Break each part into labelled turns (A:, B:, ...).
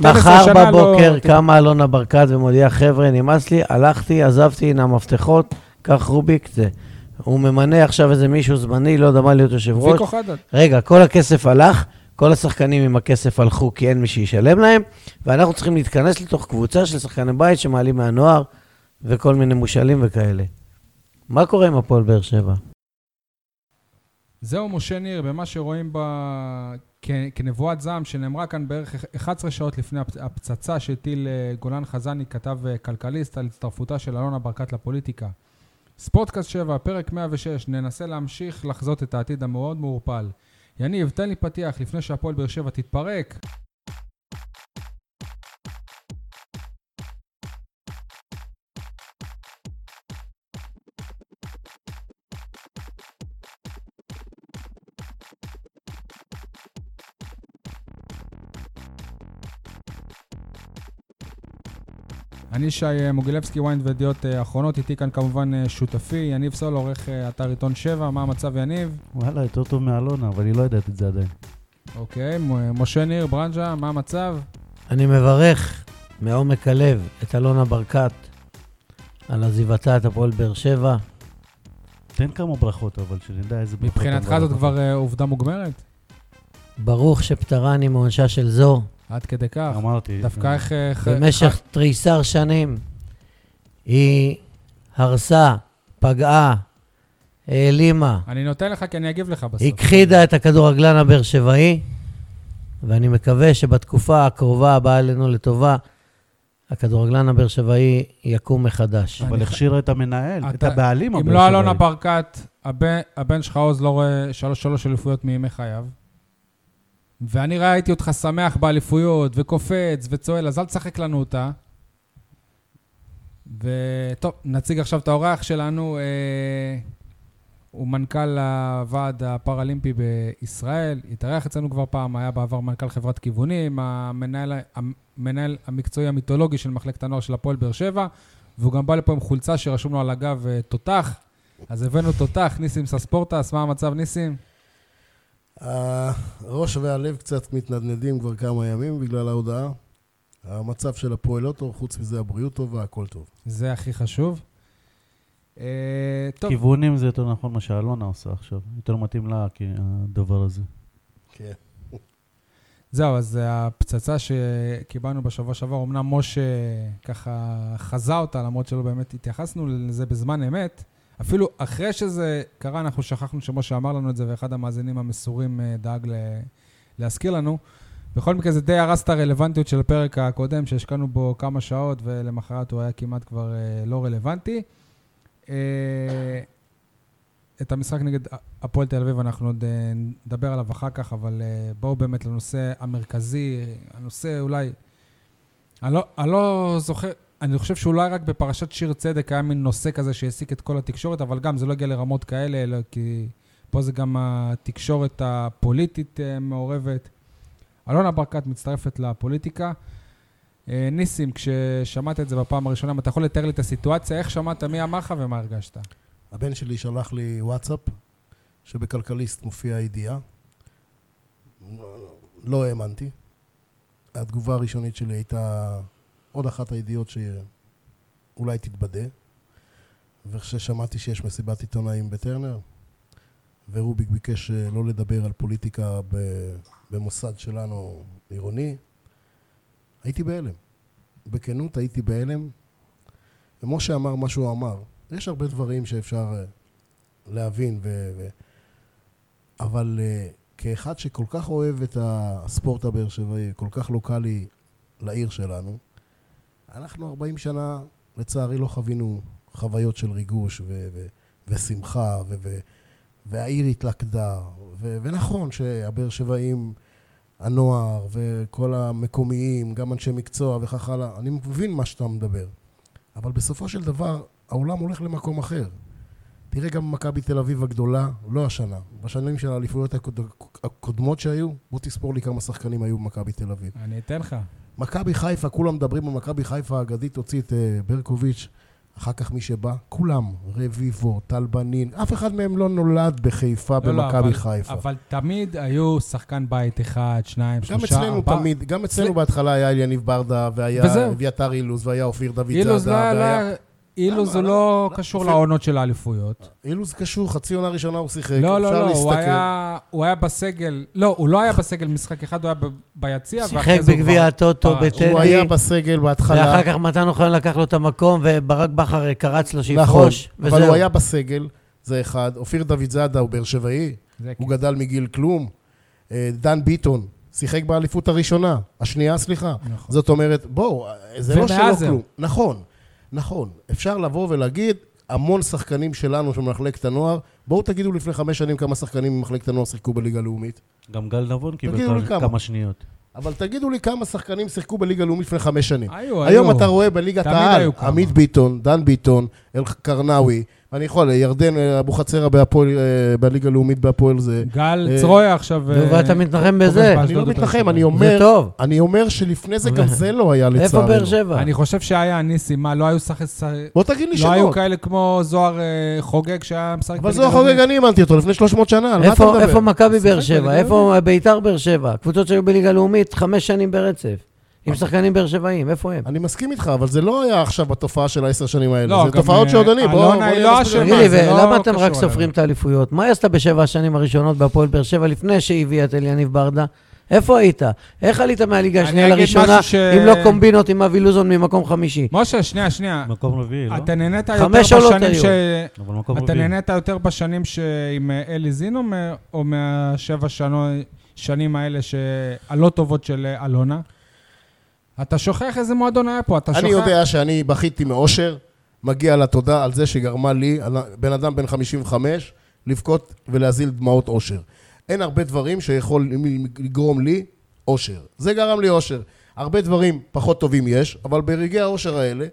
A: מחר
B: לא
A: בבוקר כן, קמה אלונה ברקת ומודיעה, חבר'ה, נמאס לי, הלכתי, עזבתי, הנה המפתחות, קח רוביק זה. הוא ממנה עכשיו איזה מישהו זמני, לא יודע מה להיות יושב ראש.
B: ויקו חדד.
A: רגע, כל הכסף הלך, כל השחקנים עם הכסף הלכו כי אין מי שישלם להם, ואנחנו צריכים להתכנס לתוך קבוצה של שחקני בית שמעלים מהנוער וכל מיני מושאלים וכאלה. מה קורה עם הפועל באר שבע?
B: זהו משה ניר, במה שרואים בה כ- כנבואת זעם שנאמרה כאן בערך 11 שעות לפני הפצ- הפצצה שהטיל אה, גולן חזני, כתב אה, כלכליסט, על הצטרפותה של אלונה ברקת לפוליטיקה. ספורטקאסט 7, פרק 106, ננסה להמשיך לחזות את העתיד המאוד מעורפל. יניב, תן לי פתיח לפני שהפועל באר שבע תתפרק. אני שי אה, מוגילבסקי, ויינד וידיעות אה, אחרונות, איתי כאן כמובן אה, שותפי, יניב סול, עורך אה, אתר עיתון 7, מה המצב יניב?
C: וואלה, יותר טוב מאלונה, אבל היא לא יודעת את זה עדיין.
B: אוקיי, מ- משה ניר, ברנז'ה, מה המצב?
A: אני מברך מעומק הלב את אלונה ברקת על עזיבתה את הפועל באר שבע.
C: תן כמה ברכות, אבל שנדע איזה ברכות.
B: מבחינתך
C: אתה
B: זאת
C: מברך.
B: כבר אה, עובדה מוגמרת?
A: ברוך שפטרני מעונשה של זו,
B: עד כדי כך.
C: אמרתי.
B: דווקא איך... אה, ח-
A: במשך תריסר שנים היא הרסה, פגעה, העלימה,
B: ח- אני נותן לך כי אני אגיב לך בסוף.
A: הכחידה את הכדורגלן הבאר שבעי, ואני מקווה שבתקופה הקרובה הבאה עלינו לטובה, הכדורגלן הבאר שבעי יקום מחדש.
B: אני
C: אבל
B: ח-
C: הכשירה את המנהל, את
B: אתה-
C: הבעלים.
B: אם
C: הבאר
B: לא
C: שבעי.
B: אלונה ברקת, הבן- הבן שלך עוז לא רואה שלוש שלוש אליפויות מימי חייו. ואני ראיתי אותך שמח באליפויות, וקופץ, וצוהל, אז אל תשחק לנו אותה. וטוב, נציג עכשיו את האורח שלנו, אה, הוא מנכ"ל הוועד הפראלימפי בישראל, התארח אצלנו כבר פעם, היה בעבר מנכ"ל חברת כיוונים, המנהל, המנהל המקצועי המיתולוגי של מחלקת הנוער של הפועל באר שבע, והוא גם בא לפה עם חולצה שרשום לו על הגב אה, תותח, אז הבאנו תותח, ניסים סספורטס, מה המצב ניסים?
D: הראש והלב קצת מתנדנדים כבר כמה ימים בגלל ההודעה. המצב של הפועל לא טוב, חוץ מזה הבריאות טובה, הכל טוב.
B: זה הכי חשוב. אה, טוב,
C: כיוונים זה יותר נכון מה שאלונה עושה עכשיו. יותר מתאים לה, כי הדבר הזה.
D: כן.
B: זהו, אז הפצצה שקיבלנו בשבוע שעבר, אמנם משה ככה חזה אותה, למרות שלא באמת התייחסנו לזה בזמן אמת. אפילו אחרי שזה קרה, אנחנו שכחנו שמשה אמר לנו את זה, ואחד המאזינים המסורים אה, דאג ל... להזכיר לנו. בכל מקרה, זה די הרס את הרלוונטיות של הפרק הקודם, שהשקענו בו כמה שעות, ולמחרת הוא היה כמעט כבר אה, לא רלוונטי. אה, את המשחק נגד הפועל תל אביב, אנחנו עוד אה, נדבר עליו אחר כך, אבל אה, בואו באמת לנושא המרכזי, הנושא אולי... אני לא, אני לא זוכר, אני חושב שאולי רק בפרשת שיר צדק היה מין נושא כזה שהעסיק את כל התקשורת, אבל גם זה לא הגיע לרמות כאלה, אלא כי פה זה גם התקשורת הפוליטית אה, מעורבת. אלונה ברקת מצטרפת לפוליטיקה. אה, ניסים, כששמעת את זה בפעם הראשונה, אם אתה יכול לתאר לי את הסיטואציה, איך שמעת, מי אמר לך ומה הרגשת?
D: הבן שלי שלח לי וואטסאפ, שבכלכליסט מופיעה הידיעה. לא האמנתי. התגובה הראשונית שלי הייתה עוד אחת הידיעות שאולי תתבדה. וכששמעתי שיש מסיבת עיתונאים בטרנר, ורוביק ביקש אה, לא לדבר על פוליטיקה ב- במוסד שלנו עירוני, הייתי בהלם. בכנות הייתי בהלם. ומשה אמר מה שהוא אמר. יש הרבה דברים שאפשר אה, להבין, ו... ו... אבל אה, כאחד שכל כך אוהב את הספורט הבאר שבעי, כל כך לוקאלי לעיר שלנו, אנחנו 40 שנה, לצערי, לא חווינו חוויות של ריגוש ו- ו- ושמחה, ו- ו- והעיר התלכדה, ו- ונכון שהבאר שבעים, הנוער וכל המקומיים, גם אנשי מקצוע וכך הלאה, אני מבין מה שאתה מדבר. אבל בסופו של דבר, העולם הולך למקום אחר. תראה גם מכבי תל אביב הגדולה, לא השנה, בשנים של האליפויות הקוד- הקודמות שהיו, בוא תספור לי כמה שחקנים היו במכבי תל אביב.
B: אני אתן לך.
D: מכבי חיפה, כולם מדברים על מכבי חיפה האגדית, הוציא את אה, ברקוביץ', אחר כך מי שבא, כולם, רביבו, טל בנין, אף אחד מהם לא נולד בחיפה,
B: לא, לא,
D: במכבי
B: אבל-
D: חיפה.
B: אבל תמיד היו שחקן בית אחד, שניים,
D: גם
B: שלושה,
D: אצלנו
B: ארבעה.
D: תמיד, גם אצלנו
B: אצל-
D: בהתחלה היה אליניב ברדה, והיה
B: וזהו.
D: אביתר אילוז, והיה אופיר דוד
B: אילוז לא
D: זאדה,
B: היה- לא
D: והיה...
B: היה... אילוז
D: למה?
B: הוא
D: לא,
B: לא
D: לא,
B: קשור
D: אפילו-
B: לעונות של האליפויות.
D: אילוז קשור, חצי עונה ראשונה הוא שיחק,
B: לא, לא,
D: אפשר
B: לא, הוא
D: להסתכל.
B: היה- הוא היה בסגל, לא, הוא לא היה בסגל משחק אחד, הוא היה ב- ביציע,
A: שיחק
B: זה הוא
A: בגביע
B: כבר-
A: הטוטו
B: פרש.
A: בטדי,
D: אה, הוא היה בסגל בהתחלה.
A: ואחר כך מתן אוחיון לקח לו את המקום, וברק בכר קרץ לו
D: נכון,
A: שיפרוש,
D: אבל
A: וזהו.
D: הוא היה בסגל, זה אחד. אופיר דוד זאדה הוא באר שבעי,
B: זה
D: הוא
B: כן.
D: גדל מגיל כלום. אה, דן ביטון, שיחק באליפות הראשונה, השנייה, סליחה.
B: נכון.
D: זאת אומרת, בואו, זה לא שלא
B: ומאז זהו.
D: כלום. נכון, נכון. אפשר לבוא ולהגיד, המון שחקנים שלנו, של מחלקת הנוער, בואו תגידו לפני חמש שנים כמה שחקנים ממחלקת הנוער שיחקו בליגה לאומית.
C: גם גל נבון קיבל
D: תגידו לי
C: כמה-
D: כמה.
C: כמה שניות.
D: אבל תגידו לי כמה שחקנים שיחקו בליגה לאומית לפני חמש שנים.
B: היו,
D: היום
B: היו.
D: אתה רואה בליגת
B: תמיד
D: העל,
B: היו כמה.
D: עמית ביטון, דן ביטון, אלקרנאווי, אני יכול, ירדן אה, אבוחצירא בהפועל, אה, בליגה הלאומית בהפועל זה.
B: גל
D: אה,
B: צרויה עכשיו...
A: נו,
B: אה,
A: ואתה מתנחם בזה.
B: אשדוד
D: אני לא
B: הוא
D: מתנחם,
B: באשדוד.
D: אני
A: זה
D: אומר,
A: טוב.
D: אני אומר שלפני זה גם זה לא היה לצערנו.
A: איפה באר שבע?
B: אני חושב שהיה ניסים, מה, לא היו שחק... ש-
D: בוא תגיד לי
B: לא היו
D: שמות.
B: כאלה כמו זוהר אה, חוגג שהיה משחק...
D: אבל
B: בליגה
D: זו החוגג,
B: הלאומית?
D: אני אימנתי אותו לפני 300 שנה, על מה אתה
A: איפה איפה
D: מדבר?
A: מכבי באר
B: שיחק
A: שבע?
B: בליגה
A: איפה ביתר באר שבע? קבוצות שהיו בליגה לאומית חמש שנים ברצף. עם שחקנים באר שבעים, איפה הם?
D: אני מסכים איתך, אבל זה לא היה עכשיו התופעה של העשר שנים האלה.
B: לא,
D: זה
B: גם,
D: תופעות
B: אה,
D: שעוד אני, בוא...
B: אלונה
D: בוא
B: היא
D: נהיה
B: לא
D: מספיק.
B: אשמה.
A: תגיד לי,
B: זה לא
A: ולמה אתם
B: קשור
A: רק
B: אליו.
A: סופרים את האליפויות? מה היא עשתה בשבע השנים הראשונות בהפועל באר שבע לפני שהיא הביאה את אליניב ברדה? איפה היית? איך עלית מהליגה
B: אני
A: השנייה
B: אגיד
A: לראשונה,
B: משהו ש-
A: אם לא קומבינות עם אבי לוזון ממקום חמישי?
B: משה, שנייה, שנייה.
C: מקום רביעי, לא?
B: אה, אתה נהנית יותר
A: חמש לא עולות
B: בשנים
A: היו.
B: ש...
C: אבל מקום
B: אתה
C: רביעי.
B: נהנית יותר בשנים ש- עם אה, אלי זין או מה- או מהשבע שנו- שנים האלה ש- הלא טובות של אה, אלונה? אתה שוכח איזה מועדון היה פה, אתה שוכח...
D: אני יודע שאני בכיתי מאושר, מגיע לה תודה על זה שגרמה לי, על- בן אדם בן 55, לבכות ולהזיל דמעות אושר. אין הרבה דברים שיכולים לגרום לי אושר. זה גרם לי אושר. הרבה דברים פחות טובים יש, אבל ברגעי האושר האלה...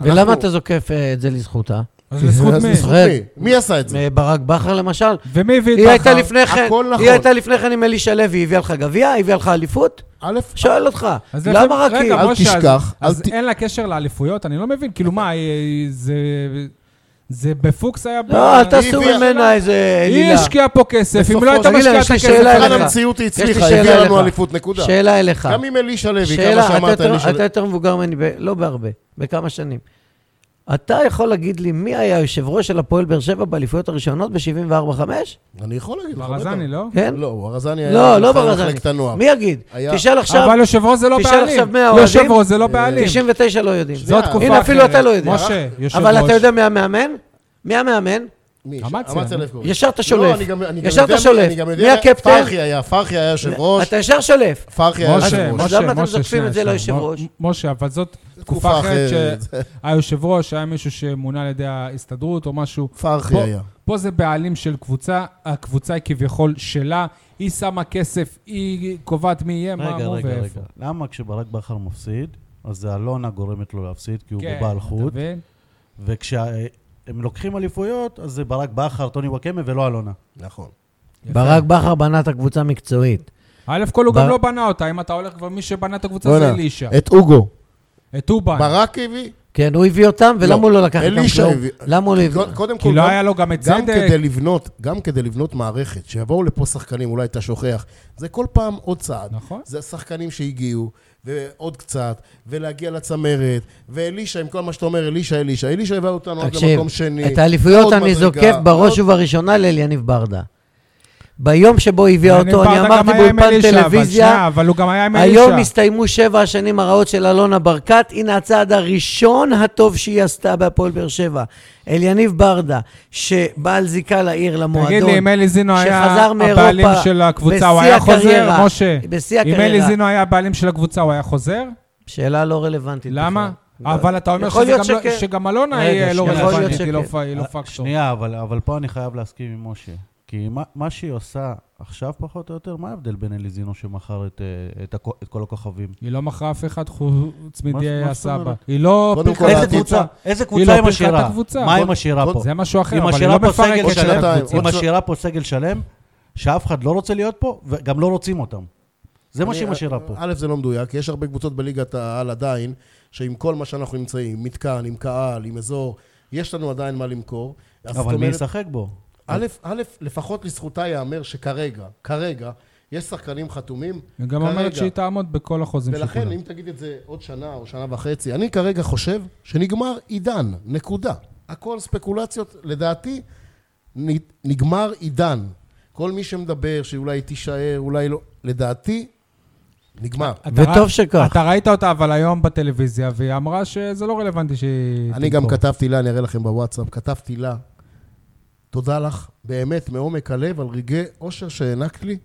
A: ולמה
D: אנחנו-
A: אתה זוקף אה, את זה לזכותה?
B: אז לזכות
D: אז
B: מי?
D: לזכות
A: רד.
D: מי? מי עשה את זה?
A: ברק בכר למשל?
B: ומי הביא את
A: היא הייתה
B: בכר?
A: לפני כן,
D: הכל נכון.
A: היא הייתה לפני כן עם אלישע לוי, היא הביאה לך גביע, היא הביאה לך אליפות?
D: א',
A: שואל אותך,
B: אז איך הם-
A: למה רק היא?
B: רגע,
D: אל
B: משה, אז-
D: תשכח, אל
B: אז
D: ת-
B: אין לה קשר לאליפויות? אני לא מבין, כאילו מה, אה, זה... זה בפוקס היה... ב-
A: לא, אל תעשו
D: הביאה-
A: ממנה איזה
B: היא
A: עלילה.
B: השקיעה פה כסף, אם
D: בסופו-
B: לא הייתה
A: תגיד לי,
B: משקיעה את
A: יש לי
B: הכסף...
A: שאלה
D: מבחן
A: אליך.
D: המציאות היא
A: יש לי
D: הצליחה,
A: שאלה
D: הביאה לנו
A: אליך.
D: אליפות, נקודה.
A: שאלה אליך.
D: גם עם אלישע לוי, כמה
A: שאלה,
D: שאמרת
A: אתה יותר-
D: אלישע
A: אתה
D: לוי.
A: יותר מבוגר ממני, ב- לא בהרבה, בכמה שנים. אתה יכול להגיד לי מי היה יושב ראש של הפועל באר שבע באליפויות הראשונות ב-74-5?
D: אני יכול להגיד לך.
B: ברזני,
D: בטח.
B: לא?
A: כן?
D: לא, הוא הרזני היה...
A: לא, לא
D: מחלק
A: ברזני.
D: הנוער.
A: מי יגיד?
D: היה-
A: תשאל עכשיו,
B: אבל יושב ראש זה לא
A: תשאל
B: בעלים.
A: עכשיו מאה אוהדים.
B: יושב ראש זה לא בעלים.
A: 99 לא יודעים.
D: זה
B: זו תקופה אחרת.
A: הנה, אפילו אתה לא יודע.
B: משה, יושב ראש.
A: אבל אתה יודע מי המאמן? מי המאמן?
D: מי?
B: אמציה.
D: אמציה לב קוראים.
A: ישר אתה
D: לא,
A: שולף.
D: אני גם- אני גם
A: ישר
D: יודע
A: אתה
D: מי-
A: שולף.
D: אני גם יודע
A: מי הקפטן?
D: פרחי היה, פרחי היה יושב ראש,
A: אתה ישר שולף.
D: פרחי היה יושב
B: משה,
D: ראש.
A: אז
B: משה,
A: למה אתם
B: משה,
A: זוקפים את זה
B: שנייה,
A: ליושב
B: מ-
A: ראש?
B: מ- משה, אבל זאת
D: תקופה
B: תקופה אחרת
D: אחרת.
B: שהיושב ראש היה מישהו שמונה על ידי ההסתדרות או משהו.
D: פרחי
B: פה-
D: היה.
B: פה זה בעלים של קבוצה, הקבוצה היא כביכול שלה, היא שמה כסף, היא קובעת מי יהיה, מה
C: רגע,
B: מו
C: רגע,
B: ואיפה.
C: רגע. למה כשברק בכר מפסיד, אז זה אלונה גורמת לו להפסיד, כי הוא
B: כן,
C: בעל
B: אתה
C: חוט,
B: מבין?
C: וכשהם לוקחים אליפויות, אז זה ברק בכר, טוני וואקמה ולא אלונה.
D: נכון.
B: יפה.
A: ברק בכר בנה את הקבוצה מקצועית.
B: א' כל הוא גם
A: בר-
B: לא בנה אותה, אם אתה הולך כבר, מי שבנה את הקבוצה זה
D: בוא'נה,
B: אלישע. אה.
D: את אוגו.
B: את אובן.
D: ברק הביא.
A: כן, הוא הביא אותם, ולמה
D: לא,
A: הוא לא לקח איתם
D: אלישע
A: כלום?
D: הביא-
A: למה הוא לא הביא?
D: קודם כל,
B: כי לא
D: גם-
B: היה לו גם את
D: גם
B: צדק.
D: כדי לבנות, גם כדי לבנות מערכת, שיבואו לפה שחקנים, אולי אתה שוכח, זה כל פעם עוד צעד.
B: נכון.
D: זה השחקנים שהגיעו, ועוד קצת, ולהגיע לצמרת, ואלישע, עם כל מה שאתה אומר, אלישע, אלישע. אלישע הביא אותנו עד
A: תקשיב,
D: למקום שני.
A: את האליפויות
D: עוד
A: אני
D: מדרגה,
A: זוקף בראש
D: עוד-
A: ובראשונה לאליניב ברדה. ביום שבו הביאה
B: ואני
A: אותו, אני
B: ברדה גם
A: אמרתי
B: היה עם
A: באולפן
B: אלישע, אבל
A: טלוויזיה,
B: שנייה, אבל הוא גם היה עם אלישע.
A: היום הסתיימו שבע השנים הרעות של אלונה ברקת, הנה הצעד הראשון הטוב שהיא עשתה בהפועל באר שבע. אליניב ברדה, שבעל זיקה לעיר, למועדון,
B: תגיד לי, אם אלי זינו היה
A: שחזר מאירופה
B: הבעלים של הקבוצה, הוא
A: בשיא
B: היה חוזר,
A: הקריירה,
B: משה?
A: בשיא
B: אם אלי
A: הקריירה.
B: זינו היה הבעלים של הקבוצה, הוא היה חוזר?
A: שאלה לא רלוונטית.
B: למה?
A: בכלל. לא.
B: אבל אתה אומר
A: יכול
B: שזה
A: להיות
B: גם לא-
A: שכן.
B: שגם אלונה
A: רגע,
B: היא לא
A: שנייה, יכול להיות
B: רלוונטית, היא לא
A: שכן.
B: פ- היא לא
C: אה,
B: פקטור.
C: שנייה, אבל, אבל פה אני חייב להסכים עם משה. כי מה, מה שהיא עושה עכשיו, פחות או יותר, מה ההבדל בין אליזינו שמכר את, אה, את, הכ- את כל הכוכבים?
B: היא לא מכרה אף אחד חוץ
C: מה
B: מדי
C: זאת
B: הסבא.
C: אומרת?
B: היא לא
D: קודם כל,
B: פירקה את
C: איזה
D: העתיד-
B: הקבוצה.
C: קבוצה? איזה
B: היא
C: קבוצה
B: לא
C: היא
B: פירקה את
C: משאירה?
B: הקבוצה.
C: מה היא
D: כל-
C: משאירה
D: כל-
C: פה?
B: זה משהו אחר,
C: היא
B: אבל היא
C: משאירה
B: לא
C: פה סגל
B: מפרקת
C: שלם.
B: את
D: שנתיים,
B: הקבוצה.
C: היא
D: עוד-
C: משאירה פה סגל שלם, שאף אחד לא רוצה להיות פה, וגם לא רוצים אותם. זה מה
D: אני-
C: שהיא משאירה פה.
D: א', זה לא מדויק, כי יש הרבה קבוצות בליגת העל עדיין, שעם כל מה שאנחנו נמצאים, מתקן, עם קהל, עם אזור, יש לנו עדיין מה למכור. אז זאת
C: אבל מי
D: אומרת,
C: ישחק בו?
D: א', א', לפחות לזכותה ייאמר שכרגע, כרגע, יש שחקנים חתומים.
B: היא גם
D: כרגע.
B: אומרת שהיא תעמוד בכל החוזים של
D: ולכן,
B: כולם.
D: אם תגיד את זה עוד שנה או שנה וחצי, אני כרגע חושב שנגמר עידן, נקודה. הכל ספקולציות, לדעתי, נ- נגמר עידן. כל מי שמדבר שאולי היא תישאר, אולי לא, לדעתי, נגמר.
B: אתה
A: וטוב
B: רא-
A: שכך.
B: אתה ראית אותה אבל היום בטלוויזיה, והיא אמרה שזה לא רלוונטי שהיא...
D: אני גם
B: תמכור.
D: כתבתי לה, אני אראה לכם בוואטסאפ, כתבתי לה, תודה לך באמת מעומק הלב על רגעי אושר שהענקת לי.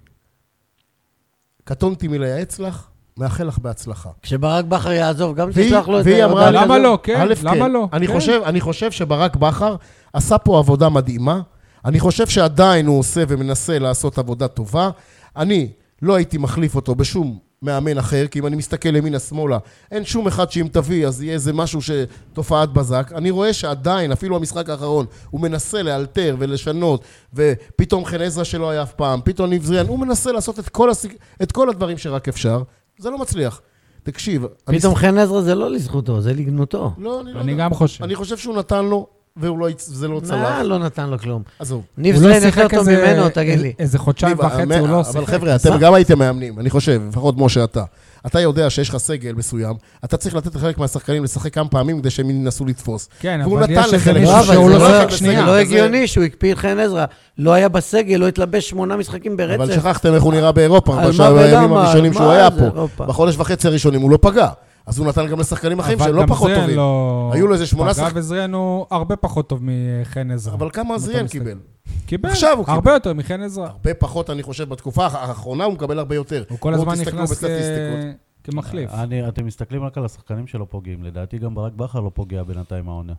D: קטונתי מלייעץ לך, מאחל לך בהצלחה.
A: כשברק בכר יעזוב, גם
D: והיא-
A: תשלח לו את
D: והיא אמרה...
A: ההודעה
D: לי-
B: למה
A: כזאת?
B: לא? כן,
D: א',
B: למה לא?
D: אני,
B: כן.
D: חושב, אני חושב שברק בכר עשה פה עבודה מדהימה. אני חושב שעדיין הוא עושה ומנסה לעשות עבודה טובה. אני לא הייתי מחליף אותו בשום מאמן אחר, כי אם אני מסתכל ימינה-שמאלה, אין שום אחד שאם תביא אז יהיה איזה משהו ש... תופעת בזק. אני רואה שעדיין, אפילו המשחק האחרון, הוא מנסה לאלתר ולשנות, ופתאום חן עזרא שלא היה אף פעם, פתאום ניב זריאן, הוא מנסה לעשות את כל, הסיג... את כל הדברים שרק אפשר. זה לא מצליח. תקשיב,
A: פתאום חן עזרא זה לא לזכותו, זה לגנותו.
D: לא, אני לא
B: אני
D: יודע.
B: גם חושב.
D: אני חושב שהוא נתן לו, והוא לא... הצ- זה לא צלח.
A: לא, לא נתן לו כלום.
D: עזוב.
A: ניב
B: הוא לא
A: זליין יותר
B: שיחק אה,
A: טוב
B: איזה-
A: ממנו, תגיד לי.
B: איזה חודשיים
D: תקשיב,
B: וחצי
D: המא-
B: הוא לא
D: אה, אבל
B: שיחק.
D: חבר'ה, אתם גם הייתם מאמנים, אני חושב, לפחות משה אתה. אתה יודע שיש לך סגל מסוים, אתה צריך לתת לחלק מהשחקנים לשחק כמה פעמים כדי שהם ינסו לתפוס.
B: כן,
D: והוא
B: אבל
D: נתן
B: יש איזה
D: לחלק.
A: לא,
B: מישהו
A: אבל זה
B: שהוא לא
A: לא-
B: שיחק
A: זה
B: שנייה.
A: לא
D: זה-
A: הגיוני שהוא הקפיא את חן עזרא. לא היה בסגל, לא התלבש שמונה משחקים
D: אבל
A: ברצף.
D: שכחתם איך הוא נראה באירופה,
A: על אה, מה
D: בשעה-
A: ולמה?
D: בימים הראשונים
A: מה
D: שהוא היה
A: זה
D: פה.
A: אירופה?
D: בחודש וחצי הראשונים הוא לא פגע. אז הוא נתן גם לשחקנים אחרים
B: אבל
D: שהם לא
B: גם
D: פחות
B: זריאן
D: טובים.
B: לא-
D: היו לו איזה שמונה
B: פגע
D: שחק-
B: וזריאן הוא הרבה פחות טוב מחן עזרא.
D: אבל כמה
B: אם אתה
D: זריאן
B: מסתכל.
D: קיבל?
B: קיבל,
D: עכשיו הוא
B: הרבה
D: קיבל.
B: יותר מחן עזרא.
D: הרבה פחות, אני חושב, בתקופה האחרונה הוא מקבל הרבה יותר.
B: הוא כל
D: בואו
B: הזמן
D: תסתכלו
B: נכנס אה, כ-
D: בסטטיסטיקות. אה,
B: כמחליף.
C: אני- אתם מסתכלים רק על השחקנים שלא פוגעים. לדעתי גם ברק בכר לא פוגע בינתיים העונה.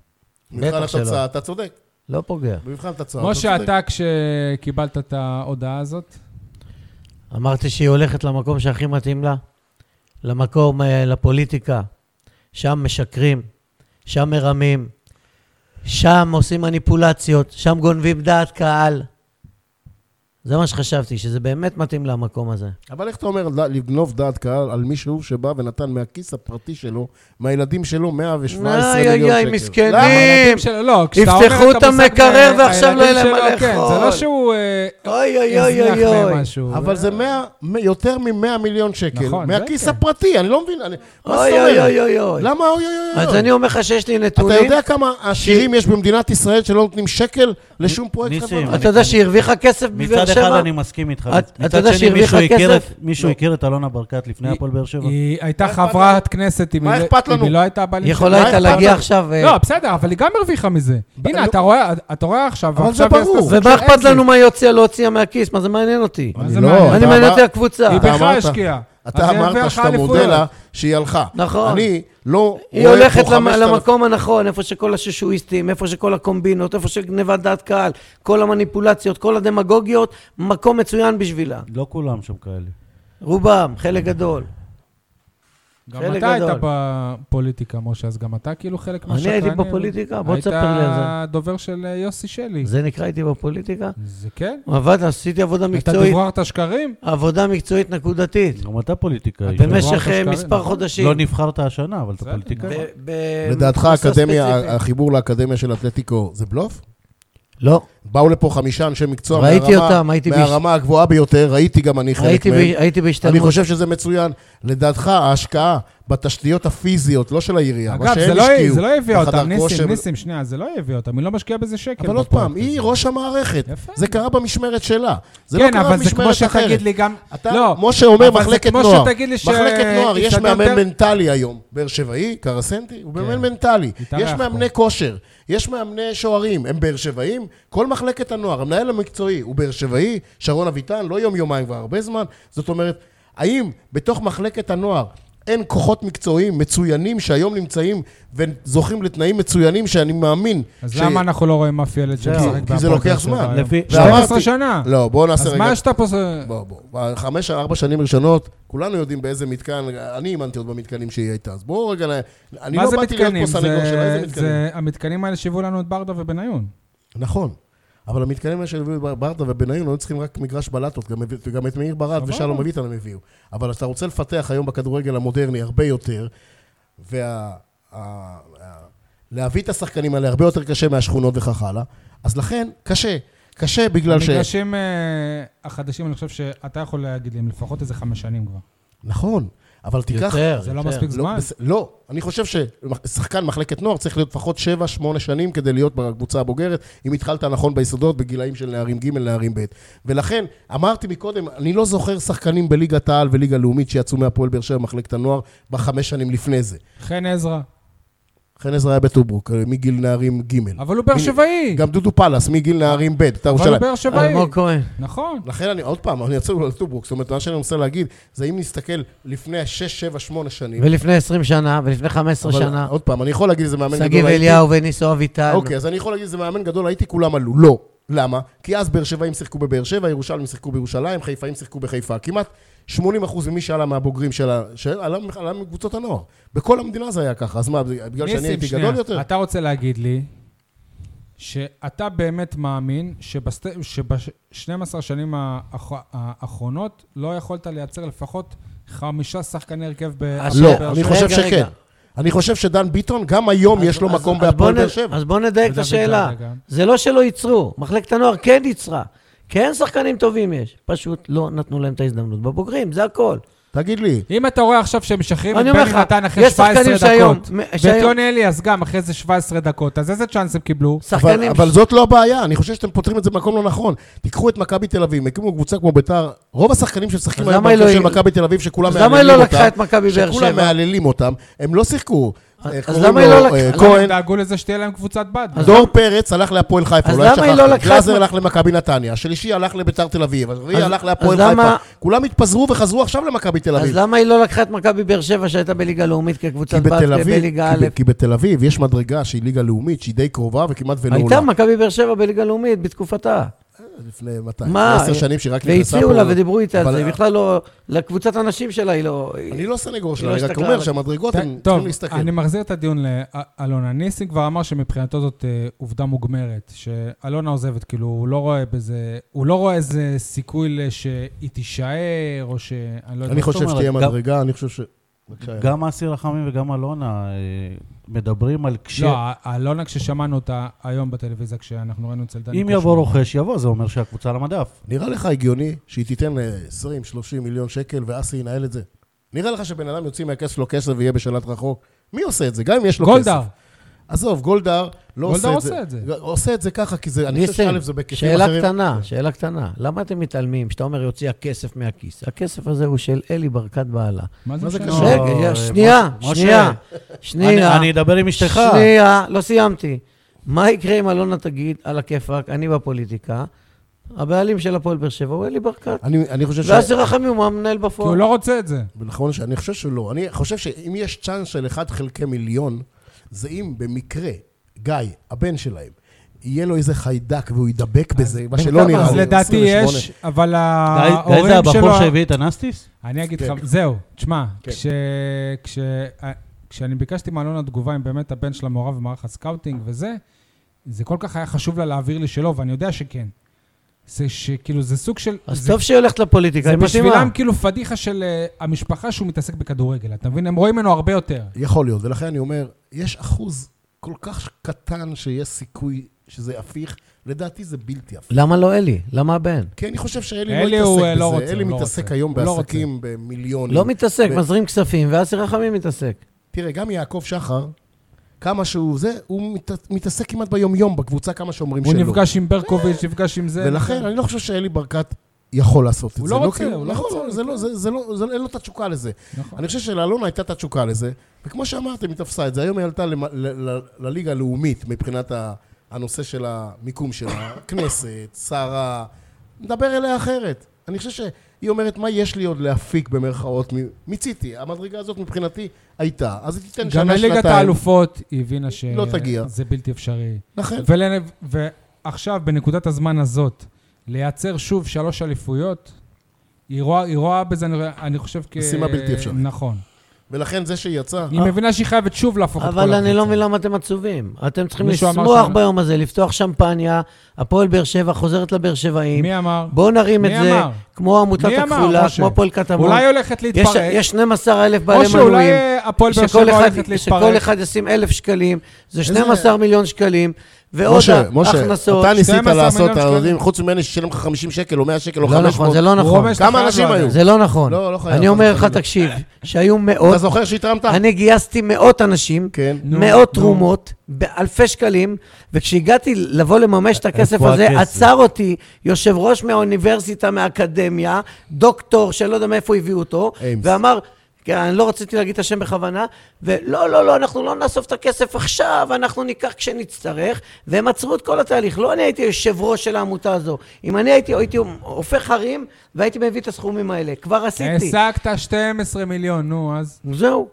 D: מבחן
A: בטח שלא.
D: התוצאה, אתה צודק.
A: לא פוגע.
D: במבחן התוצאה, אה, אתה
B: משה,
D: צודק. אה,
B: אתה כשקיבלת את ההודעה הזאת,
A: אמרתי שהיא הולכת למקום שהכי מתאים לה, למקום, אה, לפוליטיקה. שם משקרים, שם מרמים, שם עושים מניפולציות, שם גונבים דעת קהל. זה מה שחשבתי, שזה באמת מתאים למקום הזה.
D: אבל איך אתה אומר ל- לגנוב דעת קהל על מישהו שבא ונתן מהכיס הפרטי שלו, מהילדים שלו, 117
A: איי,
D: מיליון
A: איי,
D: שקל?
A: מסכנים. אה.
D: למה?
B: הילדים שלו, לא, כשאתה אומר
A: יפתחו את
B: המושג
A: המקרר
B: מה-
A: ועכשיו לא יהיה
B: הילדים
A: להם מה
B: שלו, כן, זה
A: לאכול.
B: לא שהוא אה,
A: אוי אוי אוי
B: הזניח
A: אוי
B: להם
A: אוי.
B: משהו.
D: אבל זה 100, מ- יותר מ-100 מיליון שקל,
B: נכון, זה
D: מהכיס
B: כן.
D: הפרטי, אני לא מבין, אני- מה
A: אוי
D: זאת
A: אוי
D: אומרת?
A: אוי אוי אוי.
D: למה אוי אוי אוי?
A: אז
D: אוי?
A: אני אומר לך שיש לי
D: אתה
A: נתונים.
D: יודע כמה עשירים יש במדינת ישראל שלא נותנים שקל לשום פרויקט
C: ניסים,
D: חברתי?
A: אתה יודע שהיא הרוויחה כסף בבאר
C: מצד אחד
A: שבע?
C: אני מסכים איתך.
A: את- אתה
C: מצד
A: יודע
C: שני,
A: שהרוויחה
C: מישהו הכיר
A: כסף? לא.
C: את- מישהו הכיר את אלונה ברקת לפני
B: היא-
C: הפועל באר שבע?
B: היא הייתה
D: מה אכפת
B: חברת כנסת, אם
D: מה
B: היא לא-
D: אכפת
B: אם
D: לנו?
B: היא לא הייתה באה
A: היא יכולה
D: מה
A: הייתה
D: אכפת
A: להגיע
D: לנו?
A: עכשיו... אה,
B: לא, בסדר, אבל היא גם הרוויחה מזה. הנה,
D: לא-
B: אתה רואה, אתה רואה עכשיו,
D: אבל
B: ועכשיו
D: זה
B: היא עשתה
D: ברור.
B: סוג של
A: ומה אכפת
B: אקזיט.
A: לנו מה היא הוציאה, לא הוציאה מהכיס? מה זה מעניין אותי?
B: מה זה
D: לא,
B: מעניין?
D: אתה
A: אני מעניין אותי
D: אמר-
A: הקבוצה.
B: היא בכלל
D: אמרת-
B: השקיעה.
D: אתה
B: אז היא הרוויחה
D: אמרת שאתה מודה
B: אליפויות.
D: לה שהיא הלכה.
A: נכון.
D: אני לא
A: היא
D: רואה פה
A: הולכת למ-
D: 5,000
A: למקום הנכון, איפה שכל הששואיסטים, איפה שכל הקומבינות, איפה שגניבת דעת קהל, כל המניפולציות, כל הדמגוגיות, מקום מצוין בשבילה.
C: לא כולם שם כאלה.
A: רובם, חלק גדול.
B: גם
A: חלק
B: אתה היית
A: גדול.
B: בפוליטיקה, משה, אז גם אתה כאילו חלק
A: אני
B: מהשקרנים.
A: הייתי בפוליטיקה, בוא תספר לי על זה.
B: היית דובר של אה, יוסי שלי.
A: זה נקרא איתי בפוליטיקה?
B: זה כן?
A: עבד, עשיתי עבודה
B: אתה
A: מקצועית,
B: דובררת שקרים?
A: עבודה מקצועית נקודתית.
C: גם אתה פוליטיקאי.
B: אתם-
C: שלא-
A: במשך
B: שקרים,
A: אה, מספר
B: נכון.
A: חודשים.
C: לא נבחרת השנה, אבל אתה
B: בסדר,
C: פוליטיקאי.
B: נכון.
A: ב- ב-
D: לדעתך
A: נושא ספציפי.
D: האקדמיה, החיבור לאקדמיה של אתלטיקו זה בלוף?
A: לא,
D: באו לפה חמישה אנשי מקצוע
A: ראיתי
D: מהרמה,
A: אותם, הייתי בש-
D: מהרמה הגבוהה ביותר, ראיתי גם אני חלק
A: הייתי ב-
D: מהם.
A: הייתי
D: אני
A: בהשתלמות.
D: חושב שזה מצוין. לדעתך, ההשקעה בתשתיות הפיזיות, לא של העירייה, מה
B: אגב,
D: שהם
B: זה לא-
D: השקיעו,
B: זה לא הביא
D: בחדר
B: אותם,
D: כושר-
B: ניסים, ניסים, שנייה, זה לא הביא אותם, היא לא משקיעה בזה שקל.
D: אבל עוד
B: בפרויקט
D: פעם,
B: הזה.
D: היא ראש המערכת.
B: יפה.
D: זה קרה במשמרת שלה. זה לא
B: כן,
D: קרה
B: אבל זה כמו
D: במשמרת אחרת.
B: שתגיד לי גם...
D: אתה,
B: לא,
D: משה אומר
B: אבל זה
D: מחלקת
B: כמו
D: נוער.
B: שתגיד לי ש-
D: מחלקת נוער, יש
B: הסתדרת-
D: מאמן מנטלי היום. באר שבעי, קרסנטי, הוא מאמן
B: כן.
D: מנטלי.
B: התארח
D: יש
B: פה.
D: מאמני כושר, יש מאמני שוערים, הם באר שבעים. כל מחלקת הנוער, המנהל המקצועי הוא באר שבעי, שרון אביטן, לא יום-יומיים, כבר הרבה זמן. זאת אומרת, האם בתוך מחלקת הנוער... אין כוחות מקצועיים מצוינים שהיום נמצאים וזוכים לתנאים מצוינים שאני מאמין
B: אז
D: ש-
B: למה אנחנו לא רואים אף ילד שמשחק
D: כי זה
B: בהפועל
D: לוקח
B: באר שבע
D: זמן.
B: היום?
C: לפי-
B: 12
D: ואמרתי-
B: שנה.
D: לא, בואו נעשה
B: אז
D: רגע...
B: מה שאתה פה... זה-
D: בוא, בוא. בחמש, ארבע שנים ראשונות, כולנו יודעים באיזה מתקן, אני אימנתי עוד במתקנים שהיא הייתה, אז בואו רגע, נ- אני
B: מה
D: לא
B: זה
D: באתי להיות
B: מתקנים?
D: פה סנגור
B: זה-
D: שלה, איזה מתקנים.
B: זה המתקנים האלה שהביאו לנו את ברדה ובניון.
D: נכון. אבל המתקנים האלה שהביאו את ברדה ובניון, היו צריכים רק מגרש בלטות, גם הביא- גם את מאיר ברד
B: סבבה.
D: ושלום אביטן הם הביאו. אבל אתה רוצה לפתח היום בכדורגל המודרני הרבה יותר, וה... ה- ה- להביא את השחקנים האלה הרבה יותר קשה מהשכונות וכך הלאה, אז לכן קשה. קשה בגלל ש...
B: המגרשים אה, החדשים, אני חושב שאתה יכול להגיד לי, הם לפחות איזה חמש שנים כבר.
D: נכון, אבל תיקח...
A: יותר,
B: זה לא
A: יותר.
B: מספיק
D: לא,
B: זמן.
D: בס- לא, אני חושב ששחקן מחלקת נוער צריך להיות לפחות 7-8 שנים כדי להיות בקבוצה הבוגרת, אם התחלת נכון ביסודות בגילאים של נערים ג', נערים ב'. ולכן, אמרתי מקודם, אני לא זוכר שחקנים בליגת העל וליגה לאומית שיצאו מהפועל באר שבע במחלקת הנוער בחמש שנים לפני זה.
B: חן עזרא,
D: חן עזרא היה בטוברוק, אה, מגיל נערים ג'.
B: אבל הוא באר
D: הנה,
B: שבעי.
D: גם דודו פלס, מגיל נערים ב',
B: אבל
D: אתה
B: הוא
D: ירושלים. לא,
B: באר שבעי.
A: אלמוג כהן.
B: נכון.
D: לכן אני, עוד פעם, אני יוצא על טוברוק, זאת אומרת, מה שאני מנסה להגיד, זה אם נסתכל לפני 6, 7, 8 שנים.
A: ולפני 20 שנה, ולפני 15
D: אבל
A: שנה,
D: עוד פעם, אני יכול להגיד איזה מאמן גדול.
A: שגיב
D: הייתי.
A: אליהו וניסו אביטל.
D: אוקיי, אז אני יכול להגיד שזה מאמן גדול, הייתי, כולם עלו. לא. למה? כי אז באר שבעים שיחקו בבאר שבע, ירושלמים שיחקו בירושלים, חיפאים שיחקו בחיפה. כמעט 80% ממי שעלה מהבוגרים של ה... שעלה עלה מקבוצות הנוער. בכל המדינה זה היה ככה, אז מה, בגלל שאני
B: ניסים,
D: הייתי
B: שנייה,
D: גדול יותר?
B: אתה רוצה להגיד לי שאתה באמת מאמין שב-12 שנים האח- האחרונות לא יכולת לייצר לפחות חמישה שחקני הרכב בהפועל
A: אז
D: לא,
A: רגע,
D: אני חושב
A: רגע,
D: שכן.
A: רגע.
D: אני חושב שדן ביטון, גם היום יש לו
A: אז-
D: מקום
A: אז בוא
D: בהפועל
A: נ-
D: באר שבע.
A: אז בואו נדייק את
B: בדוד
A: השאלה.
B: זאדה גם.
A: זה לא שלא ייצרו, מחלקת הנוער כן ייצרה. כן שחקנים טובים יש, פשוט לא נתנו להם את ההזדמנות בבוגרים, זה הכל.
D: תגיד לי,
B: אם אתה רואה עכשיו שמשחררים את
A: אני אומר
B: בני
A: לך,
B: נתן אחרי
A: יש
B: 17
A: שחקנים שהיום-
B: דקות,
A: מ-
B: ואת
A: שהיום-
B: יוני אליאס גם אחרי איזה 17 דקות, אז איזה צ'אנס הם קיבלו?
A: שחקנים...
D: אבל, אבל זאת לא הבעיה, אני חושב שאתם פותרים את זה במקום לא נכון. תיקחו את מכבי תל אביב, הקימו קבוצה כמו ביתר, רוב השחקנים שמשחקים
A: אז
D: היום
A: למה היא
D: בהרכב של
A: לא-
D: מכבי תל אביב, שכולם
A: אז
D: מהללים אותם,
A: למה היא לא לקחה את מכבי באר
D: שכולם
A: שבע?
D: מהללים אותם, הם לא שיחקו.
A: אז-
D: אה,
A: אז
D: קוראים
A: למה היא
D: לו,
A: לא לקחה-
D: אה,
A: למה
B: הם
D: כהן,
B: דאגו לזה שתהיה להם קבוצת בת.
D: דור פרץ הלך להפועל חיפה,
A: אז
D: אולי
A: למה היא לא
D: שכחתם.
A: לקחה את
D: גלאזר
A: מ-
D: הלך למכבי נתניה, השלישי הלך לביתר תל אביב, הרביעי
A: אז-
D: הלך
A: אז
D: להפועל
A: למה-
D: חיפה. כולם התפזרו וחזרו עכשיו למכבי תל
A: אז
D: אביב.
A: למה היא לא לקחה את מכבי באר שבע שהייתה בליגה לאומית
D: כי
A: כקבוצת בת
D: בתל אביב,
A: בליגה
D: כי ב-
A: א'?
D: כי בתל אביב יש מדרגה שהיא ליגה לאומית, שהיא די קרובה וכמעט ולא
A: הייתה
D: עולה.
A: מכבי באר שבע בליגה לאומית בתקופתה.
D: לפני 200,
A: מה?
D: 10 שנים שהיא רק נכנסה פה.
A: והציעו לה ודיברו איתה על
D: כן, אבל-
A: זה, היא בכלל לא... לקבוצת הנשים שלה היא לא...
D: אני לא סנגור שלה,
A: לא
D: אני רק
A: הסתכלה
D: אומר
A: על-
D: שהמדרגות, הם
B: טוב,
D: צריכים להסתכל.
B: אני מחזיר את הדיון לאלונה. ניסים כבר אמר שמבחינתו זאת אה, עובדה מוגמרת, שאלונה עוזבת, כאילו, הוא לא רואה בזה, הוא לא רואה איזה סיכוי ל- שהיא תישאר, או ש... אני לא יודע.
D: אני חושב
C: אומרת?
D: שתהיה
C: גם-
D: מדרגה, אני חושב ש... בבקשה, יאללה.
C: גם אסי רחמים וגם אלונה אה, מדברים על כש...
B: לא, אלונה, כששמענו אותה היום בטלוויזיה, כשאנחנו ראינו אצל דני
C: אם יבוא רוכש, יבוא, זה אומר שהקבוצה על המדף.
D: נראה לך הגיוני שהיא תיתן 20-30 מיליון שקל ואסי ינהל את זה? נראה לך שבן אדם יוציא מהכסף שלו כסף ויהיה בשלט רחוק? מי עושה את זה? גם אם יש לו כסף.
B: גולדהר,
D: עזוב, גולדהר לא
B: גולדהר
D: עושה את
B: עושה
D: זה.
B: את זה.
D: ג- עושה את זה ככה, כי זה... אני חושב
A: ניסים,
D: שא' זה בהיקפים
A: שאלה
D: אחרים.
A: קטנה, שאלה קטנה. למה אתם מתעלמים כשאתה אומר יוציאה כסף מהכיס? הכסף הזה הוא של אלי ברקת בעלה.
B: מה
D: מה
B: זה
D: זה
B: קשור?
D: קשור?
A: רגע,
C: אה,
A: יא- שנייה,
C: משה,
A: שנייה, שנייה.
C: אני- אני אדבר עם אשתך.
A: שנייה, לא סיימתי. מה יקרה אם אלונה תגיד, על הכיפאק, אני בפוליטיקה, הבעלים של הפועל באר שבע הוא אלי ברקת.
D: אני אני חושב ש...
A: ואז רחמים הוא המנהל
B: כי הוא
A: בפועל.
B: לא רוצה את זה.
D: נכון שאני חושב שלא. אני חושב שאם יש צ'אנס של 1 חלקי מיליון, זה אם במקרה, גיא, הבן שלהם, יהיה לו איזה חיידק והוא ידבק בזה, מה
A: בן
D: שלא
A: כמה?
D: נראה לי.
B: אז
D: הוא
B: לדעתי
D: 28.
B: יש, אבל
C: גיא גיא זה
B: ההורים שלו...
C: הבחור שהביא את הנסטיס?
B: אני אגיד
D: כן.
B: לך, זהו, תשמע,
D: כן.
B: כש- כש- אה, כשאני ביקשתי מאלונה תגובה אם באמת הבן שלה מעורב במערך הסקאוטינג וזה, זה כל כך היה חשוב לה להעביר לי שלא, ואני יודע שכן. זה שכאילו, זה סוג של...
A: אז
B: זה-
A: טוב שהיא הולכת לפוליטיקה,
B: זה
A: היא מתאימה.
B: בשבילם כאילו פדיחה של אה, המשפחה שהוא מתעסק בכדורגל, אתה מבין? הם רואים ממנו הרבה יותר.
D: יכול להיות, ולכן אני אומר, יש אחוז כל כך קטן שיש סיכוי שזה הפיך, לדעתי זה בלתי הפיך.
A: למה לא אלי? למה הבן?
D: כי אני חושב שאלי
B: אלי
D: לא
B: הוא, אה,
D: מתעסק
B: לא
D: בזה,
B: רוצה,
D: אלי
B: הוא לא
D: מתעסק
B: רוצה.
D: היום
B: הוא לא
D: בעסקים, במיליונים.
A: לא מתעסק,
D: ו-
A: מזרים כספים, ואסי רחמים מתעסק.
D: תראה, גם יעקב שחר, כמה שהוא זה, הוא מת- מתעסק כמעט ביום-יום בקבוצה, כמה שאומרים
B: הוא
D: שלא.
B: נפגש עם ברקוביץ', נפגש עם זה.
D: ולכן אני לא חושב שאלי ברקת יכול לעשות את זה.
B: כן, הוא לא רוצה,
D: כי-
B: הוא לא
D: נכון,
B: רוצה.
D: זה לא, זה- זה לא, זה- אין לו את התשוקה לזה.
B: נכון.
D: אני חושב שלאלונה הייתה את התשוקה לזה, וכמו שאמרתם, היא תפסה את זה. היום היא עלתה למ- ל- ל- לליגה הלאומית מבחינת ה- הנושא של המיקום שלה, כנסת, שרה, נדבר אליה אחרת. אני חושב שהיא אומרת, מה יש לי עוד להפיק במרכאות? מ- מיציתי, המדרגה הזאת מבחינתי הייתה. אז היא תיתן שנה,
B: גם
D: שנתיים.
B: לליגת האלופות, היא הבינה
D: לא תגיע.
B: שזה בלתי אפשרי.
D: לכן,
B: ולנב... ועכשיו, בנקודת הזמן הזאת, לייצר שוב שלוש אליפויות, היא רואה, היא רואה בזה, אני, אני חושב, כ...
D: משימה בלתי אפשרית. אה.
B: נכון.
D: ולכן זה שיצא,
B: היא מבינה שהיא חייבת שוב להפוך את כל
A: אבל אני לא
B: הקבוצה.
A: מבין למה אתם עצובים. אתם צריכים
B: מישהו אמר
A: לשמוח
B: ש-
A: ביום הזה, לפתוח שמפניה, הפועל באר שבע חוזרת לבאר שבעים.
B: מי אמר?
A: בואו נרים את
B: מי
A: זה,
B: אמר?
A: כמו עמותת
B: מי אמר,
A: הכפולה,
B: משה?
A: כמו הפועל קטמון.
B: אולי היא הולכת
A: יש-
B: להתפרק,
A: יש 12,000 בעלי
B: או שאולי
A: מנויים.
B: אה, הפועל באר
A: שכל
B: שבע
A: אחד,
B: הולכת
A: שכל
B: להתפרק.
A: אחד ישים 1,000 שקלים, זה 12 מיליון שקלים, ועוד
D: משה, משה,
A: הכנסות.
D: אתה ניסית
B: 12
D: לעשות,
B: מיליון
D: אתה
B: שקלים.
D: יודעים, חוץ ממני ששילם לך 50 שקל או 100 שקל או
A: לא נכון,
D: 500,
A: זה לא
B: הוא
A: נכון.
B: אומר שאתה
D: כמה
B: חייב
D: אנשים
B: לענות.
D: היו?
A: זה לא נכון.
D: לא, לא חייב.
A: אני אומר
D: אתה
A: לך,
D: חייב.
A: תקשיב, שהיו
D: אתה
A: מאות,
D: זוכר שהתרמת?
A: אני גייסתי מאות אנשים,
D: כן.
B: נו,
A: מאות
B: נו.
A: תרומות, באלפי שקלים, וכשהגעתי לבוא לממש את הכסף
C: איפה
A: הזה,
C: הכסף?
A: עצר אותי יושב ראש מהאוניברסיטה, מהאקדמיה, דוקטור, שלא יודע מאיפה הביאו אותו,
D: איימס.
A: ואמר, כן, אני לא רציתי להגיד את השם בכוונה, ולא, לא, לא, אנחנו לא נאסוף את הכסף עכשיו, אנחנו ניקח כשנצטרך, והם עצרו את כל התהליך. לא אני הייתי יושב ראש של העמותה הזו. אם אני הייתי, הייתי הופך הרים, והייתי מביא את הסכומים האלה. כבר עשיתי.
B: העסקת 12 מיליון, נו, אז.
A: זהו.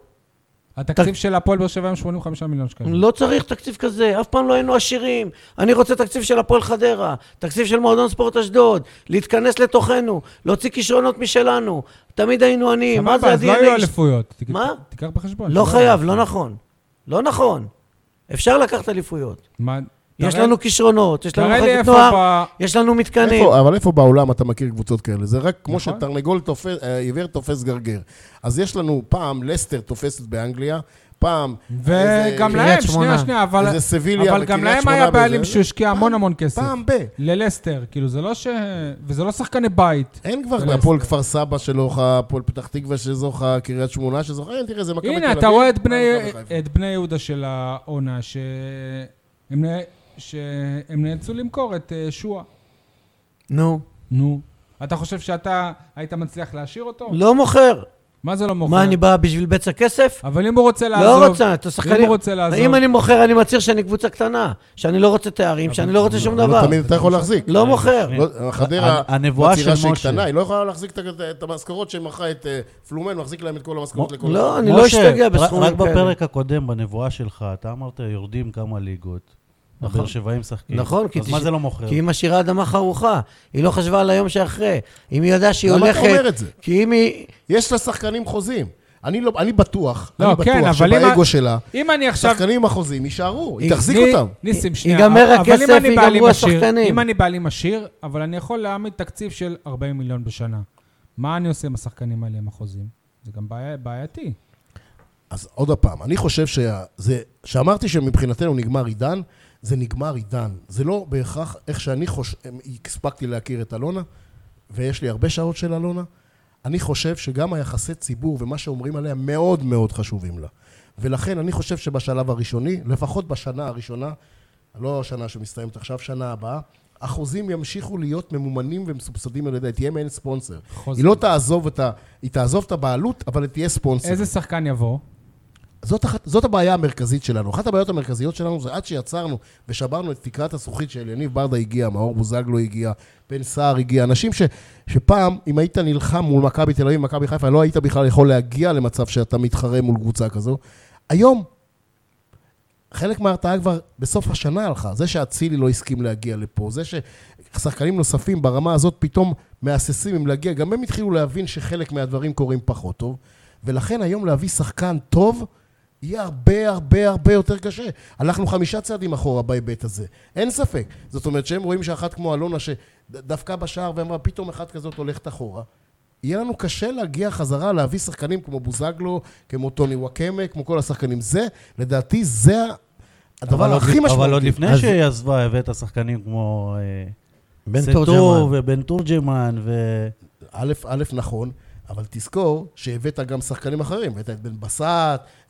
B: התקציב של הפועל באר שבע היום 85 מיליון שקלים.
A: לא צריך תקציב כזה, אף פעם לא היינו עשירים. אני רוצה תקציב של הפועל חדרה, תקציב של מועדון ספורט אשדוד, להתכנס לתוכנו, להוציא כישרונות משלנו. תמיד היינו עניים, מה זה
B: סבבה, אז לא היו
A: ה-DNA?
B: אליפויות. תק-
A: מה?
B: תיקח בחשבון.
A: לא
B: שלא
A: חייב,
B: היו.
A: לא נכון. לא נכון. אפשר לקחת אליפויות.
B: מה?
A: יש
B: תראה-
A: לנו כישרונות, יש לנו
B: תראה לי
A: מחלקת
B: איפה
A: נוער,
B: ב-
A: יש לנו מתקנים.
D: איפה, אבל איפה בעולם אתה מכיר קבוצות כאלה? זה רק כמו
B: נכון.
D: שתרנגול תופס, אה, עיוור תופס גרגר. אז יש לנו פעם לסטר תופסת באנגליה, פעם... איזה-
B: וגם
A: קריית
B: להם,
A: שמונה.
B: שנייה, שנייה, אבל...
D: איזה סביליה
B: אבל גם
D: וקריית
B: להם
D: שמונה
B: היה
D: וזה,
B: בעלים
D: זה-
B: שהשקיע המון המון כסף.
D: פעם ב...
B: ללסטר, כאילו, זה לא ש... וזה לא שחקני בית.
D: אין כבר
B: ולסטר.
D: הפועל כפר סבא שזוכה, הפועל פתח תקווה שזוכה, קריית שמונה שזוכה, הנה, תראה, זה מכבי תל אביב. אה,
B: הנה, אתה רואה את בני,
D: מכבי חיפה.
B: את בני יהודה של העונה, שהם, נה- שהם נאלצו למכור את אה, שועה.
A: נו,
B: נו. אתה חושב שאתה היית מצליח להשאיר אותו?
A: לא מוכר.
B: מה זה לא מוכר?
A: מה, אני בא בשביל בצע כסף?
B: אבל אם הוא רוצה לעזוב...
A: לא רוצה, אתה שחקן...
B: אם הוא רוצה לעזוב...
A: אם אני מוכר, אני מצהיר שאני קבוצה קטנה, שאני לא רוצה תארים, שאני לא רוצה שום
D: לא
A: דבר.
D: תמיד אתה יכול להחזיק.
A: לא מוכר.
D: לא, חדרה,
C: הנ- הנבואה
D: מצהירה
C: של
D: שהיא
C: משה.
D: קטנה, היא לא יכולה להחזיק את ה- את המשכורות שמכרה את אה, פלומן, מחזיק להם את כל המשכורות לכל...
A: לא,
D: אחד.
A: אני לא
C: משה,
A: אשתגע
C: רק-
A: בסכומים
C: רק
A: כאלה.
C: בפרק הקודם, בנבואה שלך, אתה אמרת, יורדים כמה ליגות.
A: נכון.
C: הבאר שבעים משחקים.
A: נכון, כי
C: אז
A: תש-
C: מה זה לא מוכר?
A: כי היא משאירה אדמה חרוכה, היא לא חשבה על היום שאחרי. אם היא ידעה שהיא
D: למה
A: הולכת...
D: אתה אומר את זה?
A: כי אם היא...
D: יש לה שחקנים חוזים. אני לא, אני בטוח,
B: לא,
D: אני
B: כן,
D: בטוח
B: אבל אם
D: שבאגו
B: ה-
D: שלה,
B: אם אני עכשיו...
D: השחקנים עם החוזים יישארו, היא
A: היא-
D: תחזיק
B: ני-
D: אותם.
B: ניסים, שנייה.
A: ייגמר
B: אבל אם
A: הכסף,
B: אני
A: ייגמרו
B: בעלים עשיר-
A: השחקנים.
B: אם אני בעלים עשיר, אבל אני יכול להעמיד תקציב של 40 מיליון בשנה. מה אני עושה עם השחקנים האלה, עם החוזים? זה גם בעיה- בעייתי.
D: אז עוד פעם, אני חושב שזה, שאמרתי שמבחינתנו נגמר עידן, זה נגמר עידן. זה לא בהכרח איך שאני חושב, הספקתי להכיר את אלונה, ויש לי הרבה שעות של אלונה. אני חושב שגם היחסי ציבור ומה שאומרים עליה מאוד מאוד חשובים לה. ולכן אני חושב שבשלב הראשוני, לפחות בשנה הראשונה, לא השנה שמסתיימת עכשיו, שנה הבאה, החוזים ימשיכו להיות ממומנים ומסובסדים על ידי, תהיה מעין ספונסר.
B: חוזר.
D: היא לא תעזוב את ה... היא תעזוב את הבעלות, אבל היא תהיה ספונסר.
B: איזה שחקן יבוא?
D: זאת, אחת, זאת הבעיה המרכזית שלנו. אחת הבעיות המרכזיות שלנו זה עד שיצרנו ושברנו את תקרת הזכוכית של יניב ברדה הגיע, מאור בוזגלו הגיע, בן סער הגיע, אנשים ש, שפעם, אם היית נלחם מול מכבי תל אביב, מכבי חיפה, לא היית בכלל יכול להגיע למצב שאתה מתחרה מול קבוצה כזו. היום, חלק מההרתעה כבר בסוף השנה הלכה. זה שאצילי לא הסכים להגיע לפה, זה ששחקנים נוספים ברמה הזאת פתאום מהססים אם להגיע, גם הם התחילו להבין שחלק מהדברים קורים פחות טוב. ולכן היום להביא שחקן טוב, יהיה הרבה הרבה הרבה יותר קשה. הלכנו חמישה צעדים אחורה בהיבט הזה, אין ספק. זאת אומרת שהם רואים שאחת כמו אלונה שדפקה בשער ואמרה פתאום אחת כזאת הולכת אחורה. יהיה לנו קשה להגיע חזרה, להביא שחקנים כמו בוזגלו, כמו טוני וואקמה, כמו כל השחקנים. זה, לדעתי, זה
C: אבל
D: הדבר
C: עוד-
D: הכי משמעותי.
C: אבל עוד לפני
A: אז-
C: שהיא עזבה, הבאת שחקנים כמו אה,
A: בן
C: סטו
A: תורג'מן.
C: ובן תורג'מן, ו...
D: א', א', נכון, אבל תזכור שהבאת גם שחקנים אחרים. הבאת את בן בסט,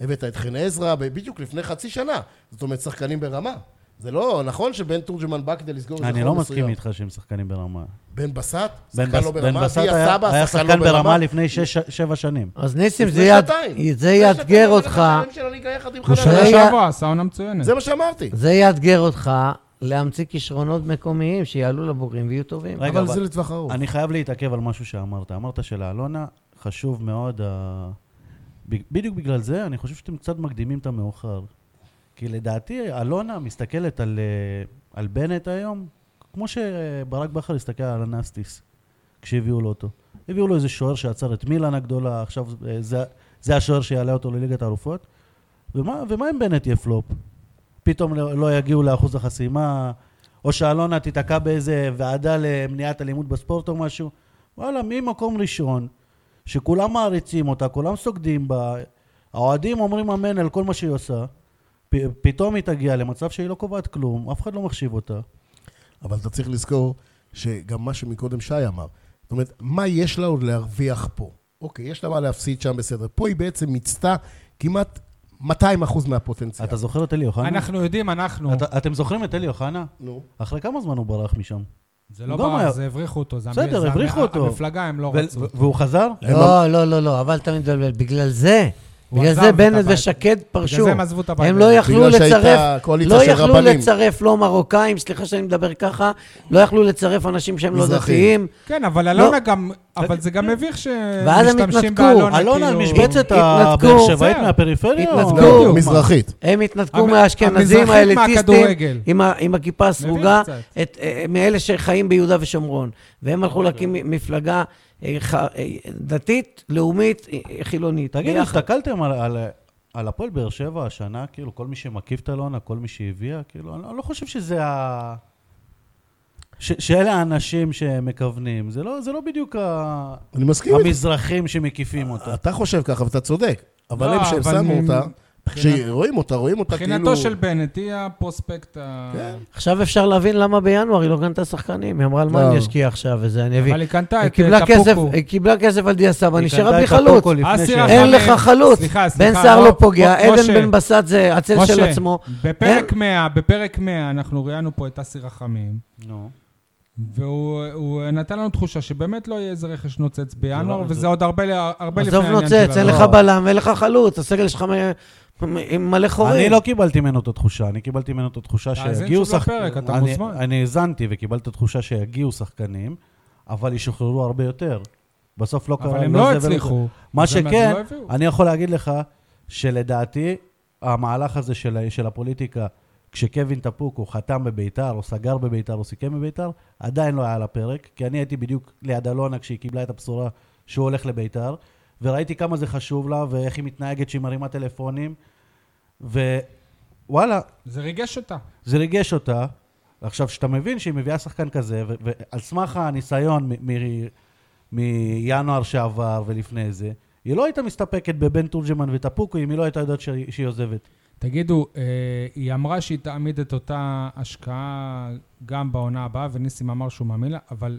D: הבאת את חן עזרא, ב- בדיוק לפני חצי שנה. זאת אומרת, שחקנים ברמה. זה לא נכון שבן תורג'מן בא כדי לסגור את זה
C: אני לא מסכים איתך שהם שחקנים ברמה.
D: בן בסט?
C: בן
D: שחקן
C: בס-
D: לא
C: בן
D: ברמה?
C: בסט
D: דיה
C: היה
D: סבא,
C: היה שחקן ברמה לפני שש- שבע שנים.
A: אז ניסים,
D: לא לפני
A: זה יאד-
D: שנתיים.
A: זה
D: לפני
A: יאתגר
D: שנתיים
A: אותך,
D: היה שחקן של הליגה יחד עם
A: הוא
D: חנן.
A: שהיה-
B: שנה
A: רגע.
B: שעברה, עשה עונה מצוינת.
C: לא
D: זה מה שאמרתי.
A: זה יאתגר אותך להמציא כישרונות מקומיים שיעלו לבוגרים ויהיו טובים.
C: רגע,
D: אבל
C: אבל-
D: זה לא- לטווח ארוך.
C: אני חייב להתעכב על משהו שאמרת. אמרת שלאלונה חשוב מאוד, ה- ב- בדיוק בגלל זה אני חושב שאתם קצת מקדימים את המאוחר. כי לדעתי אלונה מסתכלת על, אה, על בנט היום, כמו שברק בכר הסתכל על אנסטיס כשהביאו לו אותו. הביאו לו איזה שוער שעצר את מילאן הגדולה, עכשיו אה, זה, זה השוער שיעלה אותו לליגת האלופות. ומה, ומה אם בנט יהיה פלופ? פתאום לא לא יגיעו לאחוז החסימה, או שאלונה תיתקע באיזה ועדה למניעת אלימות בספורט או משהו. וואלה, ממקום ראשון, שכולם מעריצים אותה, כולם סוגדים בה, האוהדים אומרים אמן על כל מה שהיא עושה, פ- פתאום היא תגיע למצב שהיא לא קובעת כלום, אף אחד לא מחשיב אותה.
D: אבל אתה צריך לזכור שגם מה שמקודם שי אמר, זאת אומרת, מה יש לה עוד להרוויח פה? אוקיי, יש לה מה להפסיד שם, בסדר. פה היא בעצם מיצתה כמעט 200 אחוז מהפוטנציאל.
C: אתה זוכר את אלי אוחנה?
B: אנחנו יודעים, אנחנו.
C: אתה- אתם זוכרים את אלי אוחנה?
D: נו.
C: אחרי כמה זמן הוא ברח משם?
B: זה לא
C: גם היה-
B: ברח, זה הבריחו אותו. זה המ-
C: בסדר,
B: זה המ-
C: הבריחו אותו.
B: המפלגה, הם לא
C: ו-
B: רצו.
C: ו- והוא חזר?
A: לא, לא, לא, לא, אבל אתה מתבלבל. בגלל זה,
B: הוא
A: בגלל
B: עזב
A: זה
B: את
A: בנט
B: הבית.
A: ושקד פרשו.
B: בגלל זה הם עזבו את הבית.
A: הם לא יכלו
D: בגלל שהייתה
A: לצרף,
D: קואליציה
A: לא
D: של
A: יכלו
D: רבנים.
A: לצרף לא מרוקאים, סליחה שאני מדבר ככה, לא יכלו לצרף אנשים שהם לא
D: מזרחים.
A: דתיים.
B: כן,
C: לא.
B: אבל אלונה גם... אבל זה גם מביך
A: ואז הם
B: שמשתמשים
A: התנתקו.
B: באלונה, כאילו...
C: כן. אה, אלונה על משבצת
A: התנתקו.
C: הבאר שבעית
B: זהו.
C: מהפריפריה? או-
A: התנתקו.
D: לא,
A: בדיוק.
D: מזרחית.
A: הם התנתקו
B: המ-
A: מהאשכנזים
B: המזרחים
A: האליטיסטים,
B: מהכדורגל.
A: עם ה- עם הכיפה הסרוגה,
B: מבין
A: את- אה, מאלה שחיים ביהודה ושומרון. והם הלכו להקים מפלגה אה, ח- אה, דתית, לאומית, אה, חילונית.
C: תגיד,
A: ביחד.
C: הסתכלתם על- על- על הפועל באר שבע השנה, כאילו, כל מי שמקיף את אלונה, כל מי שהביאה, כאילו, אני לא- אני לא חושב שזה ה... ש- שאלה האנשים שמכוונים, זה לא, זה לא בדיוק ה...
D: אני מסכים איתך.
C: המזרחים שמקיפים אותה.
D: אתה חושב ככה ואתה צודק, אבל
B: לא,
D: הם שהם
B: אבל
D: שמו
B: מ-
D: אותה, כשרואים אותה, רואים אותה כאילו...
B: מבחינתו של בנט היא הפרוספקט ה...
D: כן.
A: עכשיו אפשר להבין למה בינואר היא לא קנתה שחקנים. היא אמרה, על מה
D: לא.
A: אני אשקיע עכשיו וזה, אני אביא.
B: אבל היא קנתה
A: היא
B: את
A: קיבלה
B: אה,
A: כסף,
B: קפוקו.
A: היא קיבלה כסף על דיה סבא,
C: היא
A: נשארה
C: קנתה
A: בלי
C: את הקוקו
A: חלוץ.
C: לפני
B: אסי
C: ש-
B: רחמים.
A: אין לך חלוץ.
B: סליחה, סליחה,
A: בן סער
B: בוא-
A: לא פוגע,
B: בוא-
A: עדן
B: משה,
A: בן בסט זה הצל של
B: משה,
A: עצמו.
B: בפרק
A: אין-
B: 100, בפרק 100, אנחנו ראיינו פה את אסי רחמים,
C: נו.
B: והוא הוא נתן לנו תחושה שבאמת לא יהיה איזה רכש נוצץ
C: לא-
B: בינואר, וזה עוד הרבה ל- הרבה לפני
A: עזוב
B: העניין לא. של
A: נוצץ, אין
B: אלונה.
A: לך בלם ואין לך חלוץ, הסגל שלך מ- מ- עם מלא חורים.
C: אני לא קיבלתי ממנו את התחושה, אני קיבלתי ממנו את התחושה
B: תאזין
C: שיגיעו
B: שוב
C: שחקנים.
B: לפרק, אתה מוזמן.
C: אני האזנתי וקיבלתי את התחושה שיגיעו שחקנים, אבל ישוחררו הרבה יותר. בסוף לא קרה.
B: אבל הם לא
C: זה ולא
B: הצליחו.
C: מה
B: אז הם
C: שכן,
B: לא הביאו.
C: אני יכול להגיד לך שלדעתי, המהלך הזה של, של הפוליטיקה, כשקווין טפוקו חתם בביתר, או סגר בביתר, או סיכם בביתר, עדיין לא היה על הפרק, כי אני הייתי בדיוק ליד אלונה כשהיא קיבלה את הבשורה שהוא הולך לביתר, וראיתי כמה זה חשוב לה, ואיך היא מתנהגת שהיא מרימה טלפונים, ווואלה,
B: זה ריגש אותה.
C: זה ריגש אותה. עכשיו, כשאתה מבין שהיא מביאה שחקן כזה, ו- ועל סמך הניסיון מ- מ- מינואר שעבר ולפני זה, היא לא הייתה מסתפקת בבן תורג'מן וטפוקו אם היא לא הייתה יודעת שהיא שהיא עוזבת.
B: תגידו, אה, היא אמרה שהיא תעמיד את אותה השקעה גם בעונה הבאה, וניסים אמר שהוא מאמין לה, אבל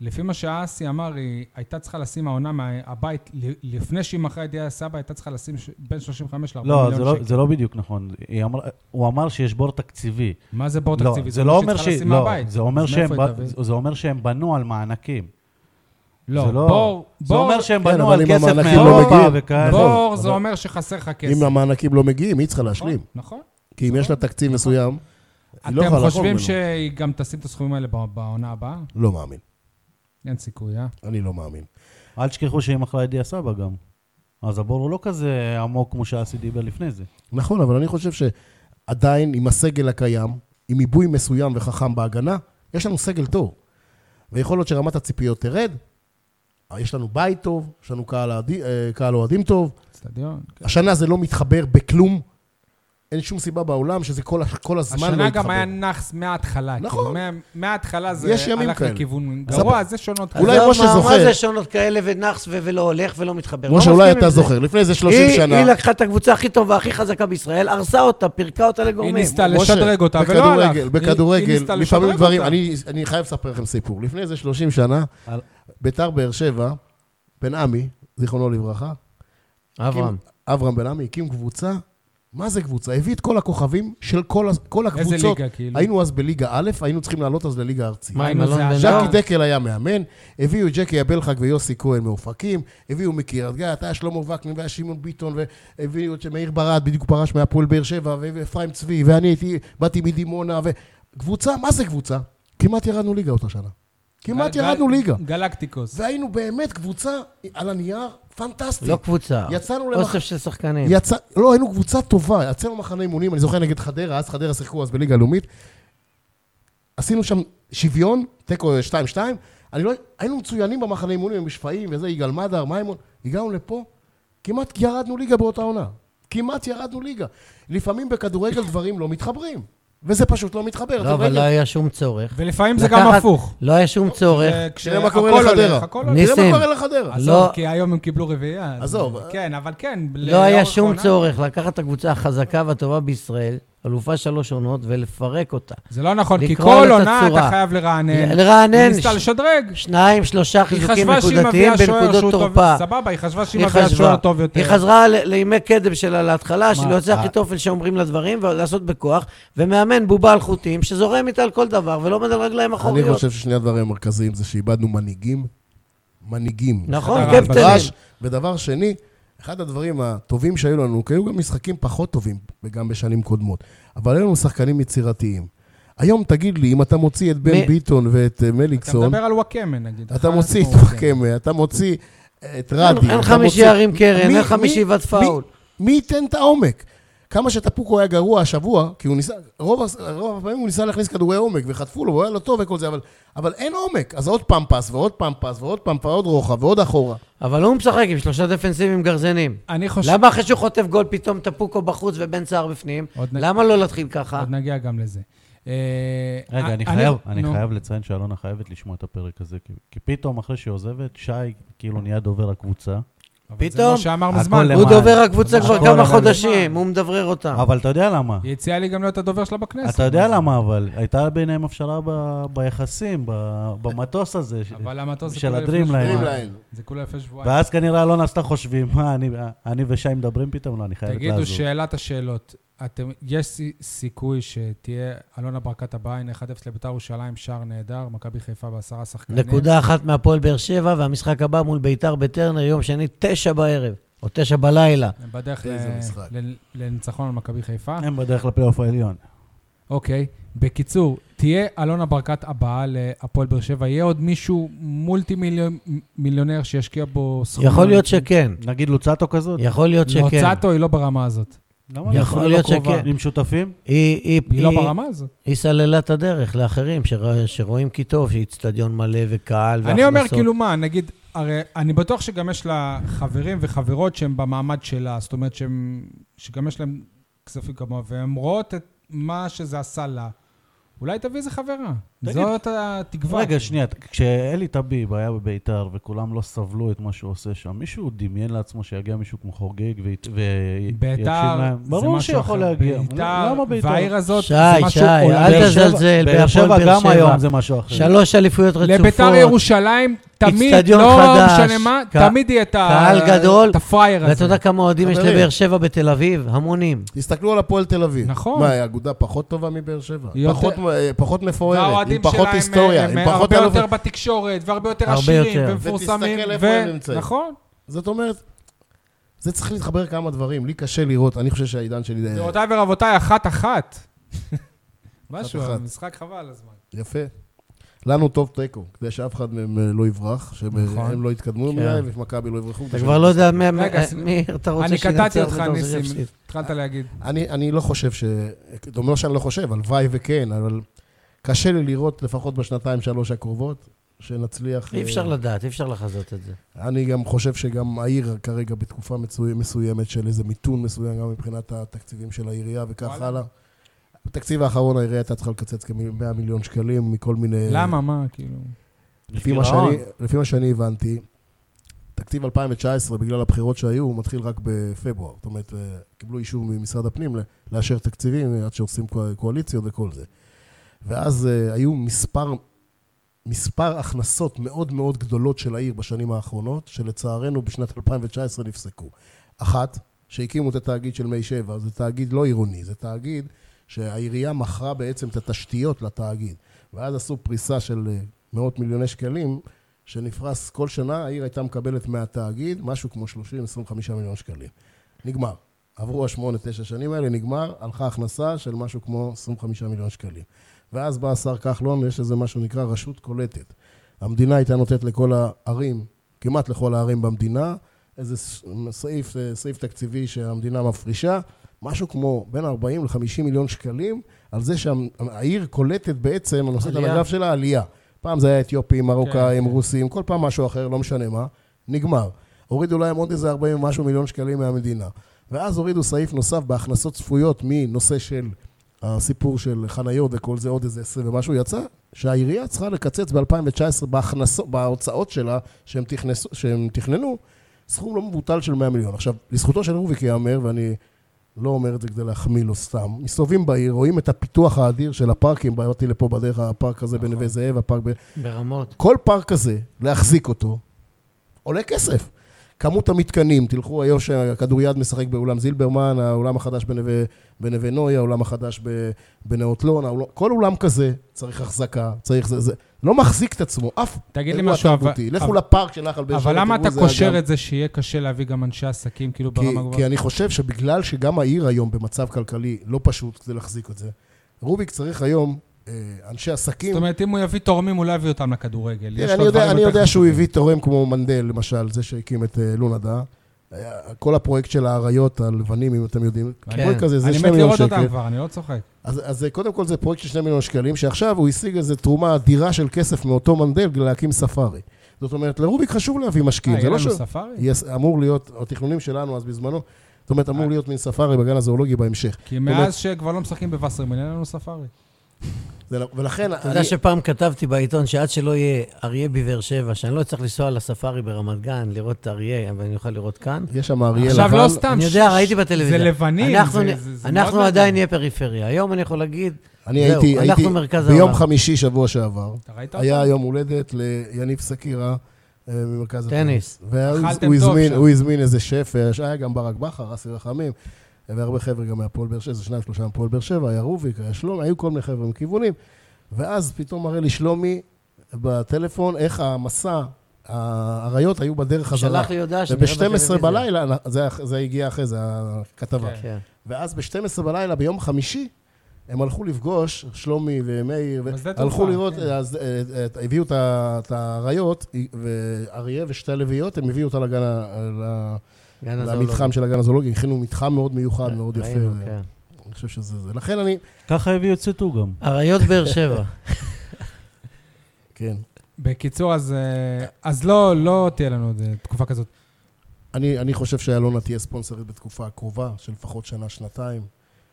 B: לפי מה שאסי אמר, היא הייתה צריכה לשים העונה מהבית, ל- לפני שהיא מכרה את דיה סבא, הייתה צריכה לשים ש- בין 35 ל-40
C: לא,
B: מיליון
C: זה
B: שקל.
C: לא- זה לא בדיוק נכון. היא אמרה- הוא אמר שיש בור תקציבי.
B: מה זה בור
C: לא,
B: תקציבי?
C: זה לא אומר
B: שהיא
C: שהיא...
B: צריכה לשים
C: לא,
B: מהבית.
C: זה אומר
B: אז
C: שהם
B: מאיפה היא
C: ב-
B: תביא?
C: זה אומר שהם בנו על מענקים.
B: לא,
C: זה לא-
B: בור,
C: זה
B: בור-
C: אומר שהם
D: כן,
C: בנו
D: אבל
C: על
D: אם
C: כסף
D: המענקים
B: לא
C: מאירופה
D: מגיעים,
C: וכאלה. לא,
B: בור
D: אבל-
B: זה אומר שחסר לך כסף.
D: אם המענקים לא מגיעים, היא צריכה
B: נכון,
D: להשלים.
B: נכון.
D: כי אם יש לה תקציב מסוים, היא לא
B: אתם
D: יכולה לחרוג
B: חושבים
D: ממנו.
B: שהיא גם תשים את הסכומים האלה ב- בעונה הבאה?
D: לא מאמין.
B: אין סיכוי, אה?
D: אני לא מאמין.
C: אל תשכחו שהיא מכרה את דיה סבא גם. אז הבור הוא לא כזה עמוק כמו שאסי דיבר לפני זה.
D: נכון, אבל אני חושב שעדיין עם הסגל הקיים, עם עיבוי מסוים וחכם בהגנה, יש לנו סגל טוב. ויכול להיות שרמת הציפיות תרד, אבל יש לנו בית טוב, יש לנו קהל אוהדי- אה, קהל אוהדים טוב.
B: אצטדיון.
A: כן.
D: השנה זה לא מתחבר בכלום. אין שום סיבה בעולם שזה כל, ה- כל הזמן לא
B: השנה
D: יתחבר.
B: גם היה נאחס מההתחלה.
D: נכון.
B: נכון. מההתחלה זה
D: יש ימים
B: הלך
D: כאלה.
B: לכיוון
D: סבבה.
B: גרוע, זה שונות.
D: אולי
A: עזוב,
D: משה
A: מה-
D: זוכר.
A: מה זה שונות כאלה ונאחס ו- ולא הולך ולא מתחבר?
D: משה,
A: לא
D: אולי
A: מסכים
D: אתה
A: עם זה.
D: זוכר, לפני איזה 30
A: היא-
D: שנה.
A: היא לקחה את הקבוצה הכי טובה, הכי חזקה בישראל, הרסה אותה, פירקה אותה
B: היא
A: לגורמים.
B: ניסתה
D: משה,
B: לשדרג אותה, ולא הלך.
D: בכדורגל,
B: היא- היא
D: בכדורגל,
B: ניסתה
D: לפעמים
B: לשדרג
D: דברים,
B: אותה.
D: אני, אני חייב לספר לכם סיפור. לפני איזה 30 שנה,
C: על-
D: ביתר באר שבע, בן עמי, זיכרונו לברכה,
A: אברהם.
D: אברהם בן עמי הקים קבוצה, מה זה קבוצה? הביא את כל הכוכבים של כל, ה- כל
B: איזה
D: הקבוצות.
B: ליגה, כאילו.
D: היינו אז בליגה א', היינו צריכים לעלות אז לליגה ארצית.
A: מה, עם
B: היינו
A: אלון
B: זה
A: בן
B: הז'קי
A: דור?
D: ז'קי דקל היה מאמן, הביאו את ג'קי הבלחק ויוסי כהן מאופקים, הביאו מקריית גת, היה שלמה וקנין והיה שמעון ביטון, והביאו את מאיר ברד, בדיוק פרש מהפועל באר שבע, ואפרים צבי, ואני הייתי, באתי מדימונה, וקבוצה, מה זה קבוצה? כמעט ירדנו ליגה אותה שנה. כמעט
B: גל-
D: ירדנו
B: גל-
D: ליגה.
B: גלקטיקוס.
D: והיינו באמת קבוצה על הנייר פנטסטית.
A: לא קבוצה.
D: יצאנו למח...
A: אוסף של שחקנים.
D: יצא, לא, היינו קבוצה טובה, יצאנו מחנה אימונים, אני זוכר נגד חדרה, אז חדרה שיחקו אז בליגה הלאומית. עשינו שם שוויון, תיקו 2-2, אני לא, היינו מצוינים במחנה אימונים עם שפיים וזה, יגאל מדר, מימון, הגענו לפה, כמעט ירדנו ליגה באותה עונה. כמעט ירדנו ליגה. לפעמים בכדורגל דברים לא מתחברים, וזה פשוט לא מתחבר.
A: לא, אבל
D: הכדורגל-
A: לא היה שום צורך.
B: ולפעמים זה גם
A: לקחת-
B: הפוך.
A: לא היה שום צורך.
B: אה,
D: תראה מה
B: כשהכל
D: קורה לחדרה.
B: הולך, הכל הולך.
A: ניס-
D: תראה
A: ניסים.
D: מה קורה לחדרה.
A: אז-
B: עזוב,
A: לא-
B: כי היום הם קיבלו רביעייה. אז-
D: עזוב.
B: כן, אבל כן.
A: לא היה
B: לאורך
A: שום
B: העונה-
A: צורך לקחת את הקבוצה החזקה והטובה בישראל, אלופה שלוש עונות, ולפרק אותה.
B: זה לא נכון, כי
A: לקרוא
B: כל
A: לה את
B: עונה אתה
A: הצורה.
B: חייב לרענן. היא
A: לרענן,
B: ניסתה
A: ש-
B: לשדרג.
A: שניים, שלושה
B: היא
A: חיזוקים
B: חשבה שהיא
A: נקודתיים
B: מביאה שוער שהוא
A: בנקודות
B: טוב.
A: תורפה.
B: סבבה, היא חשבה שהיא
A: היא
B: מביאה
A: חשבה.
B: שוער טוב יותר.
A: היא חזרה ל- לימי קדם שלה להתחלה, של יוצא
C: אה,
A: אחיתופל שאומרים לה דברים, ולעשות בכוח, ומאמן בובה על חוטים, שזורם איתה על כל דבר, ולא עומד על
B: לא
A: רגליים
D: אני
A: אחוריות.
D: חושב ששני הדברים המרכזיים זה שאיבדנו מנהיגים. מנהיגים.
A: נכון,
D: אחד
B: קפטנים.
D: הדרש, ודבר שני, אחד הדברים הטובים שהיו לנו, כי היו גם משחקים פחות טובים, וגם בשנים קודמות, אבל היו לנו שחקנים יצירתיים. היום תגיד לי, אם אתה מוציא את בן
A: מי-
D: ביטון ואת אה,
B: אתה
D: מליקסון,
B: מדבר על וואקמה, נגיד. אה,
D: אתה
B: אחד
D: מוציא את
B: כמו וואקמה.
D: חכמה, אתה מוציא את
A: אין-
D: רדי.
A: אין
D: אתה
A: לך מי
D: מוציא-
A: שירים קרן,
D: מי-
A: אין לך
D: מי-
A: מי שיבעט פאול.
D: מי ייתן את העומק? כמה שטפוקו היה גרוע השבוע, כי הוא ניסה, רוב, הס- רוב הפעמים הוא ניסה להכניס כדורי עומק, וחטפו לו, הוא היה לא טוב וכל זה, אבל, אבל אין עומק. אז עוד פעם פס, ועוד פעם פס, ועוד פעם פס, ועוד רוחב, ועוד אחורה.
A: אבל הוא משחק עם שלושה דפנסיבים גרזנים.
B: אני חושב...
A: למה אחרי שהוא חוטף גול פתאום טפוקו בחוץ ובן סער בפנים?
B: עוד נ-
A: למה לא להתחיל ככה?
B: עוד נגיע גם לזה. אה,
C: רגע, אני חייב, אני
B: נו.
C: חייב לציין שאלונה חייבת לשמוע את הפרק הזה, כי- כי פתאום אחרי שהיא עוזבת, שי כאילו נהיה דובר הקבוצה.
B: אבל זה
A: פתאום-
B: מה שאמרנו
C: הכל
B: מזמן.
C: למען.
A: הוא דובר הקבוצה
C: ממש
A: כבר
C: כל
A: כמה
C: הזמן.
A: חודשים, הוא מדברר אותם.
C: אבל אתה יודע למה.
B: היא הציעה לי גם להיות הדובר שלה בכנסת.
C: אתה יודע למה, אבל הייתה ביניהם הפשרה ב- ביחסים, ב- במטוס הזה. ש-
B: אבל המטוס זה
C: של
B: כולה לפני
C: הדרימליין.
B: שבועיים.
D: דרימליין.
B: זה כולה לפני שבועיים.
C: ואז כנראה אלונה עשתה חושבים, מה, אני- אני ושי מדברים פתאום? לא, אני חייבת לעזור.
B: תגידו, שאלת השאלות. אתם, יש סי- סיכוי שתהיה אלונה ברקת הביין, 1-0 לביתר ירושלים, שער נהדר, מכבי חיפה בעשרה שחקנים.
A: נקודה אחת מהפועל באר שבע, והמשחק הבא מול ביתר בטרנר, יום שני, תשע בערב, או תשע בלילה.
B: הם בדרך ל-
D: איזה משחק.
B: ל- לניצחון על מכבי חיפה.
C: הם בדרך לפלייאוף העליון.
B: אוקיי. בקיצור, תהיה אלונה ברקת הבאה להפועל באר שבע. יהיה עוד מישהו מולטי מיליון- מיליונר שישקיע בו סכום.
A: יכול להיות שכן,
C: נגיד לוצאטו כזאת?
A: יכול להיות
B: לא,
A: שכן.
B: צאטו היא לא ברמה הזאת.
C: למה לא?
A: יכול
C: לא
A: להיות
C: קרובה.
A: שכן.
C: עם שותפים?
A: היא- היא-
B: היא לא
A: היא-
B: ברמה הזאת.
A: היא סללה את הדרך לאחרים שרא- שרואים כי טוב, שאיצטדיון מלא וקהל והכנסות.
B: אני אומר, כאילו מה, נגיד, הרי אני בטוח שגם יש לה חברים וחברות שהם במעמד שלה, זאת אומרת שהם, שגם יש להם כספים כמוה, והן רואות את מה שזה עשה לה. אולי תביא איזה חברה.
C: תגיד,
B: זאת התקווה.
C: רגע, שנייה, כשאלי טביב היה בביתר וכולם לא סבלו את מה שהוא עושה שם, מישהו דמיין לעצמו שיגיע מישהו כמו חוגג וית- ויקשיב
B: ביתר,
C: להם?
B: זה
C: ברור
B: משהו
C: שיכול
B: אחר.
C: להגיע. לא-
B: ביתר,
C: למה ביתר?
B: והעיר הזאת,
A: שי,
B: זה משהו
A: שי, אל
B: עולמי.
A: תזלזל. תזלזל
C: באר שבע
A: בהפועל באר
C: גם
A: שבע.
C: היום זה משהו אחר.
A: שלוש אליפויות רצופות.
B: לביתר ירושלים, תמיד,
A: אצטדיון
B: לא
A: חדש,
B: משנה מה,
A: קה-
B: תמיד יהיה את ה-
A: קהל גדול,
B: את הפראייר
A: ואתה
B: הזה.
A: יודע כמה אוהדים יש
D: חברים.
A: לבאר שבע בתל אביב? המונים.
D: תסתכלו על הפועל תל אביב.
B: נכון.
D: מה, היא אגודה פחות טובה מבאר שבע?
B: יותר-
D: פחות, אה, פחות מפוארת,
B: והאוהדים
D: עם פחות
B: שלהם
D: היסטוריה,
B: הם
D: עם פחות...
B: הרבה
D: אלופות.
B: יותר בתקשורת, והרבה יותר
A: הרבה
B: עשירים,
A: יותר.
B: ומפורסמים.
D: ותסתכל
B: ו-
D: איפה הם נמצאים.
B: נכון.
D: זאת אומרת, זה צריך להתחבר כמה דברים. לי קשה לראות, אני חושב שהעידן שלי... אה,
B: גבירותיי ורבותיי, אחת-אחת. משהו,
D: אחת.
B: המשחק חבל על הזמן.
D: יפה. לנו טוב תיקו, כדי שאף אחד מהם אה, לא יברח, שהם
B: נכון.
D: הם לא יתקדמו
A: כן.
D: מדי, ומכבי לא יברחו.
A: אתה כבר לא יודע מי-
B: רגע,
A: מי-
B: ס-
A: מי אתה רוצה
B: אני קטעתי
A: שינצח
B: אותך,
A: ואתה רוצה
B: ניסים.
A: שיפסיד.
B: התחלת להגיד.
D: אני, אני לא חושב ש... זה אומר שאני לא חושב, הלוואי וכן, אבל קשה לי לראות, לפחות בשנתיים, שלוש הקרובות, שנצליח...
A: אי אפשר
D: אה,
A: לדעת, אי אפשר לחזות את זה.
D: אני גם חושב שגם העיר כרגע בתקופה מצוי, מסוימת של איזה מיתון מסוים, גם מבחינת התקציבים של העירייה וכך
B: וואלה.
D: הלאה. בתקציב האחרון העירייה הייתה צריכה לקצץ כ-100 מיליון שקלים מכל מיני...
B: למה, מה, כאילו?
D: לפי מה, שאני, לפי מה שאני הבנתי, תקציב 2019, בגלל הבחירות שהיו, הוא מתחיל רק בפברואר. זאת אומרת, אה, קיבלו אישור ממשרד הפנים ל- לאשר תקציבים אה, עד שעושים קו- קואליציות וכל זה. ואז אה, היו מספר, מספר הכנסות מאוד מאוד גדולות של העיר בשנים האחרונות, שלצערנו בשנת 2019 נפסקו. אחת, שהקימו את התאגיד של מי שבע, זה תאגיד לא עירוני, זה תאגיד שהעירייה מכרה בעצם את התשתיות לתאגיד. ואז עשו פריסה של אה, מאות מיליוני שקלים, שנפרס כל שנה, העיר הייתה מקבלת מהתאגיד משהו כמו 30-25 מיליון שקלים. נגמר. עברו השמונה, תשע שנים האלה, נגמר, הלכה הכנסה של משהו כמו 25 מיליון שקלים. ואז בא השר כחלון, יש איזה מה שנקרא רשות קולטת. המדינה הייתה נותנת לכל הערים, כמעט לכל הערים במדינה, איזה ס- סעיף, אה, סעיף תקציבי שהמדינה מפרישה, משהו כמו בין 40 ל-50 מיליון שקלים, על זה שהעיר קולטת בעצם, נושאת על
A: עלייה.
D: הגב שלה עלייה. פעם זה היה אתיופים, מרוקאים,
B: כן.
D: רוסים, כל פעם משהו אחר, לא משנה מה, נגמר. הורידו להם עוד איזה 40 ומשהו מיליון שקלים מהמדינה. ואז הורידו סעיף נוסף בהכנסות צפויות מנושא של הסיפור של חניות וכל זה, עוד איזה 20 ומשהו יצא, שהעירייה צריכה לקצץ ב-2019 בהכנסות, בהוצאות שלה, שהם, תכנס, שהם תכננו, סכום לא מבוטל של 100 מיליון. עכשיו, לזכותו של רוביק ייאמר, ואני לא אומר את זה כדי להחמיא לו סתם, מסתובבים בעיר, רואים את הפיתוח האדיר של הפארקים, באתי לפה בדרך, הפארק הזה
B: נכון.
D: בנווה זאב, הפארק ב...
A: ברמות.
D: כל פארק כזה, להחזיק אותו, עולה כסף. כמות המתקנים, תלכו היום שהכדוריד משחק באולם זילברמן, האולם החדש בנווה, בנווה נוי, האולם החדש ב- בנאות לון, האול... כל אולם כזה צריך החזקה, צריך זה, זה לא מחזיק את עצמו, אף
B: תגיד לי
D: אירוע
B: משהו, אבל-
D: תרבותי. לכו
B: אבל-
D: לפארק של נחל באר שבע,
B: אבל למה
D: תראו
B: אתה
D: איזה
B: קושר
D: אגם.
B: את זה שיהיה קשה להביא גם אנשי עסקים, כאילו
D: כי,
B: ברמה
D: כי
B: גבוהה?
D: אני חושב שבגלל שגם העיר היום במצב כלכלי לא פשוט כדי להחזיק את זה, רוביק צריך היום אה, אנשי עסקים
B: זאת אומרת, אם הוא יביא תורמים, הוא לא יביא אותם לכדורגל. יש לו
D: תראה, כן, אני יודע,
B: דברים
D: אני
B: יותר
D: יודע שהוא
B: חשובים.
D: הביא תורם כמו מנדל, למשל, זה שהקים את אה, לונדה. היה- כל הפרויקט של האריות הלבנים, אם אתם יודעים.
B: כן.
D: פרויקט כזה, זה
B: אני
D: 2
B: מת
D: מיליון
B: לראות אותם
D: שקל.
B: כבר, אני לא צוחק.
D: אז אז זה קודם כל זה פרויקט של 2 מיליון שקלים, שעכשיו הוא השיג איזו תרומה אדירה של כסף מאותו מנדל כדי להקים ספארי. זאת אומרת, לרוביק חשוב להביא
B: אה,
D: משקיעים,
B: יהיה
D: זה לא
B: לנו
D: ש...
B: ספארי?
D: יש- אמור להיות, התכנונים שלנו אז בזמנו, זאת אומרת, אמור
B: אה.
D: להיות מין ספארי בגן הזואולוגי בהמשך.
B: כי
D: אומרת-
B: מאז שכבר לא משחקים בווסרמן, אין לנו ספארי.
D: זה לא- ולכן...
A: אתה יודע
D: אני-
A: שפעם כתבתי בעיתון שעד שלא יהיה אריה בבאר שבע, שאני לא צריך לנסוע לספארי ברמת גן, לראות את אריה, אבל אני אוכל לראות כאן.
D: יש שם אריה לבן.
B: עכשיו לא סתם.
A: אני
B: ש-
A: יודע,
B: ש-
A: ראיתי בטלוויזיה.
B: זה לבנים,
A: אנחנו-
B: זה- זה- זה
A: אנחנו
B: מאוד
A: עדיין
B: לבן.
A: נהיה פריפריה. היום אני יכול להגיד,
D: אני
A: זהו,
D: הייתי,
A: אנחנו
D: הייתי
A: מרכז
D: ביום
A: העולם.
D: חמישי שבוע שעבר,
B: אתה ראית אותם?
D: היה יום הולדת ליניב סקירה אה, ממרכז
A: טניס.
B: אכלתם
D: והוא
B: טוב
D: הזמין,
B: שם.
D: הוא הזמין איזה שף, אה, היה גם ברק בכר, אסי רחמים, והרבה חבר'ה גם מהפועל באר שבע, איזה שניים שלושה מהפועל באר שבע, היה רוביק, היה שלומי, היו כל מיני חבר'ה מכיוונים. ואז פתאום מראה לי שלומי בטלפון איך המסע, האריות היו בדרך חזרה.
A: שלח לי הודעה שנראה
D: וב-12
A: בטלוויזיה.
D: בלילה, זה, זה הגיע אחרי זה, הכתבה.
B: כן.
A: כן.
D: ואז ב-12 בלילה, ביום חמישי, הם הלכו לפגוש, שלומי ומאיר,
B: בשדה
D: ו-
B: תעופה,
D: הלכו לראות,
B: כן.
D: אז, אה, אה, הביאו את ה- את האריות, ואריה ושתי הלוויות, הם הביאו אותה לגן, ה-
A: גן
D: ל-
A: הזואולוגי.
D: למתחם של הגן הזולוגי, הכינו מתחם מאוד מיוחד,
A: כן,
D: מאוד יפה.
A: ראינו,
D: אה,
A: כן.
D: אני חושב שזה זה. לכן אני,
C: ככה הביאו את סיטו גם.
A: אריות באר שבע.
D: כן,
B: בקיצור, אז, אה, אז לא, לא תהיה לנו עוד אה, תקופה כזאת.
D: אני אני חושב שאלונה תהיה ספונסרית בתקופה הקרובה, של לפחות שנה, שנתיים.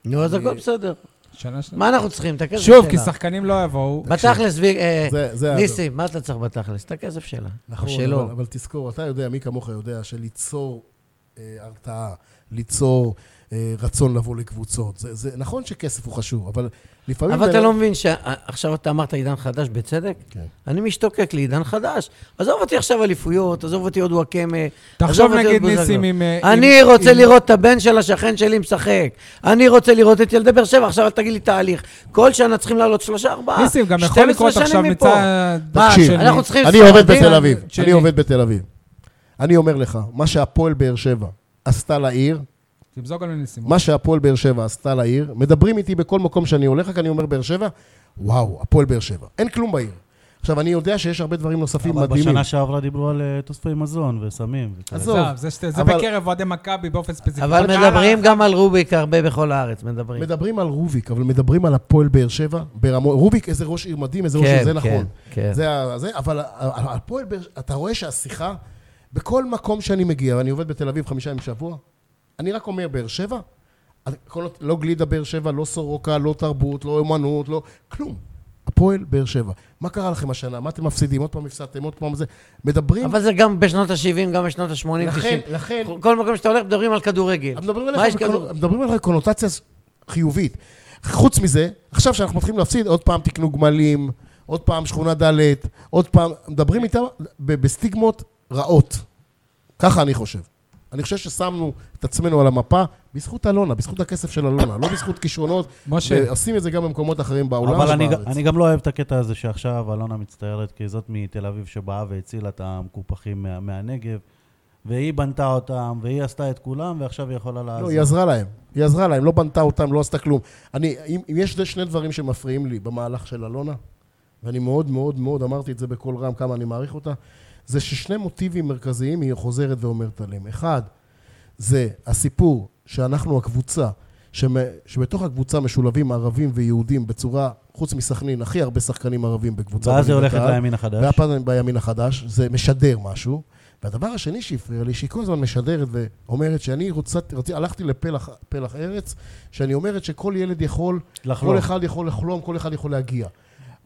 A: נו, אז
D: אני-
A: הכל בסדר.
B: שנה שנה.
A: מה אנחנו צריכים? את הכסף שלה.
B: שוב, כי שחקנים לא יבואו.
A: בתכלס, וי- אה,
D: זה- זה...
A: ניסים, מה אתה צריך בתכלס? את הכסף שלה.
D: נכון,
A: או שלא.
D: אבל, אבל תזכור, אתה יודע, מי כמוך יודע, שליצור אה, הרתעה, ליצור אה, רצון לבוא לקבוצות, זה, זה נכון שכסף הוא חשוב, אבל לפעמים...
A: אבל אתה
D: בין-
A: לא מבין שעכשיו אתה אמרת עידן חדש בצדק?
D: כן.
A: אני משתוקק לעידן חדש. עזוב אותי עכשיו אליפויות, עזוב אותי עוד וואקמה.
B: תחשוב
A: עזוב אותי
B: נגיד
A: עוד בוזגלו.
B: ניסים עם... אה,
A: אני
B: עם-
A: רוצה
B: עם-
A: לראות את הבן שלה, שהחן שלי משחק. אני רוצה לראות את ילדי באר שבע, עכשיו אל תגיד לי תהליך. כל שנה צריכים לעלות שלושה, ארבעה.
B: ניסים, גם יכול
A: 12
B: לקרות
A: שנים
B: עכשיו
A: מפה.
B: מצד...
A: מה,
D: תקשיב,
B: של-
A: אנחנו צריכים...
D: אני
A: ספרדים?
D: עובד בתל אביב, אני
B: שני.
D: עובד בתל אביב. אני אומר לך, מה שהפועל באר שבע עשתה לעיר,
B: תמזוג על ניסים.
D: מה שהפועל באר שבע עשתה לעיר, מדברים איתי בכל מקום שאני הולך, רק אני אומר באר שבע, וואו, הפועל באר שבע. אין כלום בעיר. עכשיו, אני יודע שיש הרבה דברים נוספים
C: אבל
D: מדהימים.
C: בשנה שעברה דיברו על אה, תוספי מזון וסמים. וכאלה.
D: עזוב.
B: עזוב, זה שתי- זה
D: אבל-
B: בקרב אוהדי מכבי באופן ספציפי.
A: אבל
B: הלאה.
A: מדברים גם על רוביק הרבה בכל הארץ, מדברים.
D: מדברים על רוביק, אבל מדברים על הפועל באר שבע ברמות. רוביק, איזה ראש עיר מדהים, איזה ראש עיר, זה נכון.
A: כן.
D: זה, ה- זה, אבל ה- ה- הפועל באר שבע, אתה רואה שהשיחה, בכל מקום שאני מגיע, ואני עובד בתל אביב חמישה ימים בשבוע, אני רק אומר באר שבע, אז כל, עוד- לא גלידה באר שבע, לא סורוקה, לא תרבות, לא אומנות, לא... כלום. הפועל באר שבע. מה קרה לכם השנה? מה אתם מפסידים? עוד פעם הפסדתם, עוד פעם זה... מדברים...
A: אבל לא זה גם בשנות ה-70, גם בשנות ה-80,
D: לכן,
A: 90.
D: לכן...
A: כל מקום שאתה הולך מדברים על כדורגל.
D: אבל מדברים
A: מה יש
D: עליך
A: כדורגל?
D: בקונ- מדברים עליך בקונוטציה חיובית. חוץ מזה, עכשיו שאנחנו מתחילים להפסיד, עוד פעם תקנו גמלים, עוד פעם שכונה ד', עוד פעם, מדברים איתם ב- בסטיגמות רעות. ככה אני חושב. אני חושב ששמנו את עצמנו על המפה בזכות אלונה, בזכות הכסף של אלונה, לא בזכות כישרונות,
B: משה,
D: ועושים את זה גם במקומות אחרים בעולם
C: אבל אני,
D: ובארץ.
C: גם- אני גם לא אוהב את הקטע הזה שעכשיו אלונה מצטערת, כי זאת מתל אביב שבאה והצילה את המקופחים מה, מהנגב, והיא בנתה אותם, והיא עשתה את כולם, ועכשיו היא יכולה לעזור.
D: לא, היא עזרה להם. היא עזרה להם, לא בנתה אותם, לא עשתה כלום. אני, אם, אם יש שני דברים שמפריעים לי במהלך של אלונה, ואני מאוד מאוד מאוד אמרתי את זה בקול רם, כמה אני מעריך אותה, זה ששני מוטיבים מרכזיים היא חוזרת ואומרת עליהם. אחד, זה הסיפור שאנחנו הקבוצה, שמ, שבתוך הקבוצה משולבים ערבים ויהודים בצורה, חוץ מסכנין, הכי הרבה שחקנים ערבים בקבוצה.
C: ואז היא
D: בליגת
C: הולכת
D: העל.
C: לימין החדש.
D: והפעם בימין החדש, זה משדר משהו. והדבר השני שהפריע לי, שהיא כל הזמן משדרת ואומרת שאני רוצה, רצי, הלכתי לפלח פלח ארץ, שאני אומרת שכל ילד יכול,
C: לחלום.
D: כל אחד יכול לחלום, כל אחד יכול להגיע.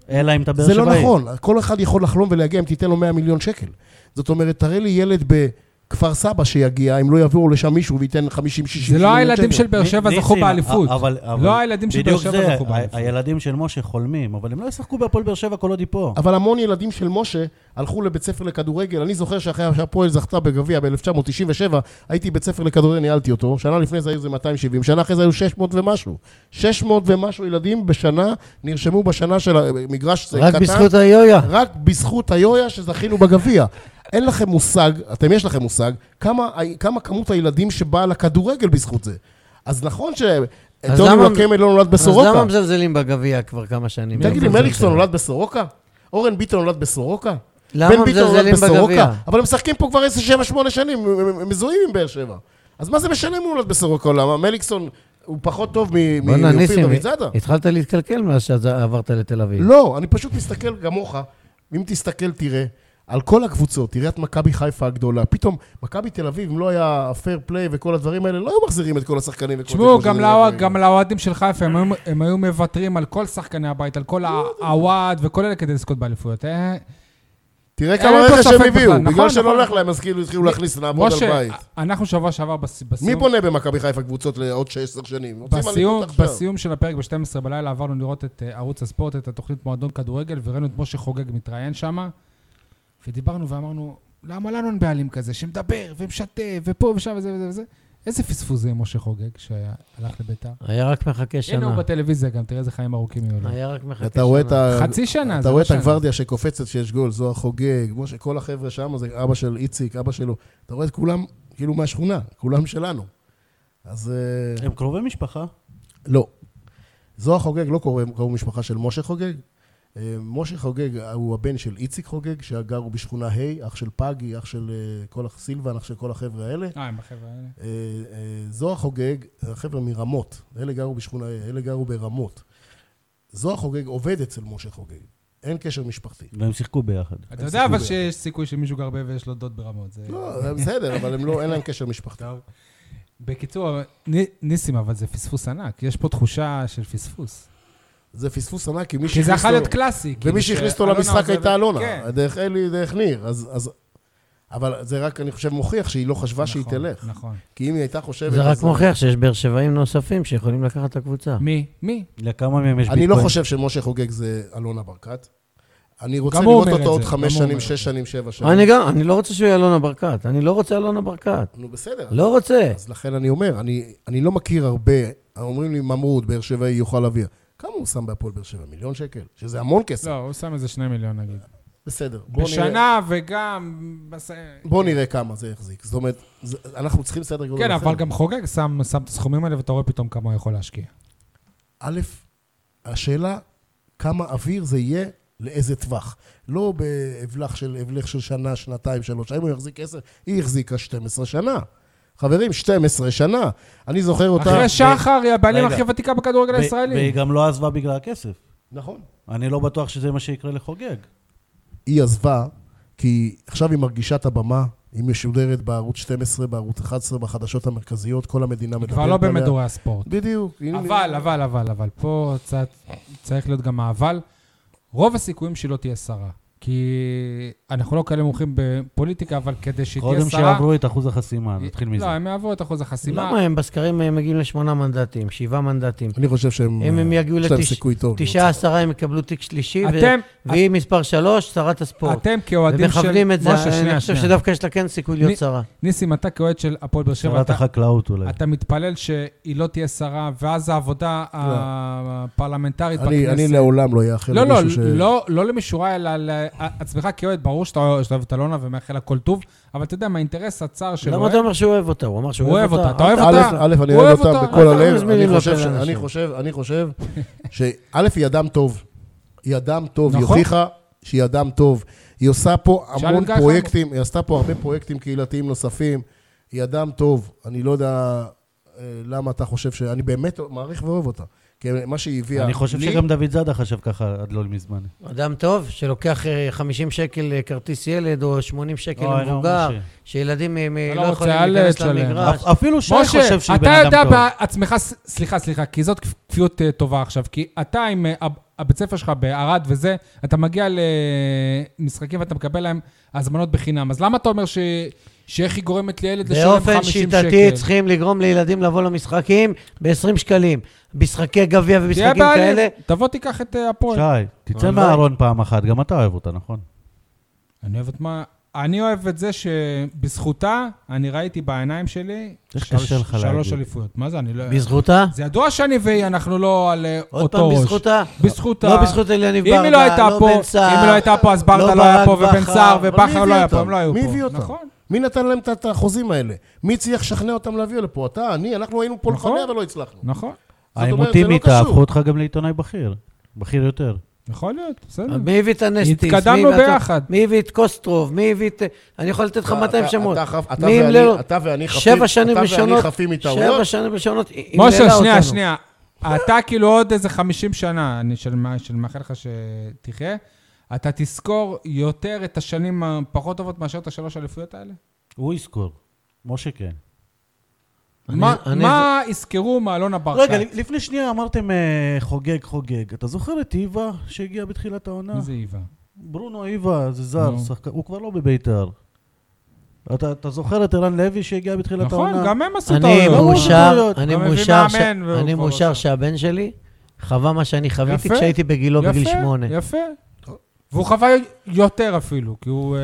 C: אלא אם אתה באר
D: זה
C: שבעי.
D: לא נכון, כל אחד יכול לחלום ולהגיע אם תיתן לו 100 מיליון שקל. זאת אומרת, תראה לי ילד בכפר סבא שיגיע, אם לא יבואו לשם מישהו וייתן 50-60 מיליון שקל.
B: זה לא הילדים של באר שבע
C: ניסים,
B: זכו באליפות.
C: אבל- אבל-
B: לא הילדים של באר
C: בדיוק
B: שבע
C: זה,
B: זכו
C: ה-
B: באליפות.
C: הילדים של משה חולמים, אבל הם לא ישחקו בהפועל באר שבע כל עוד היא
A: אוקיי.
C: פה.
D: אבל המון ילדים של משה הלכו לבית ספר לכדורגל. אני זוכר שאחרי שהפועל זכתה בגביע ב-1997, הייתי בית ספר לכדורגל, ניהלתי אותו. שנה לפני זה היו איזה 270, שנה אחרי זה היו 600 ומשהו. 600 ומשהו ילדים בשנה נרשמו בשנה של המגרש קטן.
A: רק בזכות היויה.
D: רק בזכות היויה שזכינו בגביע. אין לכם מושג, אתם יש לכם מושג, כמה, ה- כמה כמות הילדים שבאה לכדורגל בזכות זה. אז נכון
A: אז
D: שדוני
A: למה-
D: וואקמה לא נולד
A: אז למה
D: בסורוקה.
A: מזלזלים בגביע כבר כמה שנים?
D: תגיד לי,
A: למה
D: מליקסון
A: מזלזלים?
D: נולד בסורוקה? אורן ביטון נולד בסורוקה?
A: למה
D: בן ביטון נולד
A: מזלזלים
D: בסורוקה?
A: בגביע?
D: אבל הם משחקים פה כבר 10-7-8 שנים, הם- הם- הם מזוהים עם באר שבע. אז מה זה משנה אם הוא נולד בסורוקה או למה? מליקסון הוא פחות טוב מ-
A: בואנה,
D: מ- לא מאופיר
A: ניסים,
D: דוידזאדה.
A: התחלת להתקלקל מאז שעברת לתל אביב.
D: לא, אני פשוט מסתכל כמוך, אם תסתכל תראה, על כל הקבוצות, תראה את מכבי חיפה הגדולה, פתאום מכבי תל אביב, אם לא היה הפייר פליי וכל הדברים האלה, לא היו מחזירים את כל השחקנים וכל
B: תשמעו,
D: הדברים
B: גם
D: האלה.
B: לאוה- גם לאוהדים של חיפה, הם היו- הם היו מוותרים על כל שחקני הבית, על כל הוואד וכל אלה כדי לזכות באליפויות. אה,
D: תראה
B: אין
D: כמה
B: פה
D: רכש
B: ספק
D: הם הביאו,
B: בכלל, נכון,
D: בגלל שלא
B: נכון.
D: הולך להם, אז כאילו התחילו להכניס לעבוד על
B: משה,
D: בית.
B: אנחנו שבוע שעבר בס-
D: מי
B: בסיום...
D: בונה במכבי חיפה קבוצות לעוד 16 שנים? רוצים
B: בסיום,
D: אליפות עכשיו.
B: בסיום של הפרק ב-12 בלילה עברנו לראות את אה, ערוץ הספורט, את התוכנית מועדון כדורגל, וראינו את משה חוגג מתראיין שם, ודיברנו ואמרנו, למה לנו אין בעלים כזה שמדבר ומשתף ופה ושם וזה וזה וזה? איזה פספוס זה עם משה חוגג שהלך לביתר?
A: היה רק מחכה
B: הנה הוא
A: שנה.
B: בטלוויזיה גם, תראה איזה חיים ארוכים יהיו לו.
A: היה רק מחכה שנה.
D: אתה רואה את ה...
B: חצי שנה,
D: אה, אתה
B: זה
D: רואה
B: לא
D: את
B: שנה.
D: הגוורדיה שקופצת שיש גול, זוהר חוגג, כמו שכל החבר'ה שם, זה אבא של איציק, אבא שלו. אתה רואה את כולם, כאילו מהשכונה, כולם שלנו. אז... אה,
C: הם קרובי משפחה.
D: לא. זוהר חוגג לא קורא קרוב משפחה של משה חוגג. אה, משה חוגג הוא הבן של איציק חוגג, שגרו בשכונה ה', אח של פגי, אח של אה, כל הח- סילבן, אח של כל החבר'ה האלה.
B: אה, עם החבר'ה האלה.
D: אה, אה, זוהר חוגג, החבר'ה מרמות, אלה גרו בשכונה, ה', אלה גרו ברמות. זוהר חוגג עובד אצל משה חוגג, אין קשר משפחתי.
C: והם שיחקו ביחד.
B: אתה יודע אבל שיש סיכוי שמישהו גר ב- ויש לו דוד ברמות. זה-
D: לא, זה בסדר, אבל הם לא, אין להם קשר משפחתי.
B: טוב. בקיצור, נ- ניסים, אבל זה פספוס ענק. יש פה תחושה של פספוס.
D: זה פספוס ענק, כי מי
B: כי זה
D: שהכניס
B: יכול
D: לו-
B: להיות קלאסי. כאילו,
D: ומי שהכניס אותו
B: שאלונה
D: למשחק
B: עוזבת-
D: הייתה אלונה,
B: כן.
D: דרך אלי, דרך ניר. אז, אז... אבל זה רק, אני חושב, מוכיח שהיא לא חשבה שהיא
B: נכון,
D: תלך.
B: נכון.
D: כי אם היא הייתה חושבת...
A: זה רק
D: אז-
A: מוכיח שיש באר שבעים נוספים שיכולים לקחת את הקבוצה.
B: מי? מי?
C: לכמה מהם יש
D: אני
C: ביטקוין?
D: לא חושב שמשה חוגג זה אלונה ברקת. אני רוצה
B: גם הוא
D: לראות
B: אומר את
D: אותו עוד
B: זה,
D: חמש
B: גם הוא
D: שנים,
B: אומר את
D: שש
B: זה.
D: שנים, שבע שנים.
A: אני גם, אני לא רוצה שהוא יהיה אלונה ברקת. אני לא רוצה אלונה ברקת.
D: נו, בסדר.
A: לא רוצה.
D: אז לכן אני אומר, אני, אני לא מכיר הרבה, אומרים לי, ממרוד, באר שבעי יוכל להביא. כמה הוא שם בהפועל באר שבע? מיליון שקל? שזה המון כסף.
B: לא, הוא שם איזה שני מיליון נגיד.
D: בסדר. בוא נראה-
B: בשנה וגם... בס- אה,
D: בוא נראה כמה זה יחזיק. זאת אומרת, זה, אנחנו צריכים סדר גודל
B: כן,
D: אחר.
B: אבל גם חוגג שם שם את הסכומים האלה, ואתה רואה פתאום כמה הוא יכול להשקיע.
D: א', השאלה כמה אוויר זה יהיה לאיזה טווח. לא בהבלח של, הבלח של שנה, שנתיים, שלוש. האם הוא יחזיק עשר? היא החזיקה 12 שנה. חברים, 12 שנה. אני זוכר אותה...
B: אחרי שחר היא הבעלים
C: רגע.
B: הכי ותיקה בכדורגל
C: ו- והיא
B: הישראלי.
C: גם לא עזבה בגלל הכסף.
D: נכון.
C: אני לא בטוח שזה מה שיקרה לחוגג.
D: היא עזבה, כי עכשיו היא מרגישה את הבמה, היא משודרת בערוץ 12, בערוץ 11, בחדשות המרכזיות, כל המדינה מדברת
B: כבר
D: עליה.
B: לא במדורי הספורט.
D: בדיוק. הנה-
B: אבל, אבל, אבל, אבל, פה צ- צריך להיות גם האבל. רוב הסיכויים שלא תהיה שרה. כי אנחנו לא כאלה מומחים בפוליטיקה, אבל כדי שהיא תהיה
C: קודם
B: שרה...
C: שיעברו את אחוז החסימה, נתחיל מזה.
B: לא, הם יעברו את אחוז החסימה.
A: למה הם בסקרים הם מגיעים לשמונה מנדטים, שבעה מנדטים?
D: אני חושב שהם...
B: אה,
D: אה,
A: אם הם יגיעו
D: יש להם
A: לתש-
D: סיכוי טוב.
A: תשעה, עשרה הם יקבלו תיק שלישי, ו-
B: אתם-
A: והיא מספר שלוש, שרת הספורט.
B: אתם כאוהדים של...
A: ומכוונים את זה,
B: משה, שנייה,
A: אני חושב
B: שנייה.
A: שדווקא יש לה כן סיכוי
B: מי-
A: להיות שרה.
B: ניסים, אתה כאוהד של הפועל באר שבע,
C: שרת
B: אתה-
C: החקלאות אולי.
B: אתה מתפלל שהיא לא תהיה שרה, ואז העבודה הפרלמנטרית
D: אני, אני
B: בכנסת...
D: לעולם לא אאחל
B: לא, לא,
D: למישהו ש...
B: לא, לא למישורה, אלא לעצמך כאוהד, ברור שאתה אוהב שאתה אוהב את אלונה ומאחל לה כל טוב, אבל אתה יודע, מהאינטרס הצר של
A: למה
B: אוהד,
A: אתה אומר שהוא אוהב אותה? הוא אמר שהוא
B: הוא
A: אוהב
B: אוהב
A: אותה.
B: אותה, אתה אוהב
D: א',
B: אותה?
D: א', אני
B: הוא אוהב
D: אוהב אותה
B: אותה.
D: בכל
A: אל
D: הלב.
A: תזמין לי
D: אני חושב,
A: לפה
D: ש-
A: לאנשים.
D: אני חושב, אני חושב, שא', היא אדם טוב. היא אדם טוב, היא
B: נכון.
D: הוכיחה שהיא אדם טוב. היא עושה פה
B: שאל
D: המון
B: את גיא
D: פרויקטים, היא עשתה פה הרבה פרויקטים קהילתיים נוספים. היא אדם טוב. אני לא יודע... אה, למה אתה חושב ש... אני באמת מעריך ואוהב אותה. כי מה שהיא הביאה...
C: אני חושב
D: לי-
C: שגם דוד זאדה חשב ככה עד לא מזמן.
A: אדם טוב, שלוקח אה, 50 שקל אה, כרטיס ילד, או 80 שקל
C: אוי, נו,
A: למבוגר,
C: לא, משה.
A: שילדים אה, מ-
B: אתה לא
A: לא יכולים
B: רוצה, אל
A: להיכנס
B: תשלם.
A: למגרש.
C: אפ- אפילו שי חושב
B: משה,
C: שהיא
B: אתה
C: בן
B: יודע
C: אדם טוב.
B: בעצמך, ס- סליחה, סליחה, כי זאת כפ- כפיות אה, טובה עכשיו, כי אתה עם אה, הב- הבית ספר שלך בערד וזה, אתה מגיע למשחקים ואתה מקבל להם הזמנות בחינם, אז למה אתה אומר ש- שאיך היא גורמת לילד לשלם 50 שקל?
A: באופן שיטתי צריכים לגרום לילדים לבוא למשחקים ב-20 שקלים. משחקי גביע
B: תהיה
A: ומשחקים
B: בעלים,
A: כאלה.
B: תבוא תיקח את אה, הפועל.
C: שי, תצא
A: הלוואי.
C: מהארון פעם אחת, גם אתה אוהב אותה, נכון?
B: אני אוהב את מה... אני אוהב את זה שבזכותה, אני ראיתי בעיניים שלי
C: איך
B: שלוש-
C: קשה לך
B: שלוש
C: להגיד.
B: אליפויות. מה זה, אני לא...
A: בזכותה?
B: זה ידוע שאני והיא, אנחנו לא על אה,
A: עוד
B: אותו
A: פעם
B: ראש.
A: בזכותה?
B: בזכותה.
A: לא בזכות אליניב
B: אם
A: ברדה,
B: היא לא הייתה פה,
A: בן סער.
B: אם היא לא הייתה פה, אז ברדה לא היה
A: ברק
B: פה, ובן
A: בכר.
B: סער
D: אבל מי
B: ובכר לא
D: הביא
B: היה פה,
D: אותם?
B: הם לא היו פה.
D: מי הביא אותם?
B: נכון.
D: מי נתן להם את- את החוזים האלה? מי צריך לשכנע אותם להביא לפה? אתה, אני, אנחנו היינו פה
B: נכון.
D: לפניה ולא הצלחנו.
B: נכון.
D: אומרת,
C: העימותים
D: זה לא
C: איתה
D: קשור.
C: הפכו אותך גם לעיתונאי בכיר. בכיר יותר.
B: יכול להיות, בסדר.
A: מי הביא את הנסטיס? מי
B: התקדמנו
A: הביא את-
B: ביחד.
A: מי הביא את קוסטרוב? מי הביא את... אני יכול לתת לך
D: אתה-
A: 200
D: אתה-
A: שמות.
D: אתה חף- אתה
A: מי לא-
D: ואני-
A: ימלא לו?
D: אתה ואני חפים-
A: שבע שנים
D: אתה ואני
A: ראשונות,
D: חפים
A: שבע
D: מטעויות.
A: שנים ראשונות, היא
B: משה,
A: מלאה
B: שנייה,
A: אותנו.
B: שנייה. אתה כאילו עוד איזה 50 שנה, אני של- של- מאחל לך שתחיה, אתה תזכור יותר את השנים הפחות טובות מאשר את השלוש אליפויות האלה?
C: הוא יזכור. משה כן.
A: אני-
B: מה-
A: אני-
B: מה יזכרו מאלונה ברקת?
C: רגע, לפני שנייה אמרתם אה, חוגג, חוגג. אתה זוכר את איווה שהגיע בתחילת העונה?
B: מי זה איווה?
C: ברונו איווה, זה זר,
B: נו.
C: שחקן- הוא כבר לא בביתר. אתה אתה זוכר את ערן לוי שהגיע בתחילת העונה?
B: נכון, גם הם עשו את
A: אני
B: העולם.
C: טעויות.
A: מאושר,
C: טעויות.
A: אני
B: גם הביא
A: מאושר, ש-
B: מאמן והוא
A: אני
B: כבר
A: מאושר
B: עושה.
A: שהבן שלי חווה מה שאני חוויתי
B: יפה.
A: כשהייתי בגילו לא בגיל שמונה.
B: יפה, יפה. והוא חווה יותר אפילו, כי הוא אה,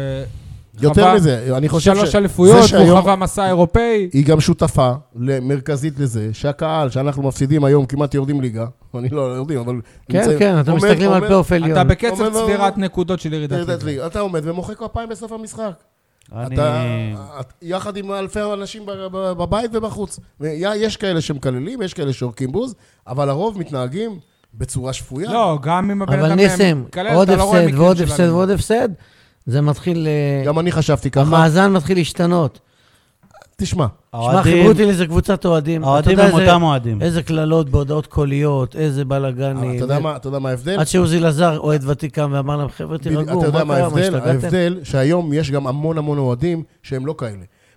D: יותר
B: חווה
D: מזה, אני חושב
B: שלוש
D: ש-
B: אליפויות,
D: זה
B: והוא
D: שהיום-
B: חווה מסע אירופאי.
D: היא גם שותפה מרכזית לזה שהקהל שאנחנו מפסידים היום כמעט יורדים ליגה, אני לא יורדים, אבל...
A: כן,
D: נמצאים-
A: כן, אתם
D: עומד-
A: מסתכלים על
D: עומד-
A: פלייאוף
B: אתה
A: עליון.
B: בקצב
D: אומר, לא,
B: צבירת
D: לא.
B: נקודות של ירידת
D: ירידת
B: ליגה.
D: ליגה. אתה עומד ומוחא כפיים בסוף המשחק.
C: אני...
D: אתה את- יחד עם אלפי אנשים ב- ב- בבית ובחוץ. ויה- יש כאלה שמקללים, יש כאלה שעורקים בוז, אבל הרוב מתנהגים בצורה שפויה.
B: לא, גם אם הבן אדם...
A: אבל ניסים,
B: מקלל,
A: עוד
B: אתה לא רואה
A: הפסד
B: מקרים
A: ועוד
B: של
A: הפסד
B: אלימות.
A: ועוד הפסד, זה מתחיל, אה,
D: גם אני חשבתי ככה.
A: המאזן מתחיל להשתנות.
D: תשמע,
A: שמע,
C: האוהדים-
A: חיברו אותי לאיזה קבוצת אוהדים. אתה
C: האוהדים
A: יודע
C: הם
A: איזה-
C: אותם אוהדים.
A: איזה קללות בהודעות קוליות, איזה
D: אבל
A: בלאגנים.
D: אתה יודע מה- אתה יודע מה ההבדל?
A: עד שעוזי לזר, אוהד ותיק, קם ואמר להם, חבר'ה,
D: בדיוק,
A: תירגעו,
D: אתה יודע
A: מה
D: מה
A: קרה, מה
D: ההבדל?
A: השתגעתם?
D: ההבדל שהיום יש גם המון המון אוהדים שהם לא כאלה.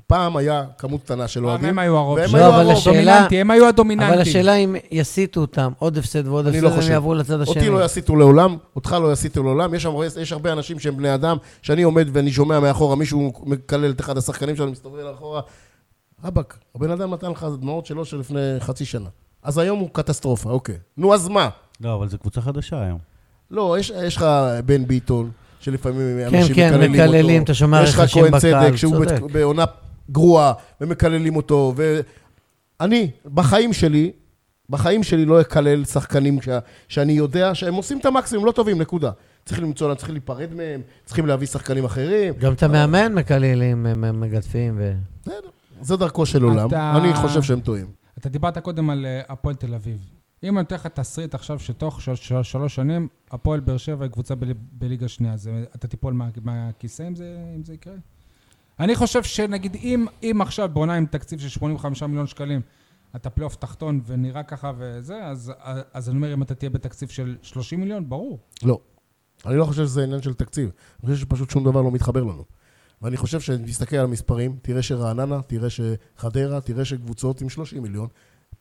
D: פעם היה כמות קטנה של
B: גם
D: אוהדים.
B: הם היו הרוב.
D: והם
A: לא,
D: היו
A: אבל
D: הרוב.
A: השאלה-
B: הדומיננטי, הם היו הדומיננטים.
A: אבל השאלה אם יסיטו אותם, עוד הפסד ועוד
D: אני
A: הפסד,
D: לא
A: הם
D: חושב.
A: יעברו לצד השני.
D: אותי לא יסיתו לעולם, אותך לא יסיתו לעולם. יש, הרבה- יש הרבה אנשים שהם בני אדם, שאני עומד ואני שומע מאחורה מישהו מקלל את אחד השחקנים שלנו, מסתובב לאחורה. רבאק, הבן אדם נתן לך דמעות שלו שלפני חצי שנה. אז היום הוא קטסטרופה, אוקיי. נו, אז מה?
C: לא, אבל זו קבוצה חדשה היום.
D: לא, יש, יש לך בן ביטון, שלפעמים
A: כן,
D: אנשים
A: כן,
D: מקללים אותו.
A: מקללים, אתה שומע
D: יש לך
A: רחשים
D: כהן
A: בקהל,
D: צדק, שהוא
A: צודק.
D: בת- בעונה גרועה, ומקללים אותו. ואני, בחיים שלי, בחיים שלי לא אקלל שחקנים ש... שאני יודע שהם עושים את המקסימום, לא טובים, נקודה. צריך למצוא להם, צריך להיפרד מהם, צריכים להביא שחקנים אחרים.
A: גם את המאמן מקללים, הם הם מגדפים ו...
D: בסדר, זה דרכו של עולם.
B: אתה-
D: אני חושב שהם טועים.
B: אתה דיברת קודם על אה, הפועל תל אביב. אם אני אתן לך תסריט עכשיו שתוך של- של- שלוש שנים, הפועל באר שבע היא קבוצה בלי- בליגה שנייה, אז אה, אתה תיפול מה- מהכיסא אם זה, אם זה יקרה? אני חושב שנגיד אם, אם עכשיו בעונה עם תקציב של 85 מיליון שקלים, אתה פלייאוף תחתון ונראה ככה וזה, אז, אז אני אומר אם אתה תהיה בתקציב של 30 מיליון, ברור.
D: לא. אני לא חושב שזה עניין של תקציב. אני חושב שפשוט שום דבר לא מתחבר לנו. ואני חושב שתסתכל על המספרים, תראה שרעננה, תראה שחדרה, תראה שקבוצות עם 30 מיליון.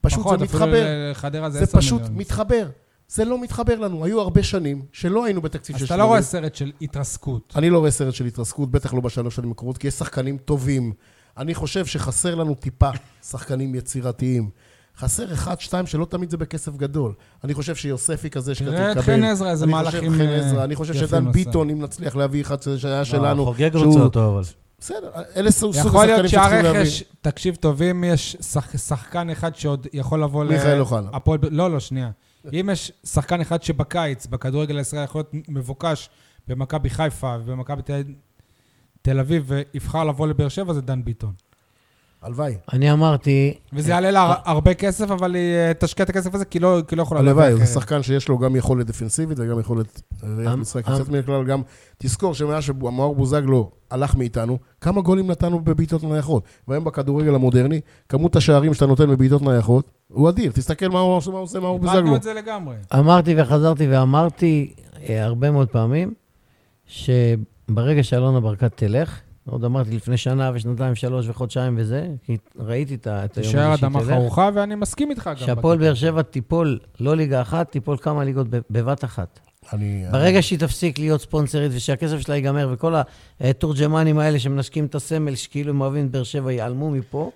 D: פשוט זה מתחבר.
B: נכון, אפילו לחדרה זה
D: זה
B: 10
D: פשוט
B: מיליון.
D: מתחבר. זה לא מתחבר לנו. היו הרבה שנים שלא היינו בתקציב
B: אז
D: של
B: אתה
D: 80
B: לא רואה
D: מיליון.
B: סרט של התרסקות.
D: אני לא רואה סרט של התרסקות, בטח לא בשלוש שנים הקרובות, כי יש שחקנים טובים. אני חושב שחסר לנו טיפה שחקנים יצירתיים. חסר אחד, שתיים, שלא תמיד זה בכסף גדול. אני חושב שיוספי כזה שכתוב
B: תראה את אה, חן עזרא, איזה
D: אני
B: מהלכים,
D: חושב חן
B: אה,
D: עזרא, אני חושב
B: יפים אה,
D: שדן
B: עשה.
D: ביטון, אם נצליח להביא אחד שהיה שלנו.
C: לא, חוגג
D: שהוא-
C: רוצה אותו, אבל.
D: בסדר, אלה סוג סוג
B: יכול
D: השחקנים
B: להיות
D: שצריכים להביא.
B: שהרכש, תקשיב טוב, אם יש שח- שחקן אחד שעוד יכול אה, לבוא ל...
D: מיכאל אוחנה.
B: הפועל ב- לא, לא, שנייה. אם יש שחקן אחד שבקיץ, בכדורגל הישראלי, יכול להיות מבוקש במכבי חיפה ובמכבי תל- תל אביב, ויבחר לבוא לבאר שבע, זה דן ביטון.
D: הלוואי.
A: אני אמרתי,
D: כן.
B: וזה יעלה
D: אה.
B: לה הר- הרבה כסף, אבל היא אה, תשקיע את הכסף הזה, כי לא כי לא יכולה...
D: הלוואי,
B: להביא
D: זה
B: אחרת.
D: שחקן שיש לו גם יכולת דפנסיבית וגם יכולת ראיית
A: אמ-
D: משחק
A: אמ-
D: יוצאת מן הכלל, גם תזכור שמאז שמאור בוזגלו הלך מאיתנו, כמה גולים נתנו בבעיטות נייחות. והיום בכדורגל המודרני, כמות השערים שאתה נותן בבעיטות נייחות, הוא אדיר. תסתכל מה הוא מה הוא עושה מאור בוזגלו.
B: איבדנו את זה לגמרי.
A: אמרתי וחזרתי ואמרתי אה, הרבה מאוד פעמים, שברגע שאלונה ברקת תלך, עוד אמרתי לפני שנה ושנתיים, שלוש וחודשיים וזה, כי ראיתי את ה- את היום
B: תישאר
A: הזה שהיא
B: אדמה
A: תלך,
B: חרוכה, ואני מסכים איתך גם.
A: שהפועל
B: בקטע.
A: באר שבע תיפול לא ליגה אחת, תיפול כמה ליגות ב- בבת אחת.
D: אני...
A: ברגע שהיא תפסיק להיות ספונסרית ושהכסף שלה ייגמר, וכל התורג'מנים האלה שמנשקים את הסמל, שכאילו הם אוהבים את באר שבע, ייעלמו מפה,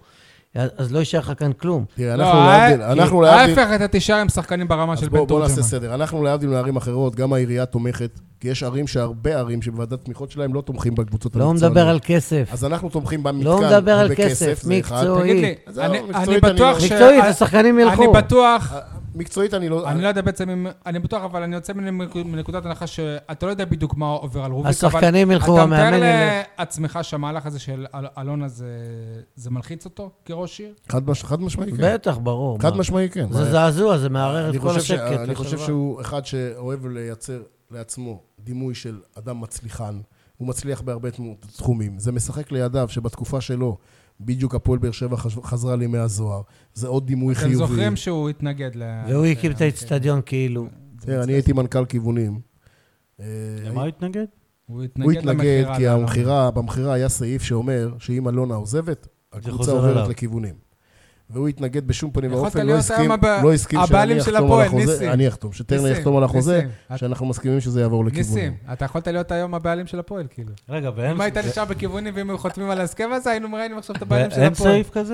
A: אז לא יישאר לך כאן כלום.
D: תראה,
B: לא,
D: אנחנו
B: אה,
D: להבדיל,
B: כי
D: אנחנו להבדיל...
B: ההפך, אתה תישאר עם שחקנים ברמה
D: אז
B: של
D: בוא-
B: בן
D: בוא נעשה
B: תורג'מן.
D: סדר. אנחנו להבדיל מערים אחרות, גם העירייה תומכת, כי יש ערים שהרבה ערים שבוועדת תמיכות שלהם לא תומכים בקבוצות
A: לא
D: המקצועניות.
A: מדבר על כסף.
D: אז אנחנו תומכים במתקן
A: לא מדבר על
D: ובכסף,
A: כסף,
D: זה אחד.
A: מקצועי.
B: תגיד לי,
D: זהו,
B: אני-
D: מקצועית
B: אני
D: אני אה,
B: בטוח
D: לא-
B: ש...
A: מקצועית,
B: אני-
A: השחקנים ילכו.
B: אני בטוח,
D: מקצועית אני לא...
B: אני לא יודע בעצם אם... אני בטוח, אבל אני יוצא מנק- מנקודת הנחה שאתה לא יודע בדיוק מה עובר על רוביק, אבל...
A: השחקנים ילכו,
B: אתה
A: המאמן
B: מתאר
A: ילך.
B: לעצמך שהמהלך הזה של אל- אלונה זה- זה מלחיץ אותו כראש עיר?
D: חד מש- חד משמעי
B: אוקיי.
D: כן.
A: בטח, ברור.
D: חד
A: מה?
D: משמעי כן.
A: זה זעזוע, זה מערער את
D: אני
A: כל
D: חושב ש-
A: השקט.
D: אני
A: של
D: חושב
A: החברה.
D: שהוא אחד שאוהב לייצר לעצמו דימוי של אדם מצליחן. הוא מצליח בהרבה תמו- תחומים. זה משחק לידיו שבתקופה שלו, בדיוק הפועל באר שבע חש- חזרה לימי הזוהר. זה עוד דימוי
B: אתם
D: חיובי.
B: זוכרים שהוא התנגד ל...
A: והוא הקים את
B: ל-
A: האיצטדיון
B: כן.
A: כאילו.
D: תראה, אני הייתי מנכ"ל כיוונים. אה,
C: למה הוא התנגד?
B: הוא
D: הוא התנגד
B: למכירה
D: כי
B: לאלונה.
D: המכירה, במכירה היה סעיף שאומר שאם אלונה עוזבת,
C: חוזר
D: הקבוצה עוברת
C: אליו.
D: לכיוונים. והוא התנגד בשום פנים
B: יכולת
D: ואופן, לא
B: להיות
D: הסכים,
B: היום הבע-
D: לא הסכים שאני
B: הבעלים של
D: אחתום על
B: הפועל,
D: החוזה,
B: ניסים.
D: אני אחתום, שטרנר
B: ניסים,
D: יחתום על החוזה,
B: ניסים, אתה-
D: שאנחנו מסכימים שזה יעבור לכיוונים.
B: ניסים, אתה יכולת להיות היום הבעלים של הפועל, כאילו.
C: רגע, ואין
B: אם היית נשאר בכיוונים ואם היו חותמים על ההסכם הזה, היינו ראינו עכשיו את הבעלים של הפועל.
C: ואין אה, סעיף כזה?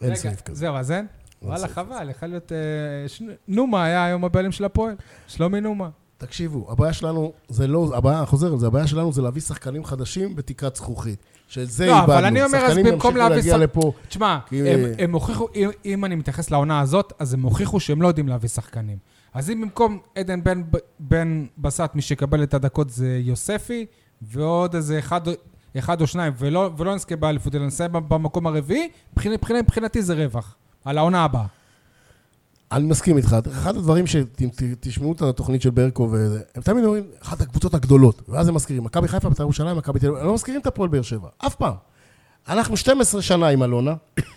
D: אין
B: רגע,
D: סעיף כזה.
B: זהו, אז אין?
D: אין
B: וואלה,
D: סעיף
B: חבל, יכול להיות... אה, ש- נומה היה היום הבעלים של הפועל. שלומי נומה.
D: תקשיבו, הבעיה שלנו, זה לא, הבעיה, חוזר על זה, הבעיה שלנו זה להביא שחקנים חדשים בתקרת זכוכית. שזה
B: לא, אבל
D: איבדנו.
B: אני אומר, אז
D: שחקנים
B: במקום
D: ימשיכו
B: להביא
D: להגיע
B: שח-
D: לפה.
B: תשמע,
D: כי-
B: הם, הם הוכיחו, אם, אם אני מתייחס לעונה הזאת, אז הם הוכיחו שהם לא יודעים להביא שחקנים. אז אם במקום עדן בן, בן בסט, מי שיקבל את הדקות זה יוספי, ועוד איזה אחד, אחד או שניים, ולא, ולא נזכה באליפות, אלא נסיים במקום הרביעי, מבחינת, מבחינת, מבחינתי זה רווח, על העונה הבאה.
D: אני מסכים איתך. אחד הדברים שתשמעו את התוכנית של ברקו, וזה, הם תמיד אומרים, אחת הקבוצות הגדולות, ואז הם מזכירים, מכבי חיפה, בית"ר ירושלים, מכבי תל אביב, הם לא מזכירים את הפועל באר שבע, אף פעם. אנחנו 12 שנה עם אלונה,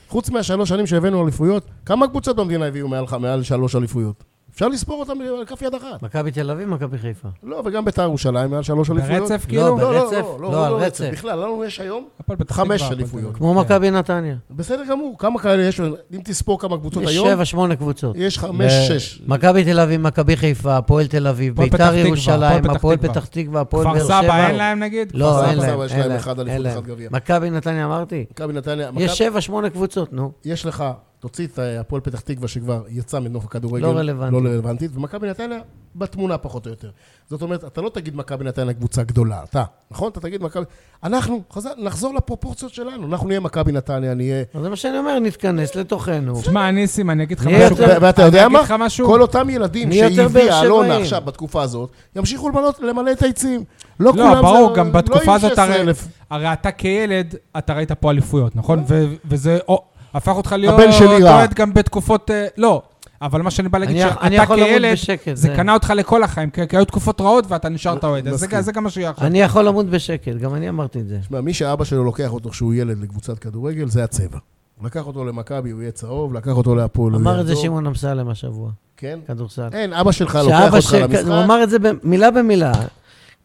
D: חוץ מהשלוש שנים שהבאנו אליפויות, כמה קבוצות במדינה הביאו מעל, ח- מעל שלוש אליפויות? אפשר לספור אותן על כף יד אחת.
A: מכבי תל אביב, מכבי חיפה.
D: לא, וגם בית"ר ירושלים מעל שלוש אליפויות.
B: ברצף,
A: לא,
B: כאילו?
A: ב-
D: לא, לא,
A: ברצף?
D: לא, לא,
A: לא,
D: לא,
A: על
D: לא
A: רצף.
D: רצף. בכלל, לנו יש היום
B: הפועל פתח
D: חמש
B: תקווה, הפועל
D: אליפויות.
B: תל
A: כמו
B: אביב.
A: מכבי נתניה.
D: בסדר גמור, כמה כאלה יש, אם תספור כמה קבוצות
A: יש
D: היום,
A: שבע, שמונה קבוצות.
D: יש חמש,
A: ו-
D: שש.
A: מכבי תל אביב, מכבי חיפה, הפועל תל אביב,
B: הפועל פתח
A: ביתר
B: תקווה,
A: ירושלים,
B: הפועל
A: הפועל
B: פתח
A: פתח תקווה, הפועל באר
B: כפר
A: שבע.
B: סבא אין להם נגיד? כפר
A: לא,
D: סבא,
A: אין להם,
D: יש
A: אין
D: להם
A: להם.
D: אחד אליפות,
A: אין
D: אחד
A: להם.
D: גביע.
A: מכבי נתניה אמרתי.
D: מכבי נתניה, מכבי-
A: יש שבע, שמונה קבוצות, נו.
D: יש לך, תוציא את אה, הפועל פתח תקווה שכבר יצא מנוף הכדורגל.
A: לא רלוונטית.
D: לא רלוונטית, ומכבי נתניה בתמונה פחות או יותר. זאת אומרת, אתה לא תגיד מכבי נתניה קבוצה גדולה, אתה, נכון? אתה תגיד מכבי... אנחנו, חזר, נחזור לפרופורציות שלנו, אנחנו נהיה מכבי נתניה, נהיה...
A: אז זה מה שאני אומר, נתכנס לתוכנו.
B: תשמע, ניסים, אני אגיד לך
A: נהיה
B: משהו.
A: יותר-
D: ו- ואתה
B: אני
D: יודע
B: אגיד
D: מה?
B: לך משהו.
D: כל אותם ילדים
A: מי יותר באר
D: שהביאה אלונה
A: שבעים?
D: עכשיו בתקופה הזאת, ימשיכו למלא, למלא את היציעים. לא כולם...
B: לא,
D: זה-
B: ברור, גם בתקופה
D: יהיו
B: הזאת הרי,
D: 16,000.
B: הרי אתה כילד, אתה ראית פה אליפויות, נכון? ו- וזה או, הפך אותך להיות
D: הבן שלי ראה.
B: אוהד גם בתקופות... אה, לא, אבל מה שאני בא להגיד,
A: אני- אני
B: שאתה
A: יכול למות
B: כילד,
A: בשקט,
B: זה
A: זה-
B: קנה אותך לכל החיים, כי כי היו תקופות רעות ואתה נשארת אוהד, אז זה-
D: מסכים.
B: זה גם מה שיהיה עכשיו.
A: אני יכול למות בשקט, גם אני אמרתי את זה.
D: תשמע, מי שאבא שלו לוקח אותו כשהוא ילד לקבוצת כדורגל, זה הצבע. הוא לקח אותו למכבי, הוא יהיה צהוב, לקח אותו להפועל, הוא יהיה
A: אמר את זה
D: אדום.
A: שמעון אמסלם השבוע,
D: כן?
A: כדורסל.
D: אין, אבא שלך לוקח
A: כשאבא
D: אותך
A: של...
D: למשחק.
A: הוא אמר את זה ב- מילה במילה.
D: לא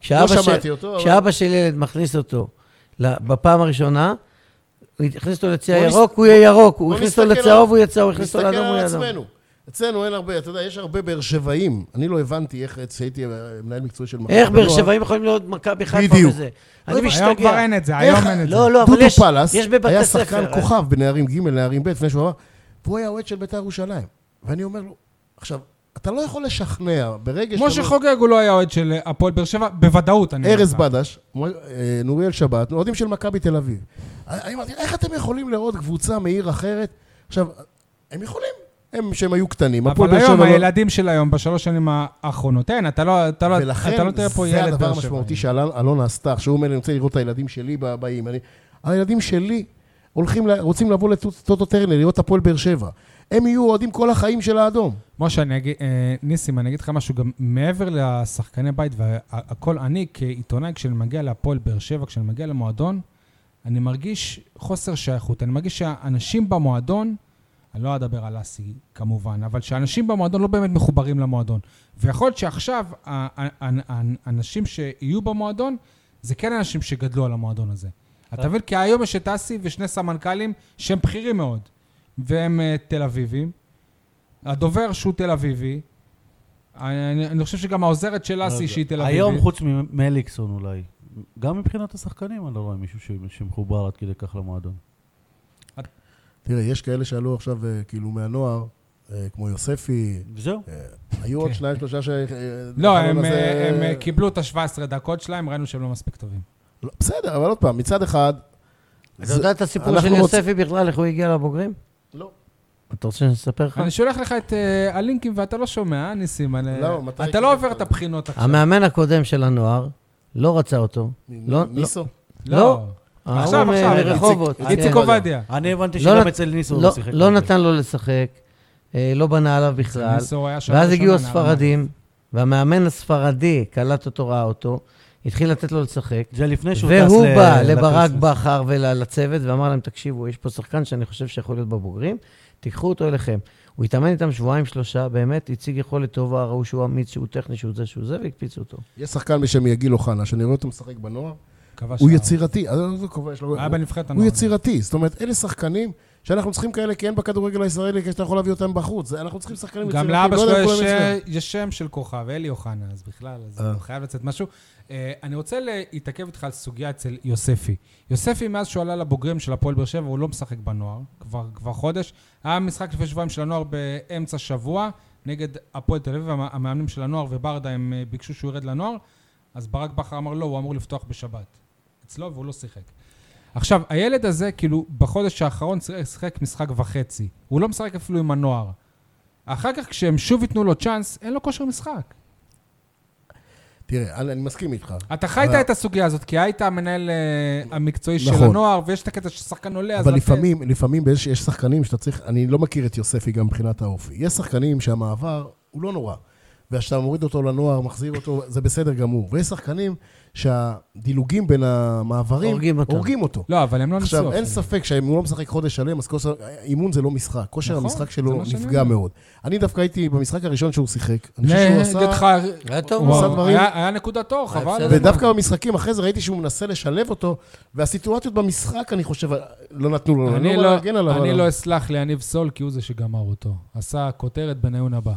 A: כשאבא של-
D: שמעתי אותו, אבל...
A: כשאבא של ילד מכניס אותו ל- בפעם הראשונה, הוא הכניס אותו לצי
D: בוא נס-
A: הירוק, הוא יהיה ירוק, הוא
D: בוא
A: הכניס אותו
D: נסתכל
A: לצהוב,
D: על-
A: הוא יהיה צהוב, הוא הכניס
D: נסתכל
A: אותו לאדום, הוא
D: על
A: יהיה אדום.
D: עצמנו. אצלנו אין הרבה, אתה יודע, יש הרבה באר שבעים. אני לא הבנתי איך, כשהייתי אה, מנהל מקצועי של מכבי לא-
A: איך באר
D: הנוער,
A: שבעים יכולים להיות מכבי חיפה
D: בדיוק.
A: וזה? אני
B: היום כבר
A: משתגע.
B: אין את זה, היום אין את זה.
A: לא, לא, אבל
D: דודו
A: יש-
D: פלס
A: יש בבתי
D: היה
A: ספר,
D: שחקן
A: אה?
D: כוכב בנערים ג', נערים ב', לפני שהוא אמר, והוא היה אוהד של בית"ר ירושלים. ואני אומר לו, עכשיו, אתה לא יכול לשכנע ברגע שאתה...
B: משה
D: לא-
B: חוגג הוא לא היה אוהד של אה, הפועל באר שבע, בוודאות. אני
D: ארז
B: אומר לך.
D: בדש, מ- אה, נוריאל שבת, אוהדים של מכבי תל אביב. אני אמרתי, איך אתם יכולים לראות קבוצה מעיר אחרת? עכשיו, הם יכולים, הם שהם היו קטנים. הפועל
B: אבל
D: באר
B: היום,
D: שבע לא-
B: הילדים של היום, בשלוש שנים האחרונות, אין, אתה לא אתה לא- אתה לא
D: ולכן
B: תראה פה
D: זה
B: ילד
D: הדבר
B: באר שבע.
D: המשמעותי שאלונה עשתה. עכשיו הוא אומר, אני רוצה לראות את הילדים שלי ב- באים. אני- הילדים שלי... הולכים, ל- רוצים לבוא לטוטו טרנר, להיות הפועל באר שבע. הם יהיו אוהדים כל החיים של האדום.
B: משה, אני אגיד, אה, ניסים, אני אגיד לך משהו, גם מעבר לשחקני בית והכל, אני כעיתונאי, כשאני מגיע להפועל באר שבע, כשאני מגיע למועדון, אני מרגיש חוסר שייכות. אני מרגיש שהאנשים במועדון, אני לא אדבר על אסי כמובן, אבל שהאנשים במועדון לא באמת מחוברים למועדון. ויכול להיות שעכשיו ה- ה- ה- האנשים שיהיו במועדון, זה כן אנשים שגדלו על המועדון הזה.
C: אה.
B: אתה מבין? כי היום יש את אסי ושני סמנכ"לים שהם בכירים מאוד, והם אה, תל אביבים. הדובר שהוא תל אביבי, אני, אני חושב שגם העוזרת של אסי שהיא תל אביבית.
C: לא היום חוץ ממליקסון אולי. גם מבחינת השחקנים אני לא רואה מישהו ש- שמחובר עד כדי כך למועדון.
D: תראה, יש כאלה שעלו עכשיו אה, כאילו מהנוער, אה, כמו יוספי,
C: וזהו.
D: אה, היו עוד
B: כן.
D: שניים, שלושה ש... אה,
B: לא,
D: החלון
B: הם,
D: הזה-
B: הם,
C: אה,
B: כאילו, הם קיבלו את ה-17 דקות שלהם, ראינו שהם לא מספיק טובים.
D: לא, בסדר, אבל עוד פעם, מצד אחד...
A: אתה
D: זה-
A: יודע את הסיפור
D: אנחנו
A: של
D: רוצ-
A: יוספי בכלל, איך הוא הגיע לבוגרים?
D: לא.
A: אתה רוצה שאני אספר לך?
B: אני שולח לך את אה, הלינקים ואתה לא שומע, אה, ניסים. אני-
D: לא, מתי
B: אתה לא
D: קיבלת?
B: עובר את הבחינות עכשיו.
A: המאמן הקודם של הנוער לא רצה אותו. לא, לא.
D: ניסו.
B: לא. עכשיו,
A: ההוא
B: עכשיו,
A: מרחובות.
D: איציק-
A: כן.
B: איציק עובדיה.
C: אני הבנתי
A: לא
C: שגם
A: נת-
C: אצל ניסו הוא
A: לא-
C: שיחק.
A: לא
C: הרבה.
A: נתן לו לשחק, אה, לא בנה עליו בכלל.
B: ניסו היה שם
A: ואז
B: ראשון
A: הגיעו
B: בנעליים.
A: הספרדים, והמאמן הספרדי קלט אותו, ראה אותו, התחיל לתת לו לשחק.
C: זה לפני שהוא טס
A: והוא
C: ל-
A: בא לברק
C: לקוסמוס.
A: בכר ולצוות ואמר להם, תקשיבו, יש פה שחקן שאני חושב שיכול להיות בבוגרים, תיקחו אותו אליכם. הוא התאמן איתם שבועיים-שלושה, באמת הציג יכולת טובה, ראו שהוא אמיץ, שהוא טכני, שהוא זה, שהוא זה, והקפיצו אותו.
D: יש שחקן בשם יגיל אוחנה, שאני רואה אותו משחק בנוער,
B: כבש
D: הוא
B: שער.
D: יצירתי. אז אני לא קובע, יש לו-
B: היה בנבחרת
D: הוא
B: הנוער.
D: יצירתי. זאת אומרת, אלה שחקנים שאנחנו צריכים כאלה, כי אין בכדורגל הישראלי, כי שאתה יכול להביא אותם בחוץ. זה- אנחנו צריכים שחקנים
B: גם
D: יצירתיים.
B: לאבא
D: לא
B: שלו
D: יודע אם
B: יש,
D: כולם אצלנו.
B: יש שם של כוכב, אלי אוחנה, אז בכלל, אז
D: אה.
B: הוא חייב לצאת משהו. אה, אני רוצה להתעכב איתך על סוגיה אצל יוספי. יוספי, מאז שהוא עלה לבוגרים של הפועל באר שבע, הוא לא משחק בנוער, כבר, כבר חודש. היה משחק לפני שבועיים של הנוער באמצע שבוע, נגד הפועל תל אביב, המ- המאמנים של הנוער וברדה, הם אה, ביקשו שהוא ירד לנוער, אז ברק בכר אמר לא, הוא אמור לפתוח בשבת. אצלו, והוא לא שיחק. עכשיו, הילד הזה, כאילו, בחודש האחרון שיחק- שיחק משחק וחצי. הוא לא משחק אפילו עם הנוער. אחר כך, כשהם שוב ייתנו לו צ'אנס, אין לו כושר משחק. אה,
D: תראה, אני אני מסכים איתך.
B: אתה חיית
D: אבל-
B: את הסוגיה הזאת, כי היית המנהל אה, המקצועי של
D: נכון.
B: הנוער, ויש את הקטע ששחקן עולה, אז... אוקיי.
D: אבל
B: לתת-
D: לפעמים, לפעמים באיזוש- יש שחקנים שאתה צריך, אני לא מכיר את יוספי גם מבחינת האופי. יש שחקנים שהמעבר הוא לא נורא. וכשאתה מוריד אותו לנוער, מחזיר אותו, זה בסדר גמור. ויש שחקנים שהדילוגים בין המעברים,
A: הורגים אותו.
D: הורגים אותו.
B: לא, אבל הם לא ניסו.
D: עכשיו, אין
B: אפילו.
D: ספק שאם הוא לא משחק חודש שלם, אז כושר, אימון זה לא משחק. כושר
B: נכון,
D: המשחק
B: זה
D: שלו
B: מה שאני
D: נפגע
B: אומר.
D: מאוד. אני דווקא הייתי במשחק הראשון שהוא שיחק. אני חושב שהוא
B: נגד
D: עשה...
B: חר-
A: היה טוב,
B: וואו,
D: הוא עשה דברים-
B: היה- היה נקודת אור,
A: היה
B: חבל.
A: בסדר.
D: ודווקא במשחקים אחרי זה ראיתי שהוא מנסה לשלב אותו, והסיטואציות במשחק, אני חושב, לא נתנו לו,
B: אני
D: לא
B: לא-
D: להגן עליו.
B: אני
D: אבל-
B: לא אסלח ליניב סול, כי הוא זה שגמר אותו. עשה כותרת בניון הבא.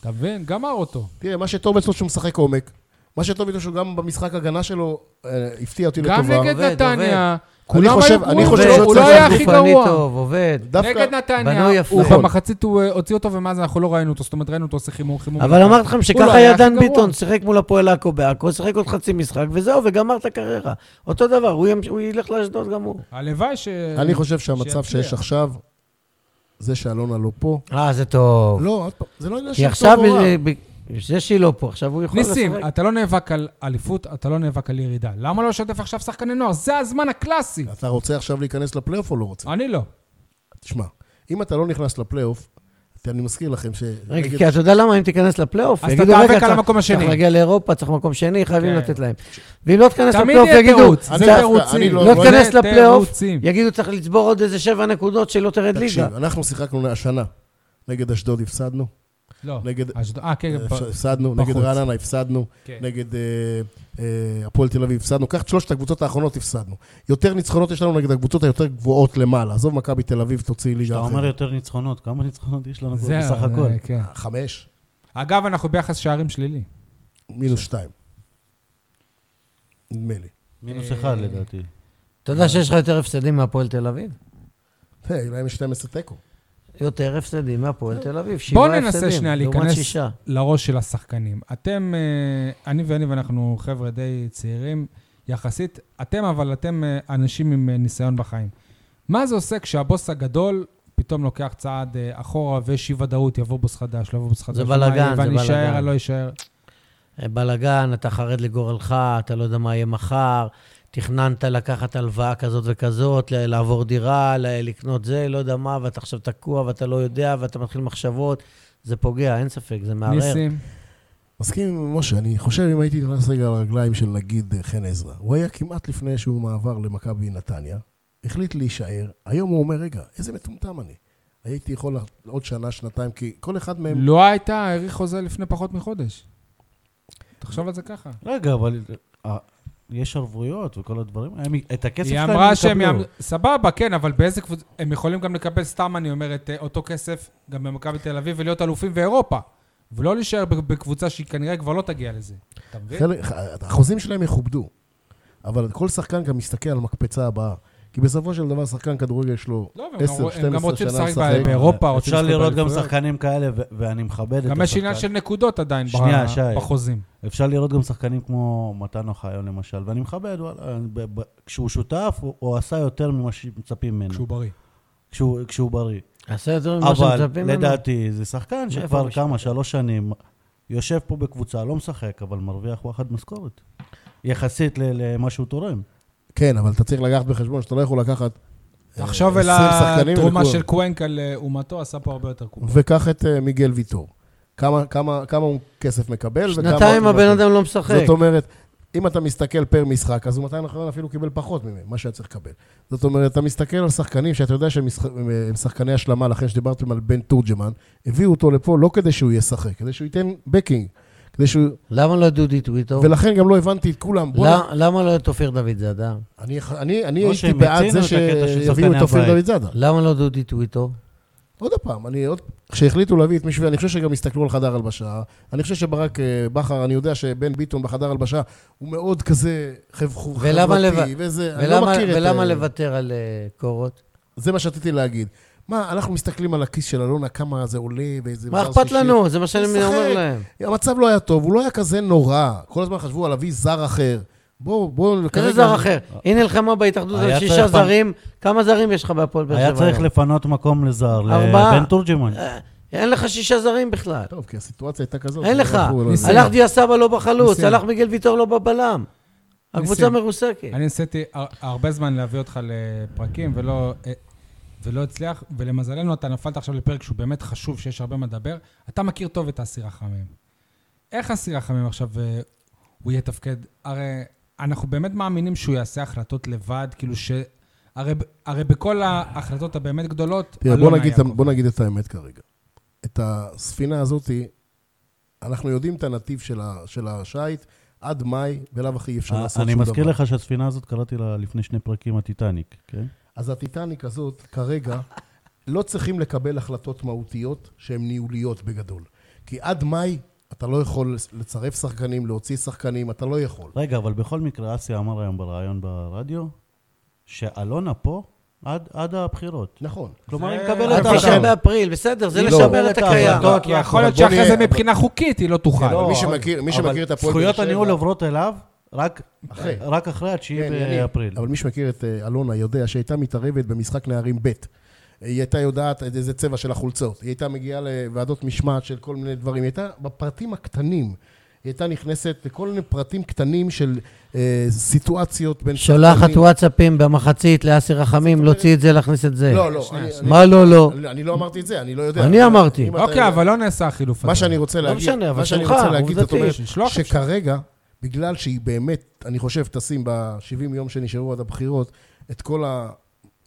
B: אתה מבין? גמר אותו.
D: תראה, מה שטוב אצלו שהוא משחק עומק. מה שטוב איתו שהוא גם במשחק הגנה שלו אה, הפתיע אותי
B: גם
D: לטובה.
B: נגד
A: עובד,
B: נתניה,
D: אני
B: כולם היו
D: חושב- אני
B: גרועים,
D: חושב
B: הוא לא-
D: שהוא
B: הוא לא
D: צריך
B: היה
D: להחליף
B: הכי
A: גופני
B: גרוע.
A: טוב, עובד.
D: דווקא...
B: נגד נתניה,
A: בנוי יפה.
B: הוא
D: נכון.
B: במחצית הוא אה, הוציא אותו, ומאז אנחנו לא ראינו אותו. זאת אומרת, ראינו אותו עושה חימום חימום.
A: אבל אמרתי לכם
B: לא
A: שככה
B: היה
A: ידן
B: הכי גרוע.
A: ביטון שיחק מול הפועל עכו בעכו, שיחק עוד חצי משחק, וזהו, וגמר את הקריירה. אותו דבר, הוא ימש- הוא ילך לאשדוד גם הוא.
B: הלוואי ש...
D: אני חושב שהמצב
B: שיצליח.
D: שיש עכשיו, זה שאלונה לא פה.
A: אה, זה טוב.
D: לא, עוד פעם, זה לא עניין
A: כי
D: של
A: עכשיו,
D: טוב או רע.
A: ב- ב- זה שהיא לא פה, עכשיו הוא יכול לשחק.
B: ניסים, אתה לא נאבק על אליפות, אתה לא נאבק על ירידה. למה לא לשתף עכשיו שחקני נוער? זה הזמן הקלאסי.
D: אתה רוצה עכשיו להיכנס לפלייאוף או לא רוצה?
B: אני לא.
D: תשמע, אם אתה לא נכנס לפלייאוף, ת- אני מזכיר לכם ש...
A: רגע,
D: נגד-
A: כי אתה יודע למה? אם תיכנס לפלייאוף,
B: אז
A: יגידו,
B: אתה תיאבק
A: "רגע,
B: על
A: צריך-
B: המקום השני."
A: צריך להגיע לאירופה, צריך מקום שני, חייבים
B: כן.
A: לתת להם. ואם לא תיכנס
B: תמיד
A: לפלייאוף,
B: יהיה
A: יגידו,
B: תירוץ, זה
D: דווקא- אני
B: תירוצים.
D: לא-
A: לא
B: זה
A: תיכנס לפלייאוף,
B: תירוצים.
A: יגידו, צריך לצבור עוד איזה שבע נקודות שלא תרד ליגה.
D: תקשיב, אנחנו שיחקנו השנה. נגד אשדוד הפסדנו,
B: לא.
D: נגד-
B: אשדוד- אה, כן,
D: אה,
B: ב-
D: הפסדנו, נגד
B: בחוץ.
D: רעננה הפסדנו,
B: כן.
D: נגד אה, אה, הפועל תל אביב הפסדנו, קח את שלושת הקבוצות האחרונות הפסדנו. יותר ניצחונות יש לנו נגד הקבוצות היותר גבוהות למעלה. עזוב מכבי תל אביב, תוציא
C: כשאתה
D: ליגה
C: אומר
D: אחרת.
C: יותר ניצחונות, כמה ניצחונות יש לנו
B: זה
C: כבר בסך הכל?
B: אה, כן.
D: חמש,
B: אגב, אנחנו ביחס שערים שלילי.
D: מינוס שתיים. נדמה לי.
C: מינוס
B: אה,
C: אחד לדעתי.
A: אתה יודע שיש לך יותר הפסדים מהפועל תל אביב?
D: היי, להם אה, יש 12 תיקו.
A: יותר הפסדים מהפועל תל אביב,
B: בואו
A: שבעה
B: ננסה
A: הפסדים,
B: שנייה
A: לעומת
B: להיכנס
A: שישה.
B: לראש של השחקנים. אתם, אה, אני ויניב, אנחנו חבר'ה די צעירים יחסית. אתם, אבל אתם אה, אנשים עם אה, ניסיון בחיים. מה זה עושה כשהבוס הגדול פתאום לוקח צעד אה, אחורה ויש אי ודאות, יבוא בוס חדש, לא יבוא בוס חדש.
A: זה
B: מה
A: בלאגן,
B: יהיה,
A: זה
B: ואני אשאר,
A: בלאגן.
B: אני לא אשאר.
A: אה, בלאגן, אתה חרד לגורלך, אתה לא יודע מה יהיה מחר, תכננת לקחת הלוואה כזאת וכזאת, ל- לעבור דירה, ל- לקנות זה, לא יודע מה, ואתה עכשיו תקוע ואתה לא יודע, ואתה מתחיל מחשבות, זה פוגע, אין ספק, זה מערער.
B: ניסים,
D: מסכים עם משה, אני חושב אם הייתי נכנס רגע לרגליים של נגיד אה, חן עזרא, הוא היה כמעט לפני שהוא מעבר למכבי נתניה, החליט להישאר, היום הוא אומר, רגע, איזה מטומטם אני. הייתי יכול לה- עוד שנה, שנתיים, כי כל אחד מהם...
B: לא הייתה, האריך חוזה לפני פחות מחודש. תחשוב על זה ככה.
C: רגע, אבל אה, יש ערבויות וכל הדברים. הם- את הכסף
B: היא
C: שלהם
B: אמרה שהם...
C: יקבלו.
B: יאמ- סבבה, כן, אבל באיזה קבוצה... הם יכולים גם לקבל, סתם אני אומר, את אה, אותו כסף גם במכבי תל אביב ולהיות אלופים באירופה. ולא להישאר ב- בקבוצה שהיא כנראה כבר לא תגיע לזה. אתה מבין?
D: חלק, החוזים שלהם יכובדו, אבל כל שחקן גם מסתכל על המקפצה הבאה. כי בסופו של דבר שחקן כדורגל יש לו
B: לא, והם
D: 10-12
B: גם רוא- הם גם רוצים
D: שנה
B: לשחק ב- באירופה, רוצים
C: אפשר
B: לשחק
C: לראות גם
B: באליפויות.
C: שחקנים כאלה, ו- ואני מכבד את השחקן.
B: גם יש עניין של נקודות עדיין ב-
C: שנייה, שי.
B: בחוזים.
C: אפשר לראות גם שחקנים כמו מתן אוחיון למשל, ואני מכבד, וואלה, ב- ב- כשהוא שותף, הוא, הוא עשה יותר ממה שמצפים ממנו,
B: כשהוא
C: כשהוא,
B: בריא.
C: כשהוא, כשהוא בריא.
A: עשה יותר ממה
C: אבל
A: שמצפים ממנו.
C: לדעתי זה שחקן
A: מאיפה
C: שכבר
A: המשפט
C: כמה, שלוש שנים, יושב פה בקבוצה, לא משחק, אבל מרוויח וואחד משכורת. יחסית ל- למה שהוא תורם.
D: כן, אבל אתה צריך לקחת בחשבון שאתה לא יכול לקחת... אה,
B: תחשוב על
D: 20 שחקנים
B: התרומה
D: ולכולם.
B: של קוונקה לעומתו, עשה פה הרבה יותר קומה.
D: וקח את אה, מיגל ויטור. כמה, כמה, כמה הוא כסף מקבל? וכמה
A: שנתיים
D: הוא-
A: הבן אדם לא משחק.
D: זאת אומרת, אם אתה מסתכל פר משחק, אז הוא 200 אחרון אפילו קיבל פחות ממה שהיה צריך לקבל. זאת אומרת, אתה מסתכל על שחקנים שאתה יודע שהם משח- הם, אה, הם שחקני השלמה, לכן שדיברתם על בן תורג'מן, הביאו אותו לפה לא כדי שהוא ישחק, כדי שהוא ייתן בקינג. כדי שהוא...
A: למה לא דודי טוויטו?
D: ולכן גם לא הבנתי את כולם. בוא...
A: לא- למה לא את אופיר דוד זאדה?
D: אני, אני, אני
C: או
D: הייתי
C: שהם
D: בעד
C: מיצינו
D: זה
C: את הקטע של
D: שיביאו
C: שחקני
D: את אופיר
C: הבית.
D: דוד זאדה.
A: למה לא דודי טוויטו?
D: עוד פעם, אני עוד... כשהחליטו להביא את מישהו, אני חושב שגם הסתכלו על חדר הלבשה. אני חושב שברק אה, בכר, אני יודע שבן ביטון בחדר הלבשה הוא מאוד כזה חב-
A: ולמה
D: חברתי, וזה, אני לא
A: ולמה-
D: מכיר את...
A: ולמה
D: אה,
A: לוותר על אה, קורות?
D: זה מה שרציתי להגיד. מה, אנחנו מסתכלים על הכיס של אלונה, כמה זה עולה ואיזה...
A: מה
D: דבר
A: אכפת
D: שלישי.
A: לנו? זה מה שאני
D: משחק.
A: אומר להם.
D: המצב לא היה טוב, הוא לא היה כזה נורא. כל הזמן חשבו על אבי זר אחר. בואו, בואו...
A: איזה
D: כרגע-
A: זר אחר? היא נלחמה בהתאחדות
C: היה
A: על שישה
C: צריך פעם-
A: זרים, כמה זרים יש לך בהפועל באר שבע?
C: היה צריך
A: היום?
C: לפנות מקום לזר,
A: ארבעה.
C: לבן תורג'מן.
A: אה, אין לך שישה זרים בכלל.
D: טוב, כי הסיטואציה הייתה כזאת.
A: אין לך.
D: הלכו, לא
B: ניסים.
D: יודע.
A: הלך דיה סבא לא בחלוץ,
B: ניסים.
A: הלך מיגל ויטור לא בבלם. הקבוצה
B: ניסים.
A: מרוסקת.
B: אני ניסיתי הר- הרבה זמן להביא אותך לפרקים ולא, אה, ולא הצליח, ולמזלנו אתה נפלת עכשיו לפרק שהוא באמת חשוב, שיש הרבה מה לדבר. אתה מכיר טוב את האסיר החמם. איך האסיר החמם עכשיו אה, הוא יתפקד? הרי אנחנו באמת מאמינים שהוא יעשה החלטות לבד, כאילו ש... הרי, ב- הרי בכל ההחלטות הבאמת גדולות,
D: תראה, בוא
B: אלונה
D: נגיד,
B: יעקב.
D: בוא נגיד את האמת כרגע. את הספינה הזאת, אנחנו יודעים את הנתיב של, ה, של השייט, עד מאי, בלאו הכי אי אפשר לעשות שום
C: אה, אני
D: דבר.
C: מזכיר לך שהספינה הזאת, קראתי לה לפני שני פרקים הטיטניק, כן?
D: אז הטיטניק הזאת, כרגע, לא צריכים לקבל החלטות מהותיות שהן ניהוליות בגדול. כי עד מאי, אתה לא יכול לצרף שחקנים, להוציא שחקנים, אתה לא יכול.
C: רגע, אבל בכל מקרה, אסי אמר היום בריאיון ברדיו, שאלונה פה עד, עד הבחירות.
D: נכון.
C: כלומר,
B: זה-
C: היא מקבלת את
A: רק
B: אבל
A: תשעה
C: ההחלטות.
A: באפריל, בסדר, זה
C: לא.
A: לשמר את
C: לא.
A: הקיים.
C: לא.
B: כי כן, יכול להיות
D: אבל בוא
B: שאחרי זה
D: נהיה- כן,
B: מבחינה חוקית היא לא תוכל.
C: לא,
D: מי
C: אבל-
D: שמכיר- מי
C: אבל
D: שמכיר את הפועל באר
C: זכויות
D: שבע-
C: הניהול עוברות אליו רק
D: אחרי.
C: רק אחרי התשיעי
D: כן, יניב.
C: באפריל.
D: אבל מי שמכיר את אה, אלונה יודע שהיא הייתה מתערבת במשחק נערים ב'. היא הייתה יודעת את איזה צבע של החולצות. היא הייתה מגיעה לוועדות משמעת של כל מיני דברים. היא הייתה בפרטים הקטנים. היא הייתה נכנסת לכל מיני פרטים קטנים של אה, סיטואציות בין...
A: שולחת
D: שחקנים.
A: וואטסאפים במחצית לאסי רחמים, להוציא את זה, להכניס את זה.
D: לא, לא. אני- אני-
A: מה לא, לא?
D: אני- אני לא אמרתי את זה, אני לא יודע.
A: אני
D: אבל
A: אמרתי.
D: אם אתה
B: אוקיי,
D: יודע-
B: אבל לא נעשה החילוף הזה.
D: מה שאני רוצה
A: לא
D: להגיד,
A: משנה, אבל
D: מה שאני
A: שלך,
D: רוצה להגיד, זאת
A: עובדתי,
D: אומרת,
B: שלוח אפשר.
D: שכרגע, בגלל שהיא באמת, אני חושב, תשים ב-70 יום שנשארו עד הבחירות, את כל ה...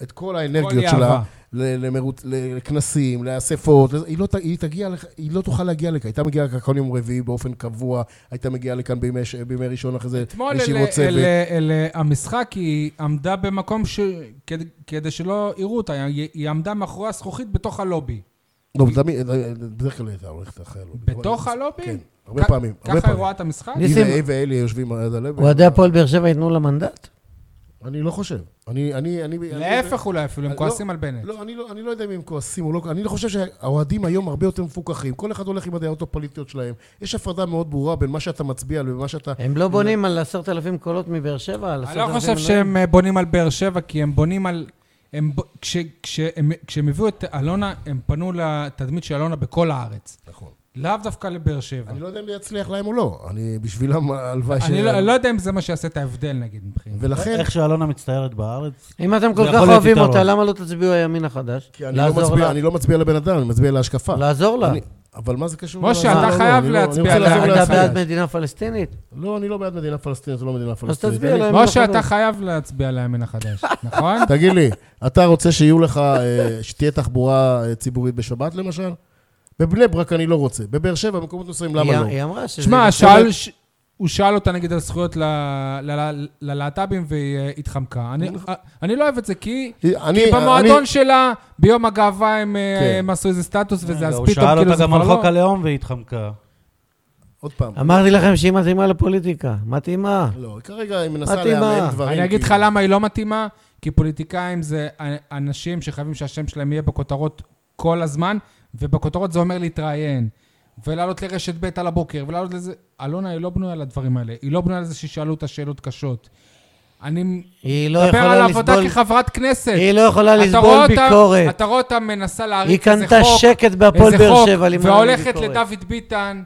D: את כל האנרגיות
B: כל יהבה.
D: שלה, ל- למרוץ- ל- לכנסים, לאספות, לזה, היא לא, ת- היא, תגיע, לכ- היא לא תוכל להגיע לכאן. הייתה מגיעה לכאן כל יום רביעי באופן קבוע, הייתה מגיעה לכאן בימי, ש- בימי ראשון אחרי זה,
B: אתמול אל,
D: ישיבות צוות.
B: אל, אל, המשחק היא עמדה במקום ש... כדי, כדי שלא יראו אותה, היא, היא עמדה מאחורי הזכוכית בתוך הלובי.
D: לא, תמיד, בדרך כלל הייתה הולכת אחרי הלובי.
B: בתוך הלובי?
D: כן, הרבה
B: כ-
D: פעמים, הרבה
B: ככה היא
D: פעמים.
B: רואה את המשחק?
A: ניס-
D: היא
A: ניסים-
D: ואי ואלי יושבים עד הלב.
A: אוהדי הפועל באר שבע ייתנו לה מנדט?
D: אני לא חושב. אני, אני, אני... אני-
B: להפך אולי אפילו, הם
D: לא,
B: כועסים על בנט.
D: לא, אני לא, אני לא יודע אם הם כועסים או לא, אני לא חושב שהאוהדים היום הרבה יותר מפוקחים. כל אחד הולך עם הדעות הפוליטיות שלהם. יש הפרדה מאוד ברורה בין מה שאתה מצביע לבין מה שאתה...
A: הם לא בונים על עשרת אלפים קולות מבאר שבע? על
B: אני לא
A: 10,000
B: חושב
A: מנויים?
B: שהם אה, בונים על באר שבע, כי הם בונים על... הם, ב- כש, כשהם, כשהם הביאו את אלונה, הם פנו לתדמית של אלונה בכל הארץ.
D: נכון.
B: לאו דווקא לבאר שבע.
D: אני לא יודע אם זה יצליח להם או לא. אני בשבילם, הלוואי ש...
B: אני לא- לא יודע אם זה מה שיעשה את ההבדל, נגיד, מבחינתי.
D: ולכן,
C: איך שאלונה מצטיירת בארץ,
A: אם אתם כל
C: זה
A: כך
C: יכול להיות
A: אוהבים
C: יתרון.
A: אותה, למה לא תצביעו הימין החדש?
D: כי אני לא מצביע- אני לא מצביע לבן אדם, אני מצביע להשקפה.
A: לעזור לה.
D: אני- אבל מה זה קשור?
B: משה,
D: לא,
A: אתה
D: לא, לא,
B: חייב
D: אני לא- אני
B: להצביע
D: רוצה
B: לה.
D: לעזור
B: אני
A: אתה
D: להצביע.
A: בעד מדינה פלסטינית?
D: לא, אני לא בעד מדינה פלסטינית, זו לא מדינה פלסטינית.
A: תצביע
D: אין לי-
A: להם.
B: משה,
A: לא
B: אתה
A: חדש.
B: חייב להצביע לימין החדש, נכון?
D: תגיד לי, אתה רוצה שיהיו לך, אה, שתהיה תחבורה אה, ציבורית בשבת למשל? בבני ברק אני לא רוצה. בבאר שבע, במקומות מסוימים, למה
A: היא-
D: לא?
A: היא אמרה שזה...
B: שמע,
A: נכון.
B: שאל- ש- הוא שאל אותה נגיד על זכויות ל- ל- ללהט"בים והיא אה, התחמקה. אני- אה, אני לא אוהב את זה, כי
D: אני,
C: אה,
B: כי במועדון
D: אני-
B: שלה, ביום הגאווה הם אה,
D: כן.
B: הם עשו איזה סטטוס וזה, אז
C: אה, לא, הוא
B: פתאום
C: שאל
B: כאילו
C: אותה
B: זה
C: גם על
B: כבר
C: חוק
B: לא...
C: הלאום והיא התחמקה.
D: עוד פעם.
A: אמרתי לכם שהיא מתאימה לפוליטיקה. מתאימה.
D: לא, כרגע היא מנסה
A: מתאימה.
D: לאמן דברים.
B: אני אגיד לך
D: כאילו.
B: למה היא לא מתאימה, כי פוליטיקאים זה אנשים שחייבים שהשם שלהם יהיה בכותרות כל הזמן, ובכותרות זה אומר להתראיין, ולעלות לרשת ב' על הבוקר, ולעלות לזה... אלונה היא לא בנויה לדברים האלה, היא לא בנויה לזה שישאלו אותה שאלות קשות. אני
A: היא לא
B: מדבר על
A: יכולה
B: עבודה
A: לסבול...
B: כחברת כנסת.
A: היא לא יכולה
B: אתה רואה
A: לסבול
B: אותה-
A: ביקורת.
B: אתה רואה אותה מנסה
A: היא
B: להריץ איזה
A: קנתה
B: חוק,
A: שקט בהפועל
B: איזה
A: באר
B: חוק,
A: שבע, לימדה
B: והולכת לדוד ביטן,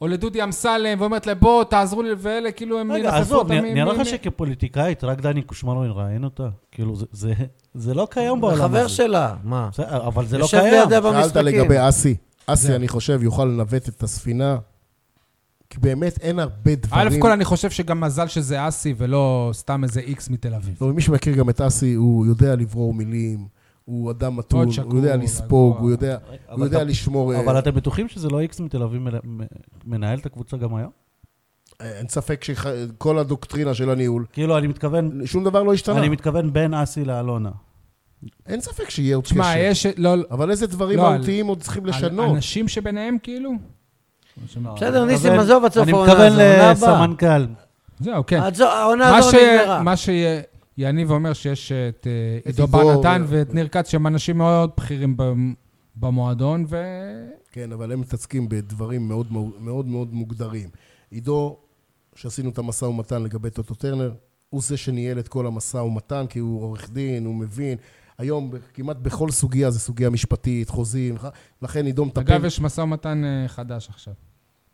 B: או לדודי אמסלם, ואומרת להם, בואו, תעזרו לי, ואלה, כאילו הם
C: רגע,
B: ידחפו
C: עזוב,
B: אותם
C: נראה
B: מ-
C: נראה
B: מ-
C: לך שכפוליטיקאית, רק דני קושמרו יראיין אותה? כאילו, זה- זה- זה לא קיים בעולם הזה.
A: חבר שלה, מה?
C: בסדר, אבל זה לא
A: יושב
C: קיים.
A: לידה
D: שאלת
A: במשחקים.
D: לגבי אסי. אסי, אני חושב, יוכל לנווט את הספינה, כי באמת אין הרבה
B: א'
D: דברים.
B: כל, אני חושב שגם מזל שזה אסי ולא סתם איזה איקס מתל אביב.
D: לא, מי שמכיר גם את אסי, הוא יודע לברור מילים, הוא אדם מתון,
B: שקול,
D: הוא יודע לספוג,
B: רגוע.
D: הוא יודע-
C: אבל
D: הוא יודע
C: אתה-
D: לשמור... אה,
C: אבל אתם בטוחים שזה לא איקס מתל אביב מל- מ- מנהל את הקבוצה גם היום?
D: אין ספק שכל הדוקטרינה של הניהול,
C: כאילו, אני מתכוון,
D: שום דבר לא השתנה.
C: אני מתכוון בין אסי לאלונה.
D: אין ספק שיהיה עוד
B: תשמע,
D: קשר.
B: יש... לא,
D: אבל איזה דברים
B: לא, על-
D: מהותיים עוד צריכים
B: על
D: לשנות?
B: אנשים שביניהם, כאילו?
A: בסדר,
C: אני
A: ניסים,
C: מתכוון-
A: עזוב עד סוף
C: אני
A: העונה
C: מתכוון
A: הזו, עונה הבאה.
C: לסמנכ"ל.
B: זהו, כן.
A: עד זו- העונה
B: מה
A: הזו לא
B: ש-
A: נגמרה.
B: מה שיניב אומר שיש את אה,
D: את
B: עידו
D: עידו,
B: בר נתן
D: ו-
B: ואת ניר כץ, שהם אנשים מאוד בכירים במ- במועדון, ו...
D: כן, אבל הם מתעסקים בדברים מאוד מאוד- מאוד מאוד מוגדרים. עידו, שעשינו את המשא ומתן לגבי טוטו טרנר, הוא זה שניהל את כל המשא ומתן, כי הוא עורך דין, הוא מבין. היום כמעט בכל סוגיה זה סוגיה משפטית, חוזים, לכן עידו מטפל...
B: אגב, יש משא ומתן אה, חדש עכשיו,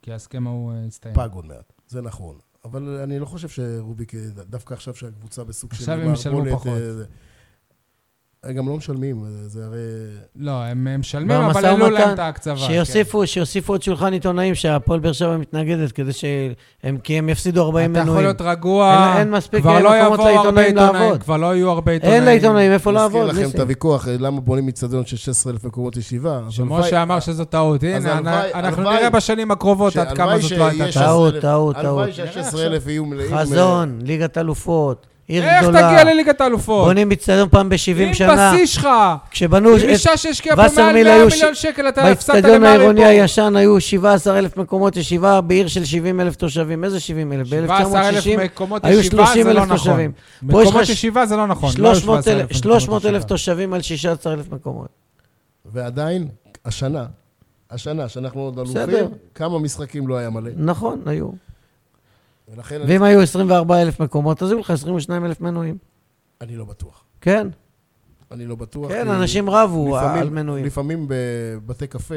B: כי ההסכם ההוא אה, הסתיים.
D: פג עוד מעט, זה נכון. אבל אני לא חושב שרוביק, דווקא עכשיו שהקבוצה בסוג של...
B: עכשיו הם ישלמו
D: מערבולת,
B: פחות.
D: אה, זה- הם גם לא משלמים, אה, זה הרי...
B: לא, הם הם משלמים,
A: מה,
B: אבל
A: משא
B: העלו להם
A: ומתן?
B: את ההקצבה. כן.
A: שיוסיפו, שיוסיפו עוד שולחן עיתונאים שהפועל באר שבע מתנגדת, כדי שהם, כי הם יפסידו
B: כן.
A: 40
B: אתה יכול
A: מנויים.
B: להיות רגוע,
A: אין- אין מספיק
B: כבר לא
A: מקומות
B: יבואו הרבה
A: לעיתונאים
B: עיתונאים,
A: לעבוד.
B: כבר לא יהיו הרבה עיתונאים.
A: אין לעיתונאים איפה
D: מזכיר
A: לעבוד,
D: לכם את
A: ניסים.
D: הוויכוח, אה, למה בונים איצטדיון של 16,000 מקומות ישיבה. אז הלוואי-
B: שמשה אמר שזו טעות,
D: אז
B: הנה,
D: הלוואי-
B: אנחנו
D: הלוואי-
B: נראה בשנים הקרובות עד כמה
D: שהלוואי
B: זאת לא הייתה
D: שיש-
B: טעות.
A: טעות,
D: 16,000.
A: טעות, טעות.
D: הלוואי שה-16,000 יהיו מלאים... אה,
A: חזון, ליגת אלופות, עיר
B: איך
A: גדולה.
B: תגיע לליגת האלופות?
A: בונים אצטדיון פעם ב-70 שנה.
B: עם בשיא שלך,
A: כשבנו
B: עם
A: את-
B: אישה שהשקיעה פה מעל
A: וסרמיל
B: 100
A: היו ש-
B: מיליון שקל, אתה הפסדת
A: באצטדיון העירוני
B: למרי פה.
A: הישן היו 17,000 מקומות ישיבה בעיר של 70,000 תושבים. איזה 70,000?
B: 17,000
A: ב-1960
B: מקומות
A: היו
B: ישיבה זה
A: 30,000
B: לא נכון.
A: תושבים. פה יש לך
B: מקומות
A: ש-
B: ישיבה זה לא נכון. לא 17,000 מקומות
A: 300,000
B: ישיבה.
A: תושבים על 16,000 מקומות.
D: אה, ועדיין, השנה, השנה, שאנחנו עוד
A: בסדר.
D: אלופים, כמה משחקים לא היה מלא.
A: נכון, היו.
D: ולכן אני-
A: ואם היו 24,000 מקומות, אז היו לך 22,000 מנויים.
D: אני לא בטוח.
A: כן,
D: אני לא בטוח.
A: כן,
D: כי
A: אנשים רבו
D: לפעמים-
A: על מנויים.
D: לפעמים בבתי קפה,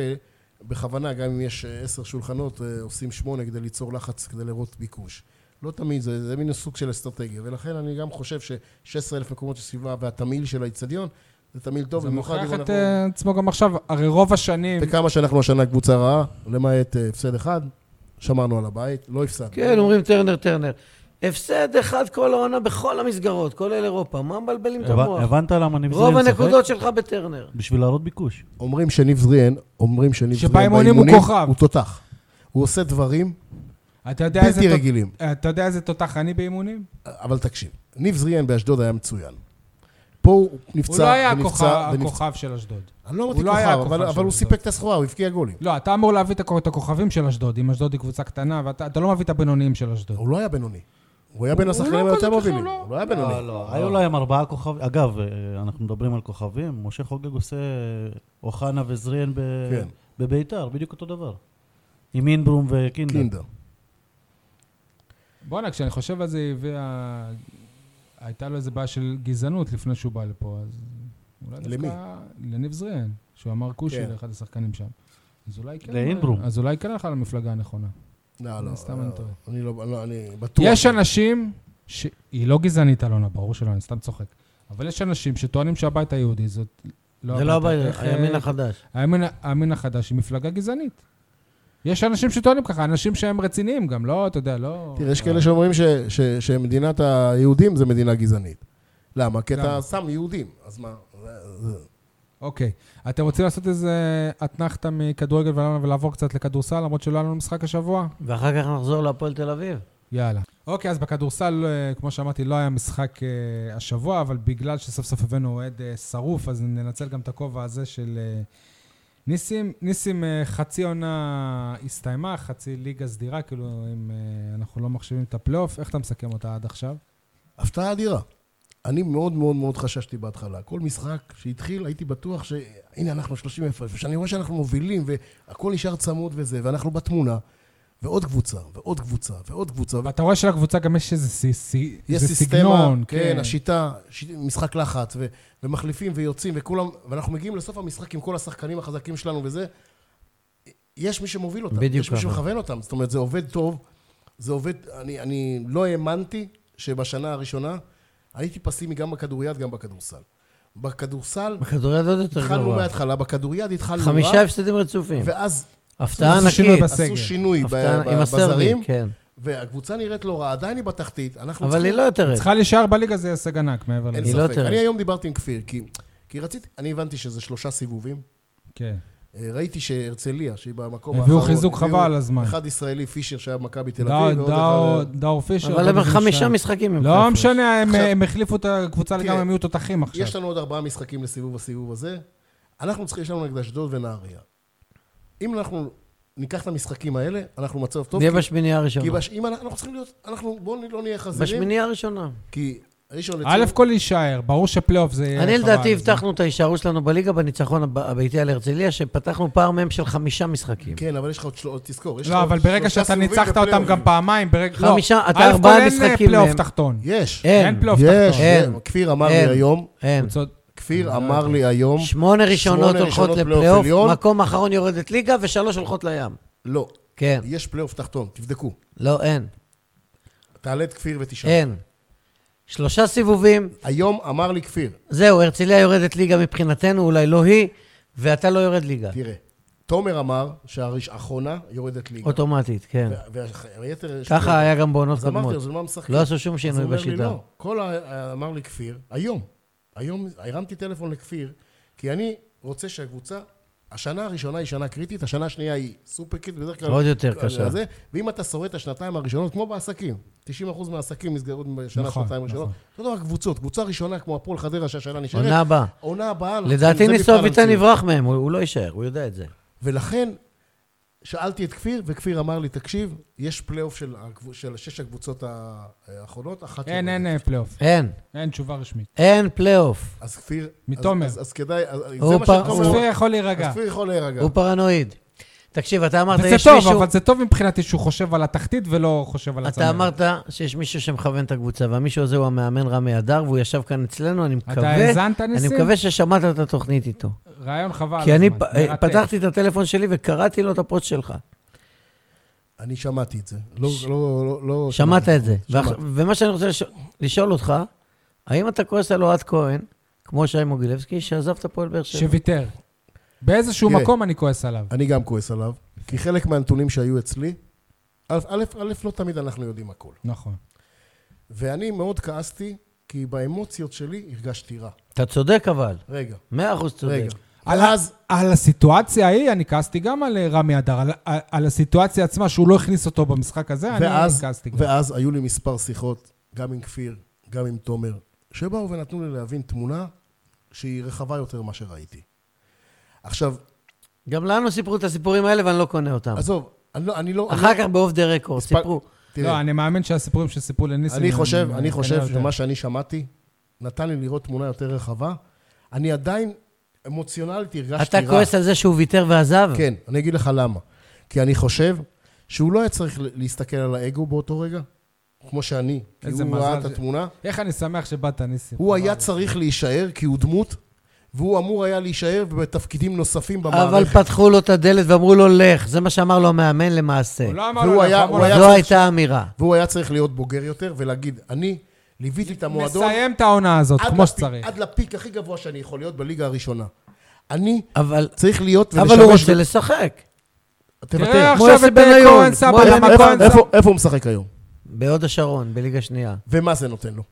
D: בכוונה, גם אם יש אה, עשר שולחנות, אה, עושים שמונה כדי ליצור לחץ, כדי לראות ביקוש. לא תמיד, זה, זה מין סוג של אסטרטגיה, ולכן אני גם חושב ש-16,000 מקומות של סביבה והתמהיל של האיצטדיון, זה תמהיל טוב,
B: זה
D: במיוחד
B: מוכיח
D: אם
B: את
D: אנחנו...
B: אה, עצמו גם עכשיו, הרי רוב השנים...
D: וכמה שאנחנו השנה קבוצה רעה, למעט אה, הפסד אחד, שמרנו על הבית, לא הפסדנו.
A: כן, אומרים טרנר, טרנר. הפסד אחד כל העונה בכל המסגרות, כולל אירופה. מה מבלבלים את
C: הבנ-
A: המוח?
C: הבנת למה אני
A: רוב
C: מזמין לשחק?
A: הנקודות שלך בטרנר.
C: בשביל להראות ביקוש.
D: אומרים שניב זריאן, אומרים שניב זריאן
B: שבאימונים הוא כוכב.
D: הוא תותח. הוא עושה דברים
B: אתה יודע איזה
D: בלתי
B: תות-
D: רגילים.
B: אתה יודע איזה תותח אני באימונים?
D: אבל תקשיב, ניב זריאן באשדוד היה מצוין. פה הוא נפצע,
B: הוא לא היה
D: ונפצע,
B: הכוכב
D: ונפצע.
B: הכוכב של אשדוד.
D: אני לא אמרתי
B: הוא לא היה
D: כוכב,
B: הכוכב
D: אבל-
B: של
D: אבל הוא
B: אשדוד.
D: סיפק את הסחורה, הוא הבקיע גולים.
B: לא, אתה אמור להביא את הכ- את הכוכבים של אשדוד, אם אשדוד היא קבוצה קטנה, ואתה אתה לא מביא את הבינוניים של אשדוד.
D: הוא לא היה בינוני. הוא היה
B: הוא
D: בין
B: לא
D: השחקנים
B: כזה
D: היותר
B: כוכב,
D: מובילים.
B: לא.
D: הוא לא היה
C: לא,
D: בינוני.
C: לא, היו להם ארבעה כוכבים. אגב, אה, אנחנו מדברים על כוכבים, משה חוגג עושה אה, אוחנה וזריאן ב-
D: כן.
C: בביתר, בדיוק אותו דבר. עם אינברום וקינדר.
D: קינדר.
B: בואנה, כשאני חושב על זה, היא הביאה... הייתה לו איזה בעיה של גזענות לפני שהוא בא לפה, אז... אולי
D: למי?
B: דווקא לניב זריאן, שהוא אמר כושי
D: כן.
B: לאחד השחקנים שם. אז אולי כן...
C: לאינברום.
B: אז אולי כן הלכה למפלגה הנכונה.
D: לא, לא.
B: סתם אני טועה.
D: אני לא, לא, אני בטוח.
B: יש אנשים ש... היא לא גזענית, אלונה, ברור שלא, אני סתם צוחק. אבל יש אנשים שטוענים שהבית היהודי זאת...
A: זה לא הבעיה,
B: איך,
A: הימין
B: אה,
A: החדש.
B: הימין, הימין החדש היא מפלגה גזענית. יש אנשים שטוענים ככה, אנשים שהם רציניים גם, לא, אתה יודע, לא...
D: תראה, יש כאלה שאומרים ש, ש, שמדינת היהודים זה מדינה גזענית. למה? כי
B: למה?
D: אתה שם יהודים, אז מה? זה- זה-
B: אוקיי. אתם רוצים לעשות איזה אתנחתה מכדורגל ול- ולעבור קצת לכדורסל, למרות שלא היה לנו משחק השבוע?
A: ואחר כך נחזור להפועל תל אביב.
B: יאללה. אוקיי, אז בכדורסל, אה, כמו שאמרתי, לא היה משחק אה, השבוע, אבל בגלל שסוף סוף הבאנו אוהד אה, שרוף, אז ננצל גם את הכובע הזה של אה, ניסים. ניסים, אה, חצי עונה הסתיימה, חצי ליגה סדירה, כאילו, אם אה, אנחנו לא מחשיבים את הפלייאוף, איך אתה מסכם אותה עד עכשיו?
D: הפתעה אדירה. אני מאוד מאוד מאוד חששתי בהתחלה. כל משחק שהתחיל, הייתי בטוח שהנה, אנחנו 30 הפרש, וכשאני רואה שאנחנו מובילים, והכל נשאר צמוד וזה, ואנחנו בתמונה, ועוד קבוצה, ועוד קבוצה, ועוד קבוצה,
B: ואתה רואה שלקבוצה גם יש איזה סי- סי-
D: יש
B: איזה
D: סיסטמה,
B: סגנון.
D: כן, השיטה, ש... משחק לחץ, ו... ומחליפים ויוצאים, וכולם, ואנחנו מגיעים לסוף המשחק עם כל השחקנים החזקים שלנו וזה, יש מי שמוביל אותם,
A: בדיוק
D: יש מי
A: ככה.
D: שמכוון אותם, זאת אומרת, זה עובד טוב, זה עובד, אני, אני לא האמנתי שבשנה הראשונה, הייתי פסימי גם בכדוריד, גם בכדורסל. בכדורסל,
A: בכדוריד עוד יותר
D: התחלנו
A: גרוע.
D: מההתחלה, בכדוריד התחלנו רע,
A: חמישה הפסדים רצופים.
D: ואז
A: הפתעה
B: עשו שינוי
A: ענקית.
B: בס- בסגל.
D: עשו שינוי ב-
A: הפתעה
D: ב-
A: עם הסרבים,
D: בזרים,
A: כן.
D: והקבוצה נראית לא רע, עדיין היא בתחתית, אנחנו
A: אבל היא לא יותר...
B: צריכה להישאר בליגה זה הישג ענק מעבר
D: אין
B: לזה.
A: היא לא
D: ספק.
A: תרד.
D: אני היום דיברתי עם כפיר, כי, כי רציתי, אני הבנתי שזה שלושה סיבובים.
B: כן.
D: אה, ראיתי שהרצליה, שהיא במקום
B: הביאו חיזוק חבל על הזמן.
D: אחד ישראלי, פישר, שהיה במכבי תל
B: דאו-
D: אביב, ועוד
B: דאו-
D: אחד... אה,
B: דאור פישר.
A: אבל
B: עוד
A: הם
B: איזה
A: חמישה
B: שניים.
A: משחקים. הם
B: לא
A: חיפה.
B: משנה, הם-
D: עכשיו-
B: הם החליפו את הקבוצה לגמרי,
D: תראה,
B: הם יהיו תותחים עכשיו.
D: יש לנו עוד ארבעה משחקים לסיבוב הסיבוב הזה. אנחנו צריכים, יש לנו נגד אשדוד ונהריה. אם אנחנו ניקח את המשחקים האלה, אנחנו במצב טוב.
A: נהיה
D: כי-
A: בשמינייה
D: כי
A: הראשונה.
D: בש- אם אנחנו אנחנו צריכים להיות, אנחנו בואו לא נהיה חזירים,
A: בשמינייה הראשונה.
D: כי ראשון לציון...
B: א' כל להישאר, ברור שפלייאוף זה
D: כן,
B: יהיה
A: אני
B: חבל,
A: לדעתי
B: זה-
A: הבטחנו את ההישארות שלנו בליגה בניצחון הב- הביתי על הרצליה, שפתחנו פער מהם של חמישה משחקים.
D: כן, אבל יש לך עוד שלוש, תזכור, יש לך
B: לא,
D: עוד
B: אבל ברגע
D: שלושה
B: שאתה
D: סיבובים
B: ניצחת אותם
D: בפלייאוף.
B: גם פעמיים, ברגע... לא,
A: חמישה, אתה
B: א' כל
A: ארבעה
B: אין
A: משחקים
B: פלייאוף
A: מהם.
B: תחתון.
D: יש,
A: אין,
B: אין לא פלייאוף
D: יש,
B: תחתון.
A: אין.
D: כפיר אמר לי
A: אין.
D: היום,
A: אין.
B: קבוצות-
D: כפיר אמר לי היום,
A: שמונה ראשונות
D: שמונה
A: הולכות
D: ראשונות
A: לפלייאוף,
D: פלייאוף עליון.
A: מקום אחרון יורדת ליגה ושלוש הולכות לים.
D: לא,
A: כן.
D: יש פלייאוף תחתון, תבדקו.
A: לא, אין.
D: תעלה את כפיר ותשאל.
A: אין. שלושה סיבובים,
D: היום אמר לי כפיר,
A: זהו, הרצליה יורדת ליגה מבחינתנו, אולי לא היא, ואתה לא יורד ליגה.
D: תראה, תומר אמר שהאחרונה יורדת ליגה.
A: אוטומטית, כן.
D: והיתר...
A: ככה היה גם בעונות
D: אז אמרתי,
A: קודמות.
D: אז על מה משחקים?
A: לא עשו שום
D: אז הוא
A: שינוי
D: אומר לי,
A: בשיטה.
D: לא, כל ה... אמר לי כפיר, היום, היום הרמתי טלפון לכפיר, כי אני רוצה שהקבוצה, השנה הראשונה היא שנה קריטית, השנה השנייה היא סופר קריטית, בדרך כלל...
A: עוד יותר
D: על
A: קשה.
D: זה, ואם אתה שורד את השנתיים הראשונות, כמו בעסקים, 90% מהעסקים נסגרות בשנה,
B: נכון,
D: שנתיים ראשונות,
B: נכון.
D: אותו דבר קבוצות, קבוצה ראשונה כמו הפועל חדרה שהשנה נשארת,
A: עונה הבאה.
D: עונה הבאה... אנחנו-
A: לדעתי
D: זה
A: ניסו
D: מבחן
A: אביטן
D: המציאות.
A: יברח מהם, הוא- הוא לא יישאר, הוא יודע את זה.
D: ולכן שאלתי את כפיר, וכפיר אמר לי, תקשיב, יש פלייאוף של, הקבוצ- של שש הקבוצות האחרונות, אחת... לא
B: אין,
D: יורדת."
B: אין אה, פלייאוף.
A: אין,
B: אין תשובה רשמית.
A: אין פלייאוף.
D: אז כפיר...
B: מתומר.
D: אז, אז, אז כדאי... אז,
A: הוא
D: זה מה
A: פר-
D: שתומר...
A: הוא-
B: צופה יכול
D: אז
B: להירגע.
D: כפיר יכול להירגע.
A: הוא פרנואיד. תקשיב, אתה אמרת,
B: כן. וזה
A: יש
B: טוב,
A: מישהו...
B: אבל לא זה טוב מבחינתי שהוא חושב על התחתית ולא חושב על הצמרת.
A: אתה אמרת שיש מישהו שמכוון את הקבוצה, והמישהו הזה הוא המאמן רמי אדר, והוא ישב כאן אצלנו, אני
B: אתה
A: מקווה...
B: האזנת, ניסים?
A: אני מקווה ששמעת את התוכנית איתו.
B: רעיון חבל.
A: כי
B: על
A: אני
B: הזמן,
A: פ- אה,
B: מרתק.
A: פתחתי את הטלפון שלי וקראתי לו את הפוסט שלך.
D: אני שמעתי את זה. לא... לא, לא, לא
A: שמעת את זה.
D: שמעתי.
A: ואח- ומה שאני רוצה לשאול- לשאול אותך, האם אתה כועס על אוהד כהן, כמו שי מוגילבסקי, שעזב את הפועל באר שבע?
B: שוויתר. באיזשהו
D: כן. תראה.
B: מקום אני כועס עליו.
D: אני גם כועס עליו, כי חלק מהנתונים שהיו אצלי, א', א', א', לא תמיד אנחנו יודעים הכל.
B: נכון.
D: ואני מאוד כעסתי, כי באמוציות שלי הרגשתי רע.
A: אתה צודק אבל,
D: רגע,
A: מאה אחוז צודק.
D: רגע.
B: על,
D: ואז-
B: על הסיטואציה ההיא, אני כעסתי גם על אה, רמי אדר, על, על, על הסיטואציה עצמה, שהוא לא הכניס אותו במשחק הזה,
D: ואז,
B: אני כעסתי גם.
D: ואז היו לי מספר שיחות, גם עם כפיר, גם עם תומר, שבאו ונתנו לי להבין תמונה שהיא רחבה יותר ממה שראיתי. עכשיו,
A: גם לנו סיפרו את הסיפורים האלה ואני לא קונה אותם.
D: עזוב, אני לא... אני לא
A: אחר
D: אני,
A: כך באוף דה רקורד,
D: הספק-
A: סיפרו.
D: תראה,
B: לא, אני מאמין שהסיפורים שסיפרו לניסים...
D: אני
B: הם-
D: חושב,
B: הם
D: אני חושב
B: כנראה יותר.
D: שמה שאני שמעתי נתן לי לראות תמונה יותר רחבה. אני עדיין אמוציונלית הרגשתי
A: אתה
D: רע.
A: כועס על זה שהוא ויתר ועזב?
D: כן, אני אגיד לך למה. כי אני חושב שהוא לא היה צריך להסתכל על האגו באותו רגע, כמו שאני. כי
B: איזה
D: הוא ראה
B: מזל
D: את
B: ש-
D: התמונה.
B: איך אני שמח שבאת, ניסים.
D: הוא היה צריך להישאר כי הוא דמות, והוא אמור היה להישאר בתפקידים נוספים במערכת.
A: אבל פתחו לו את הדלת ואמרו לו, לך. זה מה שאמר לו המאמן למעשה.
B: הוא לא אמר
D: והוא
B: לו,
D: היה-
B: אנחנו
D: הוא
B: אמרנו
D: היה
A: זו
D: צריך-
A: הייתה האמירה.
D: והוא היה צריך להיות בוגר יותר ולהגיד, אני ליוויתי את
B: לו,
D: המועדון
B: נסיים את העונה הזאת,
D: עד
B: כמו
D: לפיק-
B: שצריך.
D: עד לפיק הכי גבוה שאני יכול להיות בליגה הראשונה. אני
A: אבל
D: צריך להיות ולשמש...
A: אבל הוא רוצה
D: ב- אה,
A: לשחק.
D: תוותר.
B: תראה
A: כמו
B: עכשיו
A: יוסי
B: את
A: בניון,
B: כהן
A: כמו
B: סבא
A: יוסי
D: איפה-
A: בניון.
B: למקום.
D: איפה- איפה- איפה הוא משחק היום?
A: בהוד השרון, בליגה שנייה.
D: ומה זה נותן לו?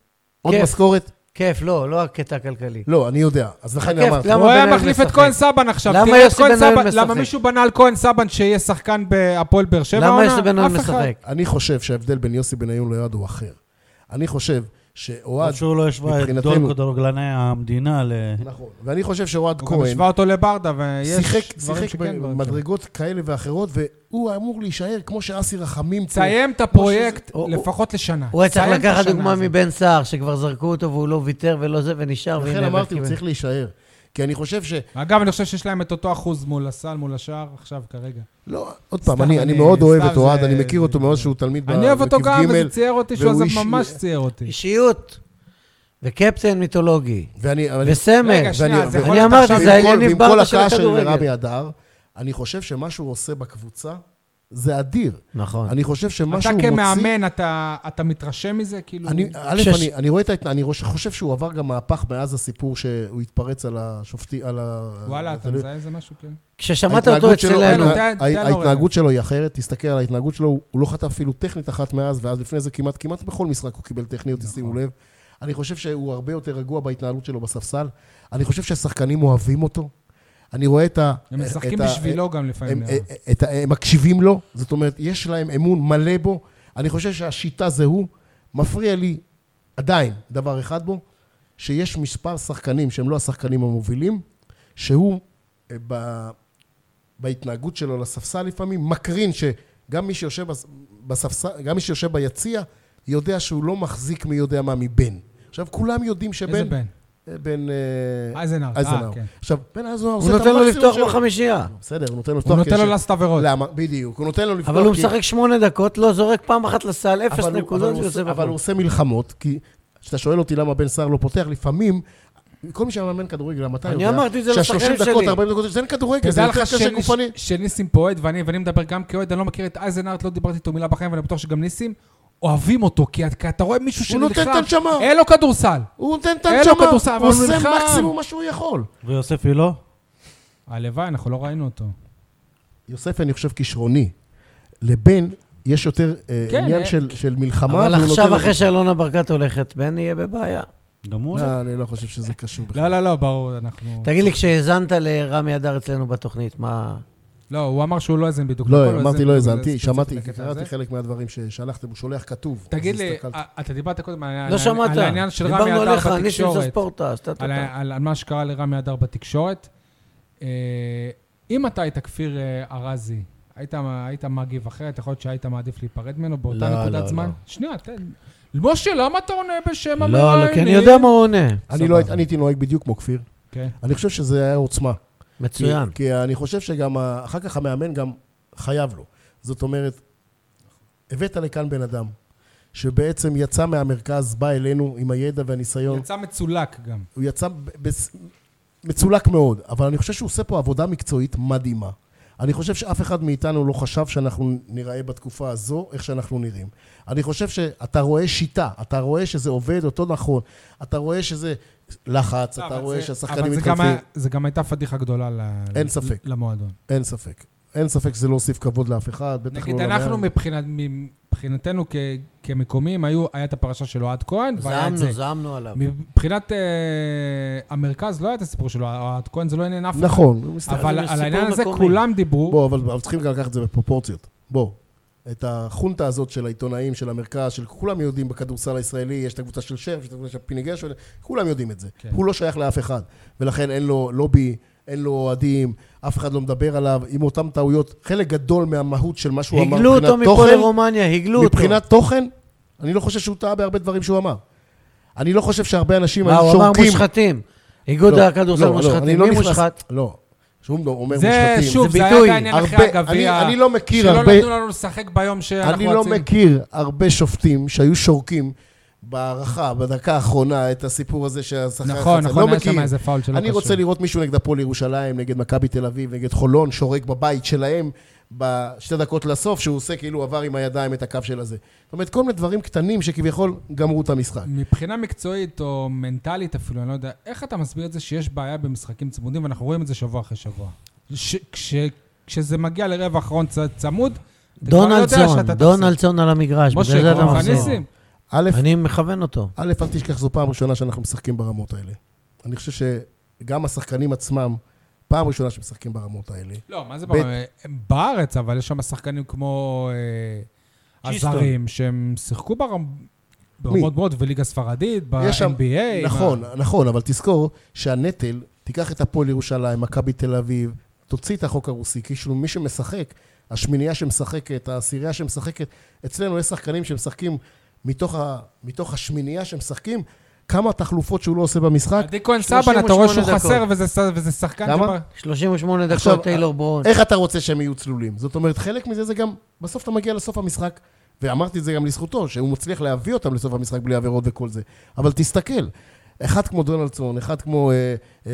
D: עוד
A: כיף.
D: משכורת?
A: כיף, לא, לא הקטע הכלכלי.
D: לא, אני יודע. אז לכן
A: כיף,
D: אמרתי.
A: למה
B: הוא היה
A: בניון
B: מחליף את
A: משחק?
B: כהן סבן עכשיו.
A: למה
B: תראה את
A: יוסי
B: כהן
A: בניון
B: סבן- למה
A: משחק?
B: מישהו בנה על כהן סבן שיהיה שחקן בהפועל באר שבע?
A: למה
B: העונה?
A: יוסי בן
B: אף אחד.
A: משחק?
D: אני חושב שההבדל בין יוסי בניון לאוהד הוא אחר. אני חושב שאוהד...
C: עד שהוא לא השווה את
D: מבחינתנו-
C: דון כדורגלני המדינה ל...
D: נכון. ואני חושב שאוהד
B: הוא גם
D: כהן...
B: השווה אותו לברדה, ויש
D: שיחק,
B: דברים
D: שיחק
B: שכן. דברים שלא.
D: במדרגות כאלה ואחרות, והוא אמור להישאר כמו שאסי רחמים פה.
B: תסיים את הפרויקט
A: הוא-
B: לפחות לשנה.
A: הוא היה צריך
B: תסיים את
A: לקחת
B: השנה
A: דוגמה
B: הזאת.
A: מבן סער, שכבר זרקו אותו והוא לא ויתר ולא זה, ונשאר, והנה...
D: לכן אמרתי, הוא
A: קיבל.
D: צריך להישאר. כי אני חושב ש...
B: אגב, אני חושב שיש להם את אותו אחוז מול הסל, מול השער, עכשיו, כרגע.
D: לא, עוד פעם,
B: סתם,
D: אני, אני
B: אני-
D: מאוד אוהב
B: סתם
D: את אוהד,
B: זה-
D: אני מכיר
B: זה-
D: אותו מאז שהוא תלמיד
B: אני אוהב אותו
D: בכיף
B: גם,
D: ג',
B: וזה צייר אותי שהוא
D: והוא
B: עזב,
D: איש-
B: ממש צייר אותי.
A: אישיות. וקפטן מיתולוגי.
D: ואני... אבל-
A: וסמל.
B: רגע, שנייה,
D: ואני-
B: זה יכול
A: אני
B: להיות
A: אמרתי,
B: עכשיו...
D: ועם
A: זה
D: כל-
A: העניינים
D: ועם כל
A: ברדה של
D: הקהל של רבי
A: הכדורגל.
D: הדר, אני חושב שמה שהוא עושה בקבוצה זה אדיר.
A: נכון.
D: אני חושב שמה
B: אתה
D: שהוא מוציא...
B: כמאמן, אתה אתה מתרשם מזה? כאילו...
D: אני, א',
A: כשש-
D: אני, אני רואה את ההתנ... אני ראש- חושב שהוא עבר גם מהפך מאז הסיפור שהוא התפרץ על השופטי... על ה...
B: וואלה, אתה
D: על-
B: מזהה איזה משהו, כן?
A: כששמעת
D: ההתנהגות
A: אותו
D: שלו-
A: אצלנו,
B: תן לו,
D: ההת-
B: תן לו
D: ההתנהגות שלו היא אחרת, תסתכל על ההתנהגות שלו, הוא לא חטף אפילו טכנית אחת מאז, ואז לפני זה כמעט, כמעט בכל משחק הוא קיבל טכניות,
B: נכון.
D: תשימו לב. אני חושב שהוא הרבה יותר רגוע בהתנהלות שלו בספסל. אני חושב שהשחקנים אוהבים אותו. אני רואה את ה...
B: הם
D: אה, את
B: משחקים
D: ה- אה,
B: בשבילו גם לפעמים. אה.
D: הם,
B: נראה.
D: את, ה- הם מקשיבים לו, זאת אומרת, יש להם אמון מלא בו. אני חושב שהשיטה זה הוא. מפריע לי עדיין דבר אחד בו, שיש מספר שחקנים שהם לא השחקנים המובילים, שהוא אה, ב, בהתנהגות שלו לספסל לפעמים מקרין שגם מי שיושב, בס- בספסל, גם מי שיושב ביציע יודע שהוא לא מחזיק מי יודע מה מבן. עכשיו, כולם יודעים שבן...
B: איזה בן?
D: אה, בן... אה,
B: אייזנארט, אה,
D: אייזנאור.
B: כן.
D: עכשיו, בן אייזנאור
A: הוא
D: עושה את
A: נותן לו
D: המקסימום
A: לפתוח
D: שלו.
A: בחמישייה.
D: בסדר, הוא נותן לו לפתוח.
B: הוא
D: כי
B: נותן לו
D: יש-
B: לעשות עבירות.
D: למה? בדיוק. הוא נותן לו לפתוח.
A: אבל הוא
D: כי-
A: משחק שמונה דקות, לא זורק פעם אחת לסל, אפס
D: אבל הוא-
A: נקודות
D: אבל הוא
A: ויוצא
D: עושה- אבל הוא
A: בחוץ.
D: עושה מלחמות, כי כשאתה שואל אותי למה בן סער לא פותח, לפעמים... כל מי שמאמן כדורגל, מתי
A: אני
D: יודע?
A: אמרתי את זה לשחקנים
D: שה-30
A: שלי.
D: דקות, 40 דקות, זה אין כדורגל, זה
B: תדע
D: יותר
B: לך
D: קשה
B: שניס-
D: גופני.
B: שניסים פה אוהד, ואני ואני מדבר גם כאוהד, אני לא מכיר את אייזנארט, לא דיברתי איתו מילה בחיים, ואני בטוח שגם ניסים, אוהבים אותו, כי אתה- כי אתה רואה מישהו
D: הוא נותן את
B: שנלחם,
D: הנשמה.
B: אין לו כדורסל.
D: הוא נותן את
B: אין לו
D: הנשמה,
B: כדורסל, אבל
D: הוא
B: הוא
D: עושה
B: נלחם.
D: מקסימום מה שהוא יכול.
C: ויוספי לא?
B: הלוואי, אנחנו לא ראינו אותו.
D: יוסף, אני חושב, כישרוני. לבן יש יותר אה,
B: כן,
D: עניין
B: אה,
D: של- של מלחמה.
A: אבל
D: והוא
A: עכשיו,
D: נותן-
A: אחרי שאלונה ברקת הולכת, בן יהיה בבעיה.
C: גם הוא?
D: לא, אני לא חושב שזה קשור בכלל.
B: לא, לא, לא, ברור, אנחנו...
A: תגיד לי, כשהאזנת לרמי אדר אצלנו בתוכנית, מה...
B: לא, הוא אמר שהוא לא האזין בדיוק.
D: לא,
B: נכון,
D: אמרתי,
B: האזין
D: לא
B: בדיוק
D: האזנתי,
B: לספציפית
D: שמעתי,
B: לקטע
D: קראתי
B: הזה.
D: חלק מהדברים ששלחתם, הוא שולח כתוב.
B: תגיד
D: אז
B: לי,
D: הסתכלתי.
B: אה, אתה דיברת קודם על
A: לא
B: על-
A: שמעת.
B: על העניין של רמי
A: דיברנו
B: אדר
A: עליך, ניסים
B: בתקשורת.
A: ספורטה, שטה
B: על,
A: טה.
B: ה- על, על מה שקרה לרמי אדר בתקשורת. אה, אם אתה היית כפיר אה, ארזי, היית, היית מגיב אחרת, יכול להיות שהיית מעדיף להיפרד ממנו באותה
A: לא,
B: נקודת
A: לא,
B: זמן?
A: לא.
B: שנייה, תן. משה, למה אתה עונה בשם
A: לא,
B: המראיינים?
A: לא, כי אני יודע מה הוא עונה.
D: אני לא הייתי- אני הייתי נוהג בדיוק כמו כפיר.
B: כן.
D: אני חושב שזה היה עוצמה. כי-
A: מצוין.
D: כי אני חושב שגם ה- אחר כך המאמן גם חייב לו. זאת אומרת, הבאת לכאן בן אדם שבעצם יצא מהמרכז, בא אלינו עם הידע
A: לא.
D: והניסיון.
B: יצא מצולק גם.
D: הוא יצא ב- בס- מצולק מאוד, אבל אני חושב שהוא עושה פה עבודה מקצועית מדהימה. אני חושב שאף אחד מאיתנו לא חשב שאנחנו ניראה בתקופה הזו איך שאנחנו נראים. אני חושב שאתה רואה שיטה, אתה רואה שזה עובד אותו נכון, אתה רואה שזה לחץ,
B: לא,
D: אתה
B: אבל
D: רואה
B: זה-
D: שהשחקנים
B: אבל זה גם
D: מתחלפים.
B: היה- זה גם הייתה פדיחה גדולה ל-
D: אין ספק.
B: למועדון.
D: אין ספק. אין ספק שזה לא הוסיף כבוד לאף אחד, בטח לא...
B: נגיד, אנחנו
D: למאמן.
B: מבחינת- מבחינתנו כ- כמקומיים, היו- היה את הפרשה של אוהד כהן, והיה את זה.
A: זעמנו, זעמנו עליו.
B: מבחינת אה, המרכז לא היה את הסיפור שלו, אוהד כהן זה לא עניין אף אחד.
D: נכון, הוא מסתכל.
B: אבל
A: זה
B: על
A: סיפור
B: העניין הזה
A: מקומי.
B: כולם דיברו.
D: בוא, אבל אבל צריכים גם לקחת את זה בפרופורציות. בוא. את החונטה הזאת של העיתונאים, של המרכז, של כולם יודעים בכדורסל הישראלי, יש את הקבוצה של שרף, יש את הקבוצה של פיניגש, כולם יודעים את זה.
B: כן.
D: הוא לא שייך לאף אחד, ולכן אין לו לובי, אין לו אוהדים, אף אחד לא מדבר עליו, עם אותן טעויות. חלק גדול מהמהות של מה שהוא אמר
A: הגלו
D: מבחינת
A: אותו מפה
D: תוכן,
A: לרומניה, הגלו אותו.
D: מבחינת תוכן, אני לא חושב שהוא טעה בהרבה דברים שהוא אמר. אני לא חושב שהרבה אנשים
A: מה,
D: היו
A: הוא אמר
D: שורקים...
A: מושחתים. איגוד
D: לא,
A: הכדורסל
D: לא, לא, אני
A: מושחתים.
D: לא
A: מי
D: נכנס-
A: מושחת?
D: לא, שום דבר, הוא אומר
B: זה
D: מושחתים.
B: שוב,
A: זה
B: זה
A: ביטוי.
B: היה העניין אחרי
D: הרבה-
B: הגביע.
D: אני- אני לא מכיר
B: שלא
D: הרבה-
B: נתנו לנו לשחק ביום שאנחנו
D: אני לא
B: רצינו.
D: מכיר הרבה שופטים שהיו שורקים בהערכה, בדקה האחרונה, את הסיפור הזה שהשחקן...
B: נכון,
D: חצה.
B: נכון,
D: לא
B: היה
D: מכיר.
B: שם איזה פאול שלא קשור.
D: אני רוצה לראות מישהו נגד הפועל ירושלים, נגד מכבי תל אביב, נגד חולון, שורק בבית שלהם בשתי דקות לסוף, שהוא עושה כאילו עבר עם הידיים את הקו של הזה. זאת אומרת, כל מיני דברים קטנים שכביכול גמרו את המשחק.
B: מבחינה מקצועית או מנטלית אפילו, אני לא יודע, איך אתה מסביר את זה שיש בעיה במשחקים צמודים, ואנחנו רואים את זה שבוע אחרי שבוע. ש- כש- כשזה מגיע לרבע האחרון צ- צמוד, אתה כבר יודע
A: דונלדסון,
B: שאתה תפסיד.
A: דונלדסון על המגרש, בגלל
B: משה,
A: זה אתה
B: כבר
A: מחזיר.
B: ניסים.
D: א',
A: אני מכוון אותו.
D: א', אל תשכח, זו פעם ראשונה שאנחנו משחקים ברמות האלה. אני חושב שגם השחקנים עצמם, פעם ראשונה שמשחקים ברמות האלה.
B: לא, מה זה
D: בית-
B: בעיה? הם בארץ, אבל יש שם שחקנים כמו אה,
C: צ'יסטון.
B: הזרים, שהם שיחקו ברמ- ברמות מאוד וליגה ספרדית,
D: יש שם-
B: ב-NBA.
D: נכון, נכון, אבל תזכור שהנטל, תיקח את הפועל ירושלים, מכבי תל אביב, תוציא את החוק הרוסי, כאילו מי שמשחק, השמינייה שמשחקת, העשירייה שמשחקת, אצלנו יש שחקנים שמשחקים מתוך, ה, מתוך השמינייה שמשחקים, כמה תחלופות שהוא לא עושה במשחק.
B: עדי כהן סבן, אתה רואה
A: 38
B: שהוא
A: דקות.
B: חסר, וזה ס- וזה שחקן...
D: כמה?
B: שבא-
A: 38
D: עכשיו,
A: דקות טיילור ברון.
D: איך אתה רוצה שהם יהיו צלולים? זאת אומרת, חלק מזה זה גם, בסוף אתה מגיע לסוף המשחק, ואמרתי את זה גם לזכותו, שהוא מצליח להביא אותם לסוף המשחק בלי עבירות וכל זה. אבל תסתכל, אחד כמו דונלדסון, אחד כמו אה, אה,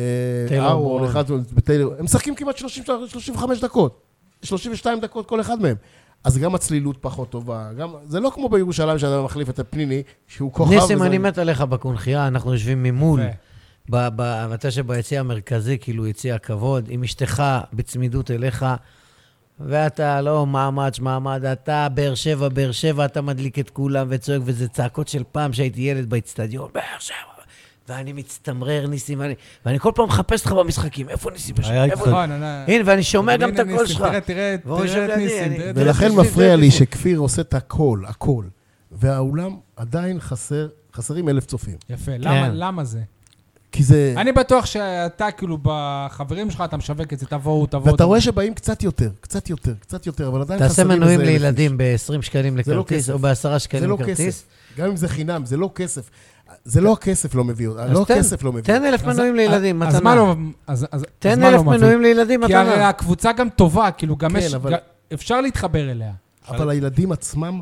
A: טיילור
D: אהרון,
A: בורון.
D: אחד כמו טיילור, הם משחקים כמעט 30, 35 דקות, 32 דקות כל אחד מהם. אז גם הצלילות פחות טובה, גם, זה לא כמו בירושלים שאתה מחליף את הפניני, שהוא כוכב.
A: ניסים,
D: וזה-
A: אני מת עליך בקונכייה, אנחנו יושבים ממול.
B: יפה.
A: ב- ב- אתה שביציע המרכזי, כאילו יציע הכבוד, עם אשתך בצמידות אליך, ואתה לא מעמד, שמעמד, אתה באר שבע, באר שבע, אתה מדליק את כולם וצועק, וזה צעקות של פעם שהייתי ילד באצטדיון, באר שבע. ואני מצטמרר, ניסים, ואני, ואני כל פעם מחפש אותך במשחקים, איפה ניסים?
C: היה
A: איפה
D: כן.
C: קצת.
A: ניסים?
B: נכון, אני-
A: הנה, ואני שומע גם את
B: הנה
A: הקול
B: ניסים,
A: שלך.
B: תראה, תראה,
A: והוא
B: תראה
A: יושב
B: את
A: לידי,
B: ניסים.
A: אני-
B: תראה את
A: ול-
D: ולכן
A: יש לי
D: מפריע
A: זה
D: לי
A: פה.
D: שכפיר עושה את הכל, הכל. והאולם עדיין חסר, חסרים אלף צופים.
B: יפה, למה-
A: כן.
B: למה זה?
D: כי זה...
B: אני בטוח שאתה, כאילו, בחברים שלך, אתה משווק את זה, תבואו, תבואו.
D: ואתה רואה שבאים קצת יותר, קצת יותר, קצת יותר, אבל עדיין
A: תעשה
D: חסרים איזה
A: מנויים
D: אלף איש.
A: לילדים ב-20 שקלים
D: זה לא
A: לכרטיס,
D: כסף.
A: או ב-10
D: זה לא
A: שקלים לכרטיס.
D: כסף. גם אם זה חינם, זה לא כסף. זה לא הכסף לא מביא אותה,
A: כן. אז
D: לא
A: תן,
D: הכסף לא מביא.
A: תן אלף
B: אז-
A: מנויים לילדים,
B: אז
A: מתנה.
B: מה לא... אז- אז- אז
A: תן
B: מה
A: אלף
B: לא מביא?
A: מנויים לילדים,
B: כי הרי
A: מתנה.
B: הקבוצה גם טובה, כאילו, גם
D: כן,
B: יש...
D: אבל-
B: גם- אפשר להתחבר אליה.
D: אבל הילדים עצמם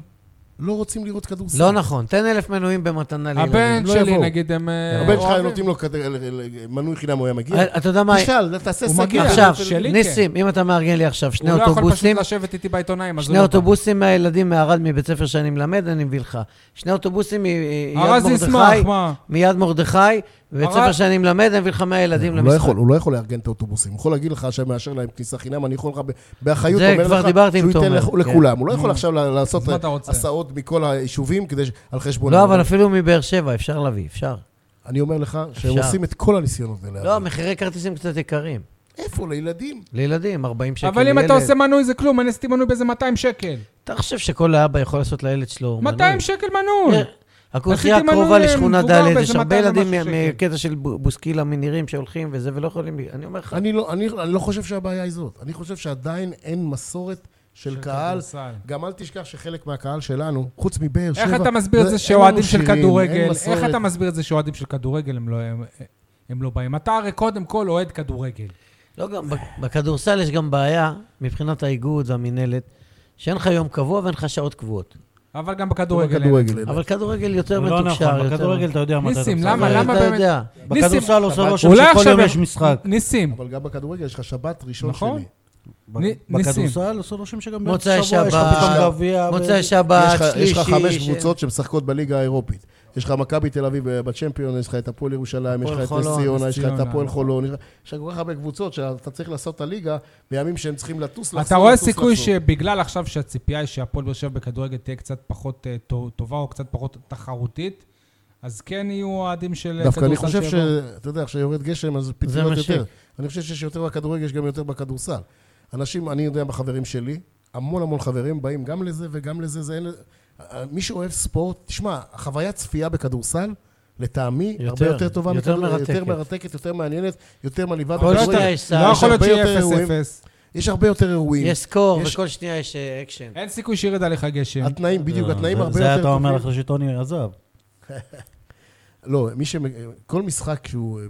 D: לא רוצים לראות כדורסל.
A: לא נכון, תן אלף מנויים במתנה לילדים.
B: הבן
D: לא
B: שלי,
D: יבואו.
B: נגיד, הם אה,
D: הבן שלך,
B: אוהבים.
D: נותנים לו כד- ל- ל- ל- מנוי חינם, הוא היה מגיע.
A: אה, אתה יודע מה,
D: תשאל, תעשה
B: הוא
D: סקר.
B: מגיע.
A: עכשיו,
B: שלי, כן.
A: ניסים, אם אתה מארגן לי עכשיו שני
B: הוא לא יכול פשוט
A: אוטובוסים,
B: לשבת איתי בעיתונאים, אז הוא
A: שני
B: לא בא.
A: אוטובוסים מהילדים מערד מבית ספר שאני מלמד, אני מביא לך. שני אוטובוסים מיד
B: ארז
A: מרדכי,
B: ישמח, מה?
A: מיד מרדכי, בבית
B: ארז-
A: ספר שאני מלמד, אני מביא לך מהילדים
D: הוא לא
A: למשחק.
D: יכול, הוא לא יכול לארגן את האוטובוסים. הוא יכול להגיד לך שמאשר להם כניסה חינם, אני יכול לך ב- באחריות,
A: זה
D: אומר
A: כבר
D: לך,
A: דיברתי עם
D: שהוא ייתן
A: תומר,
D: לכ-
A: כן.
D: לכולם. הוא לא יכול
B: נו.
D: עכשיו ל- לעשות
B: Mm. אז מה אתה רוצה?
D: הסעות מכל היישובים כדי ש- על חשבון...
A: לא, אבל
D: ההורים.
A: אפילו מבאר שבע, אפשר להביא, אפשר.
D: אני אומר לך שהם
A: אפשר.
D: עושים את כל הניסיונות האלה.
A: לא, מחירי כרטיסים קצת יקרים.
D: איפה? לילדים?
A: לילדים, 40 שקל
B: אבל
A: לילד.
B: אם אתה עושה מנוי זה כלום, אני עשיתי מנוי באיזה 200 שקל.
A: אתה חושב שכל האבא יכול לעשות לילד שלו מנוי?
B: 200 שקל מנוי.
D: כן.
A: הקונחייה
B: עשיתי מנוי
A: הקרובה לשכונה
B: למבוגר
A: ד', יש
B: באיזה
A: הרבה
B: 200
A: ילדים
B: ומשהו
A: מה-
B: שקל.
A: מהקטע של בו- בוסקילה מנירים שהולכים וזה, ולא יכולים... ל- אני אומר לך,
D: אני לא, אני, אני לא חושב שהבעיה היא זאת. אני חושב שעדיין אין מסורת של,
B: של
D: קהל.
B: כדורסל.
D: גם אל תשכח שחלק מהקהל שלנו, חוץ מבאר שבע...
B: איך אתה מסביר את
D: אין
B: זה שאוהדים
D: לנו
B: של
D: שירים, אין
B: כדורגל,
D: מסורת.
B: איך אתה מסביר את זה שאוהדים של כדורגל הם לא- הם- הם לא באים? אתה הרי קודם כל אוהד כדורגל.
A: לא גם, ב- בכדורסל יש גם בעיה, מבחינת האיגוד והמינהלת, שאין לך יום קבוע ואין לך שעות קבועות.
B: אבל גם
D: לא
B: בכדורגל. אין.
D: בכדורגל. אין.
A: אבל כדורגל יותר
C: לא
A: מתוקשר,
C: נכון,
A: יותר...
C: בכדורגל אתה יודע מתי אתה
B: ניסים,
C: משחק.
B: למה,
A: אבל
B: למה
A: אתה
B: באמת?
A: יודע.
B: ניסים,
C: בכדורסל עושה
D: אבל-
C: רושם
B: אולי
C: שכל
B: עכשיו-
C: יום יש משחק.
B: ניסים,
D: אבל גם בכדורגל יש לך שבת ראשון
B: נכון.
D: שני.
B: ניסים.
C: בכדורסל עושה רושם שגם באמצע
A: מוצאי
C: שבוע יש לך
A: שבת,
C: פתאום גביע. ו-
A: מוצאי
D: יש
A: שבת,
D: לך- יש
A: שלישי...
D: לך חמש
A: ש-
D: קבוצות שמשחקות בליגה האירופית. יש לך מכבי תל אביב אה, בצ'מפיון, יש לך את הפועל ירושלים, יש לך
A: הפועל
D: את נס
A: חולון,
D: ציונה,
B: נס
D: יש לך את
B: ציונה.
D: הפועל חולון, יש לך- יש לך כל כך הרבה קבוצות שאתה צריך לעשות את הליגה בימים שהם צריכים לטוס,
B: אתה
D: לחזור,
B: רואה
D: לטוס,
B: סיכוי
D: לחזור.
B: שבגלל עכשיו שהציפייה היא שהפועל באר שבע בכדורגל תהיה קצת פחות אה, טו- טובה או קצת פחות תחרותית, אז כן יהיו אוהדים של כדורסל
D: דווקא אני חושב ש...
B: שיבואו.
D: אתה יודע, כשיורד גשם, אז
A: מה
D: פתרונות
A: ש-
D: יותר. אני חושב שיש יותר בכדורגל, יש גם יותר בכדורסל. אנשים, אני יודע בחברים שלי, המון המון חברים באים גם לזה וגם לזה, זה אין... מי שאוהב ספורט, תשמע, החוויית צפייה בכדורסל, לטעמי, הרבה
A: יותר,
D: יותר טובה,
A: יותר
D: מכדור-
A: מרתקת.
D: יותר מרתקת, יותר מעניינת, יותר מלאיבה.
A: כל
D: בכדורגל.
A: שנייה יש סל,
B: לא יכול להיות
D: הרבה
B: שיהיה
D: יותר
B: 0-0.
D: אירועים. יש הרבה יותר אירועים.
A: יש סקור,
D: יש-
A: וכל שנייה יש אה, אקשן.
B: אין סיכוי שירד עליך גשם.
D: התנאים, בדיוק,
C: זה-
D: התנאים
C: אה, זה-
D: הרבה
C: זה
D: יותר
C: אתה אומר
D: טובים.
C: אחרי שטוני עזב.
D: לא, מי ש... כל משחק שהוא אה,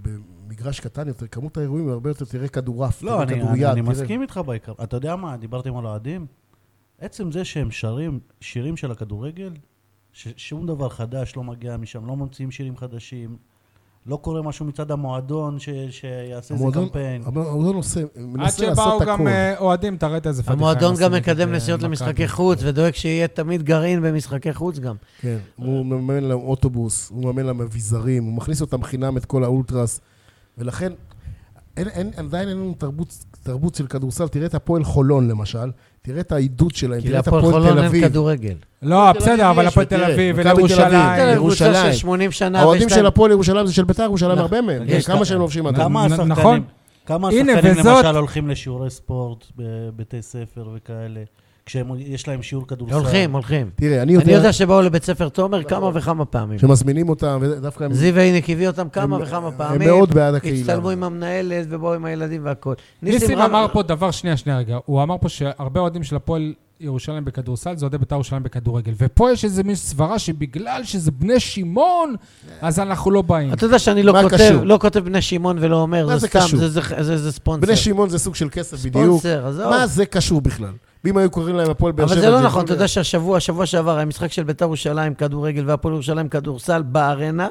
D: במגרש קטן יותר, כמות האירועים היא הרבה יותר, תראה כדורעף,
C: לא,
D: תראה
C: אני-
D: כדוריד.
C: אני אני
D: תראה-
C: מסכים איתך בעיקר. אתה יודע מה, דיברתם על אוהדים? עצם זה שהם שרים שירים של הכדורגל, ששום דבר חדש לא מגיע משם, לא ממציאים שירים חדשים, לא קורה משהו מצד המועדון ש, שיעשה איזה
D: המועדון-
C: קמפיין.
D: המועדון עושה,
B: עד
D: מנסה
B: שבאו
D: לעשות
B: גם
D: הכול.
B: אה, אוהדים, תראה את איזה פתיחה.
A: המועדון
B: הם
A: גם
B: עשו נגד,
A: מקדם
B: אה,
A: נסיעות
B: מכבי.
A: למשחקי חוץ, ודואג שיהיה תמיד גרעין במשחקי חוץ גם.
D: כן, הוא מממן להם אוטובוס, הוא מממן להם אביזרים, הוא מכניס אותם חינם את כל האולטרס, ולכן אין, אין, עדיין אין לנו תרבות, תרבות של כדורסל. תראה את הפועל חולון למשל, תראה את העידוד שלהם,
A: כי
D: תראה את
A: להפועל
D: הפועל
A: חולון
D: תל
A: אין
D: אביב. אה,
A: כדורגל.
B: לא,
C: הפועל תל
B: בסדר,
C: אביב
B: אבל
C: יש,
B: הפועל תל
D: ותראה,
B: אביב
D: מכבי תל אביב.
A: תל
B: ולירושלים.
A: אביב קבוצה של
D: ירושלים.
A: 80 שנה.
D: האוהדים
A: ושתיים-
D: של הפועל ירושלים זה של בית"ר ירושלים הרבה מהם,
C: נכון.
D: כן,
C: יש
D: כמה
C: לך-
D: שהם לובשים עד
C: כמה
B: נ-
C: השחקנים,
B: נכון.
C: כמה
B: הנה,
C: השחקנים
B: וזאת-
C: למשל הולכים לשיעורי ספורט בבתי ספר וכאלה, כשיש להם שיעור כדורסל.
A: הולכים, הולכים.
D: תראה, אני
A: אני
D: יודע
A: יודע שבאו לבית ספר תומר
D: נכון.
A: כמה וכמה פעמים.
D: שמזמינים אותם, ודווקא הם...
A: זיו עיניק הביא אותם כמה
D: הם-
A: וכמה
D: הם
A: פעמים.
D: מאוד בעד הקהילה.
A: הצטלמו עם המנהלת ובאו עם הילדים והכול.
B: ניסים
A: רם-
B: אמר פה דבר, שנייה, שנייה רגע. הוא אמר פה שהרבה אוהדים של הפועל ירושלים בכדורסל זה אוהדי בית"ר ירושלים בכדורגל. ופה יש איזה מין סברה שבגלל שזה בני שמעון, אז אנחנו לא באים.
A: אתה יודע שאני לא
D: מה
A: כותב,
D: קשור?
A: לא כותב בני שמעון ולא
D: מה
A: אומר, זה
D: זה
A: סתם,
D: קשור?
A: זה- זה- זה זה ספונסר.
D: בני שמעון זה סוג של כסף בדיוק.
A: ספונסר, עזוב.
D: מה זה קשור בכלל? ואם היו קוראים להם הפועל באר שבע...
A: אבל זה לא
D: יכול
A: נכון, אתה
D: להיות-
A: יודע שהשבוע, שבוע שעבר, היה משחק של בית"ר ירושלים כדורגל והפועל ירושלים כדורסל בארנה,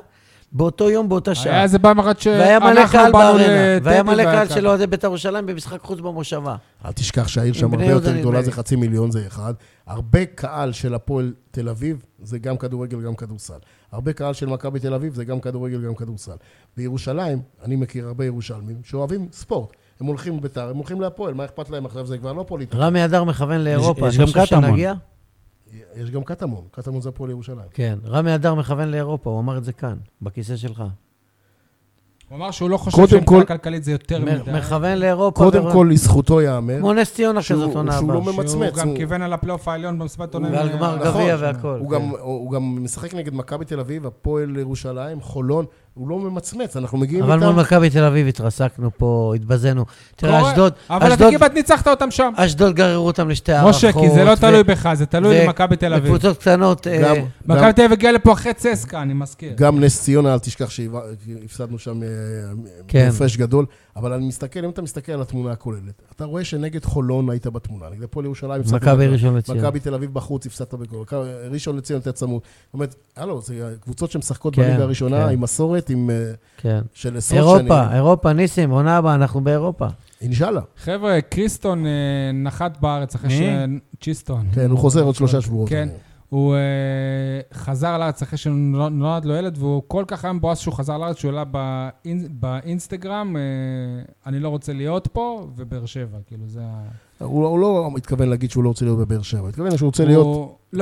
A: באותו יום, באותה
B: היה
A: שעה.
B: איזה פעם אחת
A: והיה מלא
B: שאנחנו
A: קהל
B: באנו
A: בארנה, והיה
B: לטדי
A: מלא
B: והיה
A: קהל
B: קהל.
A: של אוהדי בית"ר ירושלים במשחק חוץ במושבה.
D: אל תשכח שהעיר
A: עם
D: שם
A: בני
D: הרבה
A: יהודה,
D: יותר
A: נדמה
D: גדולה,
A: לי.
D: זה חצי מיליון, זה אחד. הרבה קהל של הפועל תל אביב, זה גם כדורגל, גם כדורסל. הרבה קהל של מכבי תל אביב, זה גם כדורגל, גם כדורסל. בירושלים, אני מכיר הרבה ירושלמים שאוהבים ספורט. הם הולכים לביתר, הם הולכים להפועל, מה אכפת להם עכשיו? זה כבר לא פוליטיקה.
A: רמי אדר מכוון לאירופה,
C: יש
A: אני
C: גם
A: חושב
C: קטמון.
A: שנגיע?
D: יש גם קטמון, קטמון זה הפועל ירושלים.
A: כן, רמי אדר מכוון לאירופה, הוא אמר את זה כאן, בכיסא שלך.
B: הוא אמר שהוא לא חושב
D: קודם כל-
B: שמבחינה כלכלית זה יותר
A: מ-
B: מדי.
A: מכוון לאירופה.
D: קודם
A: ורמי-
D: כל, לזכותו ייאמר,
A: כמו נס ציונה
D: שהוא-
A: כזאת עונה
D: שהוא
A: הבאה.
D: לא
B: שהוא
D: ממצמץ,
B: גם
D: הוא-
B: כיוון על הפלייאוף העליון במסיבת עונים.
A: ועל גמר
B: אה,
A: גביע
B: נכון.
A: והכול.
D: הוא
A: כן.
D: גם- הוא גם משחק נגד מכבי תל אביב, הפועל ירושלים, חולון, הוא לא ממצמץ, אנחנו מגיעים
A: אבל מול
D: איתם...
A: מכבי תל אביב התרסקנו פה, התבזינו. תראה,
B: קורה,
A: אשדוד,
B: אבל אתה
A: אשדוד-
B: כמעט ניצחת אותם שם.
A: אשדוד גררו אותם לשתי הערכות.
B: משה, כי זה לא
A: נכון. ו-
B: תלוי בך, זה תלוי
A: ו-
B: במכבי תל אביב.
A: וקבוצות קטנות, אה,
D: גם- גם-
B: מכבי תל אביב הגיעה לפה אחרי צסקה, אני מזכיר.
D: גם נס ציונה, אל תשכח שהפסדנו שם אה,
A: כן.
D: הפרש גדול, אבל אני מסתכל, אם אתה מסתכל על התמונה הכוללת, אתה רואה שנגד חולון היית בתמונה, נגד הפועל ירושלים הפסדת
A: מכבי
D: בגול,
A: ראשון לציון.
D: מכבי תל אביב בחוץ הפסדת בגול, מכבי- ראשון לציון אתה צמוד. זאת אומרת, הלו, זה קבוצות שמשחקות
A: כן,
D: בליגה הראשונה
A: כן.
D: עם מסורת, עם... אה,
A: כן.
D: של עשרות שנים. כן.
A: אירופה, אירופה, ניסים, עונה הבאה, אנחנו באירופה.
D: אינשאללה.
B: חבר'ה, קריסטון אה, נחת בארץ אחרי ש...
C: מי?
B: צ'יסטון.
D: כן, הוא חוזר עוד שלושה שבועות.
B: כן. הוא אה, חזר לארץ אחרי שנולד לו ילד, והוא כל כך היה מבואס שהוא חזר לארץ, שהוא העלה באינ- באינסטגרם, אה, אני לא רוצה להיות פה, ובאר שבע, כאילו זה ה...
D: הוא לא- הוא לא התכוון להגיד שהוא לא רוצה להיות בבאר שבע, הוא התכוון שהוא רוצה
B: הוא-
D: להיות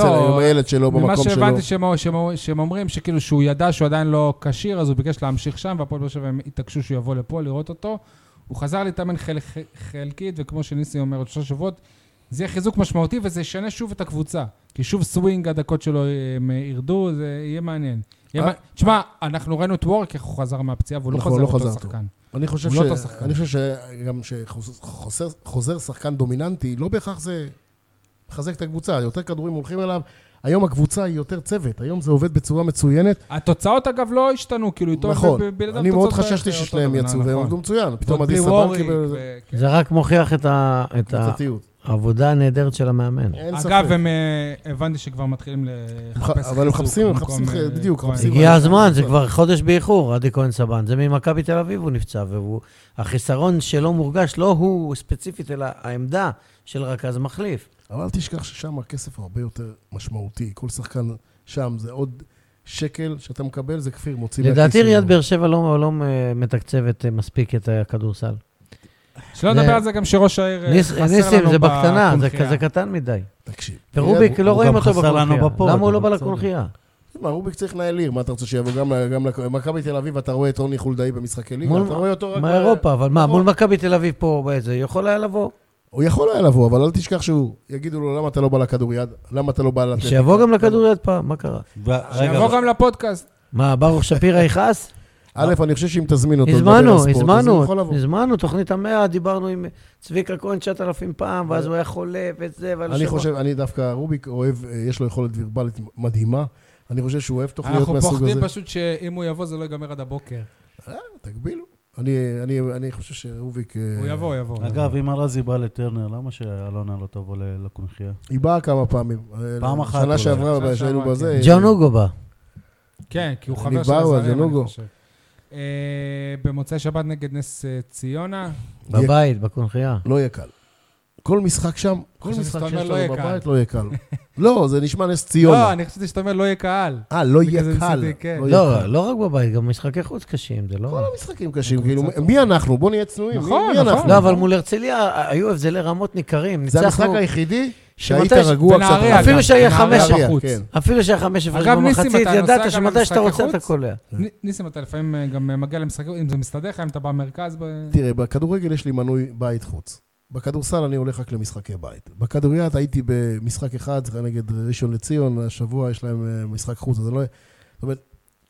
D: אה, אצל
B: לא,
D: הילד שלו,
B: ממה
D: במקום שלו.
B: שהבנתי שהם, שהם, שהם אומרים שכאילו שהוא ידע שהוא עדיין לא כשיר, אז הוא ביקש להמשיך שם, והפועל באר שבע הם התעקשו שהוא יבוא לפה לראות אותו. הוא חזר להתאמן חל, ח- חלקית, וכמו שניסי אומר, עוד שלושה שבועות, זה יהיה חיזוק משמעותי וזה ישנה שוב את הקבוצה. כי שוב סווינג, הדקות שלו הם אה, ירדו, זה יהיה מעניין. יהיה
D: אה?
B: מע... תשמע, אנחנו ראינו את וורק, איך הוא חזר מהפציעה, והוא לא
D: נכון,
B: חזר
D: לא
B: אותו
D: חזר טוב.
B: שחקן.
D: אני חושב,
B: הוא
D: ש...
B: לא אותו שחקן.
D: אני חושב שגם שחוזר שחקן דומיננטי, לא בהכרח זה מחזק את הקבוצה, יותר כדורים הולכים אליו. היום הקבוצה היא יותר צוות, היום זה עובד בצורה מצוינת.
B: התוצאות, אגב, לא השתנו, כאילו, איתו
D: נכון,
B: ב- בלעדיו
D: אני מאוד
B: התוצאות בערך
D: חששתי
B: אותו
D: ששניהם
B: דבר,
D: יצאו והם
B: נכון.
D: עבדו מצוין. פתאום
B: ועוד בלי
D: עדי סבן
B: ווריק,
D: קיבל איזה
B: ו- כן.
A: זה רק מוכיח את ה- את
D: קבוצתיות.
A: העבודה הנהדרת של המאמן.
D: אין ספק.
B: אגב, הם, אה, הבנתי שכבר מתחילים לחפש
D: אבל הם
B: חיזוק
D: מחפשים, הם
B: במקום,
D: מחפשים ח-
B: אה,
D: בדיוק,
B: כהן.
D: מחפשים-
A: הגיע הזמן, זה כבר חודש באיחור, עדי כהן סבן. זה ממכבי תל אביב הוא נפצע, והחיסרון שלא מורגש, לא הוא ספציפית, אלא העמדה של רכז מחליף.
D: אבל אל תשכח ששם הכסף הוא הרבה יותר משמעותי. כל שחקן שם זה עוד שקל שאתה מקבל, זה כפיר, מוציא
A: לדעתי
D: מהכיס שלו.
A: עיריית באר שבע לא לא, אה, מתקצבת אה, מספיק את הכדורסל.
B: שלא
A: זה-
B: נדבר על זה גם שראש העיר אה,
A: ניס-
B: חסר לנו
A: ניסים, זה בקטנה, זה
B: בקונכייה.
A: כזה קטן מדי.
D: תקשיב.
A: ורוביק,
C: הוא
A: לא
C: גם
A: רואים אותו
C: חסר לנו בפוד,
A: בקונכייה. למה הוא לא בא
C: אבל בסדר.
A: לקונכייה?
D: מה, רוביק צריך לנהל עיר, מה אתה רוצה שיבוא גם ל- גם למכבי תל אביב, אתה רואה את רוני חולדאי במשחקי ליגה,
A: מול-
D: אתה רואה אותו רק... ב-
A: מאירופה, אבל מה,
D: נכון.
A: מול מכבי תל אביב פה, באיזה, יכול היה לבוא.
D: הוא יכול היה לבוא, אבל אל תשכח שהוא, יגידו לו, למה אתה לא בא לכדוריד? למה אתה לא בא לתת?
A: שיבוא גם לכדוריד פעם, מה קרה?
C: ו- רגע,
B: שיבוא גם לפודקאסט.
A: מה, ברוך שפירא יכעס?
D: א', אני חושב שאם תזמין אותו, לדבר על
A: הזמנו,
D: ספורט, אז הוא יכול
A: הזמנו,
D: לבוא.
A: הזמנו, תוכנית המאה, דיברנו עם צביקה כהן 9,000 פעם, ואז הוא היה חולה וזה, ועל
D: אני חושב, אני דווקא, רוביק אוהב, אה, יש לו יכולת וירבלית מדהימה. אני חושב שהוא אוהב תוכניות
B: אנחנו
D: מהסוג
B: פוחדים
D: הזה.
B: פשוט שאם הוא יבוא זה לא ייגמר עד הבוקר.
D: תגבילו. אני, אני, אני חושב שרוביק... אה,
B: הוא יבוא, הוא יבוא. הוא
C: אגב, אם ארזי בא לטרנר, למה שאלונה לא תבוא ל- לקונכייה?
D: היא באה כמה פעמים. אה,
C: פעם אחת
D: שנה
C: אולי.
D: שעברה,
B: שנה
D: שהיינו
B: שעברה,
D: בזה. אה,
A: ג'ון אוגו בא.
B: כן, כי הוא
D: אני
B: חבר של
D: באו, אז
B: הזרים,
D: ינוגו.
B: אני חושב. אה, במוצאי שבת נגד נס אה, ציונה.
D: יהיה-
A: בבית, בקונחייה.
D: לא יהיה קל. כל משחק שם, כל
B: חשבתי
D: משחק
B: שאתה אומר
D: שיש
B: לא יהיה
D: לנו בבית
B: קל.
D: לא יהיה קל. לא, זה נשמע נס
B: לא,
D: ציונה.
B: אני חשבתי שאתה אומר לא יהיה קהל.
D: אה, לא יהיה
B: בגלל זה
D: קל.
B: ניסיתי, כן.
D: לא יהיה
A: לא,
D: קל.
A: לא רק בבית, גם משחקי חוץ קשים, זה לא...
D: כל המשחקים קשים,
B: הקבוצה
D: כאילו,
B: טובה.
D: מי אנחנו? בוא נהיה צנועים. מי-
B: נכון,
D: מי
B: נכון.
D: אנחנו?
A: לא, אבל מול הרצליה היו הבדלי רמות ניכרים.
D: זה המשחק
A: ניצחנו...
D: היחידי
A: שמתי-
D: שהיית רגוע קצת.
B: ונהריה
A: אפילו
B: גם,
A: שהיה
B: ונהריה
A: חמש-
B: בחוץ.
D: כן.
A: אפילו שהיה חמש הפרש
B: אגב, ניסים,
A: במחצית,
B: אתה נוסע
A: ידעת
B: גם
A: שמתי שאתה
B: למשחקי
A: רוצה אתה
B: חוץ?
A: קולע.
B: נ- ניסים, אתה לפעמים אה, גם אה, מגיע למשחק, אם זה מסתדר לך, אם אתה במרכז, ב-
D: תראה, בכדורגל יש לי מנוי בית חוץ. בכדורסל אני הולך רק למשחקי בית. בכדוריד הייתי במשחק אחד, זה היה נגד ראשון לציון, השבוע יש להם אה, משחק חוץ, אז אני לא... זאת אומרת,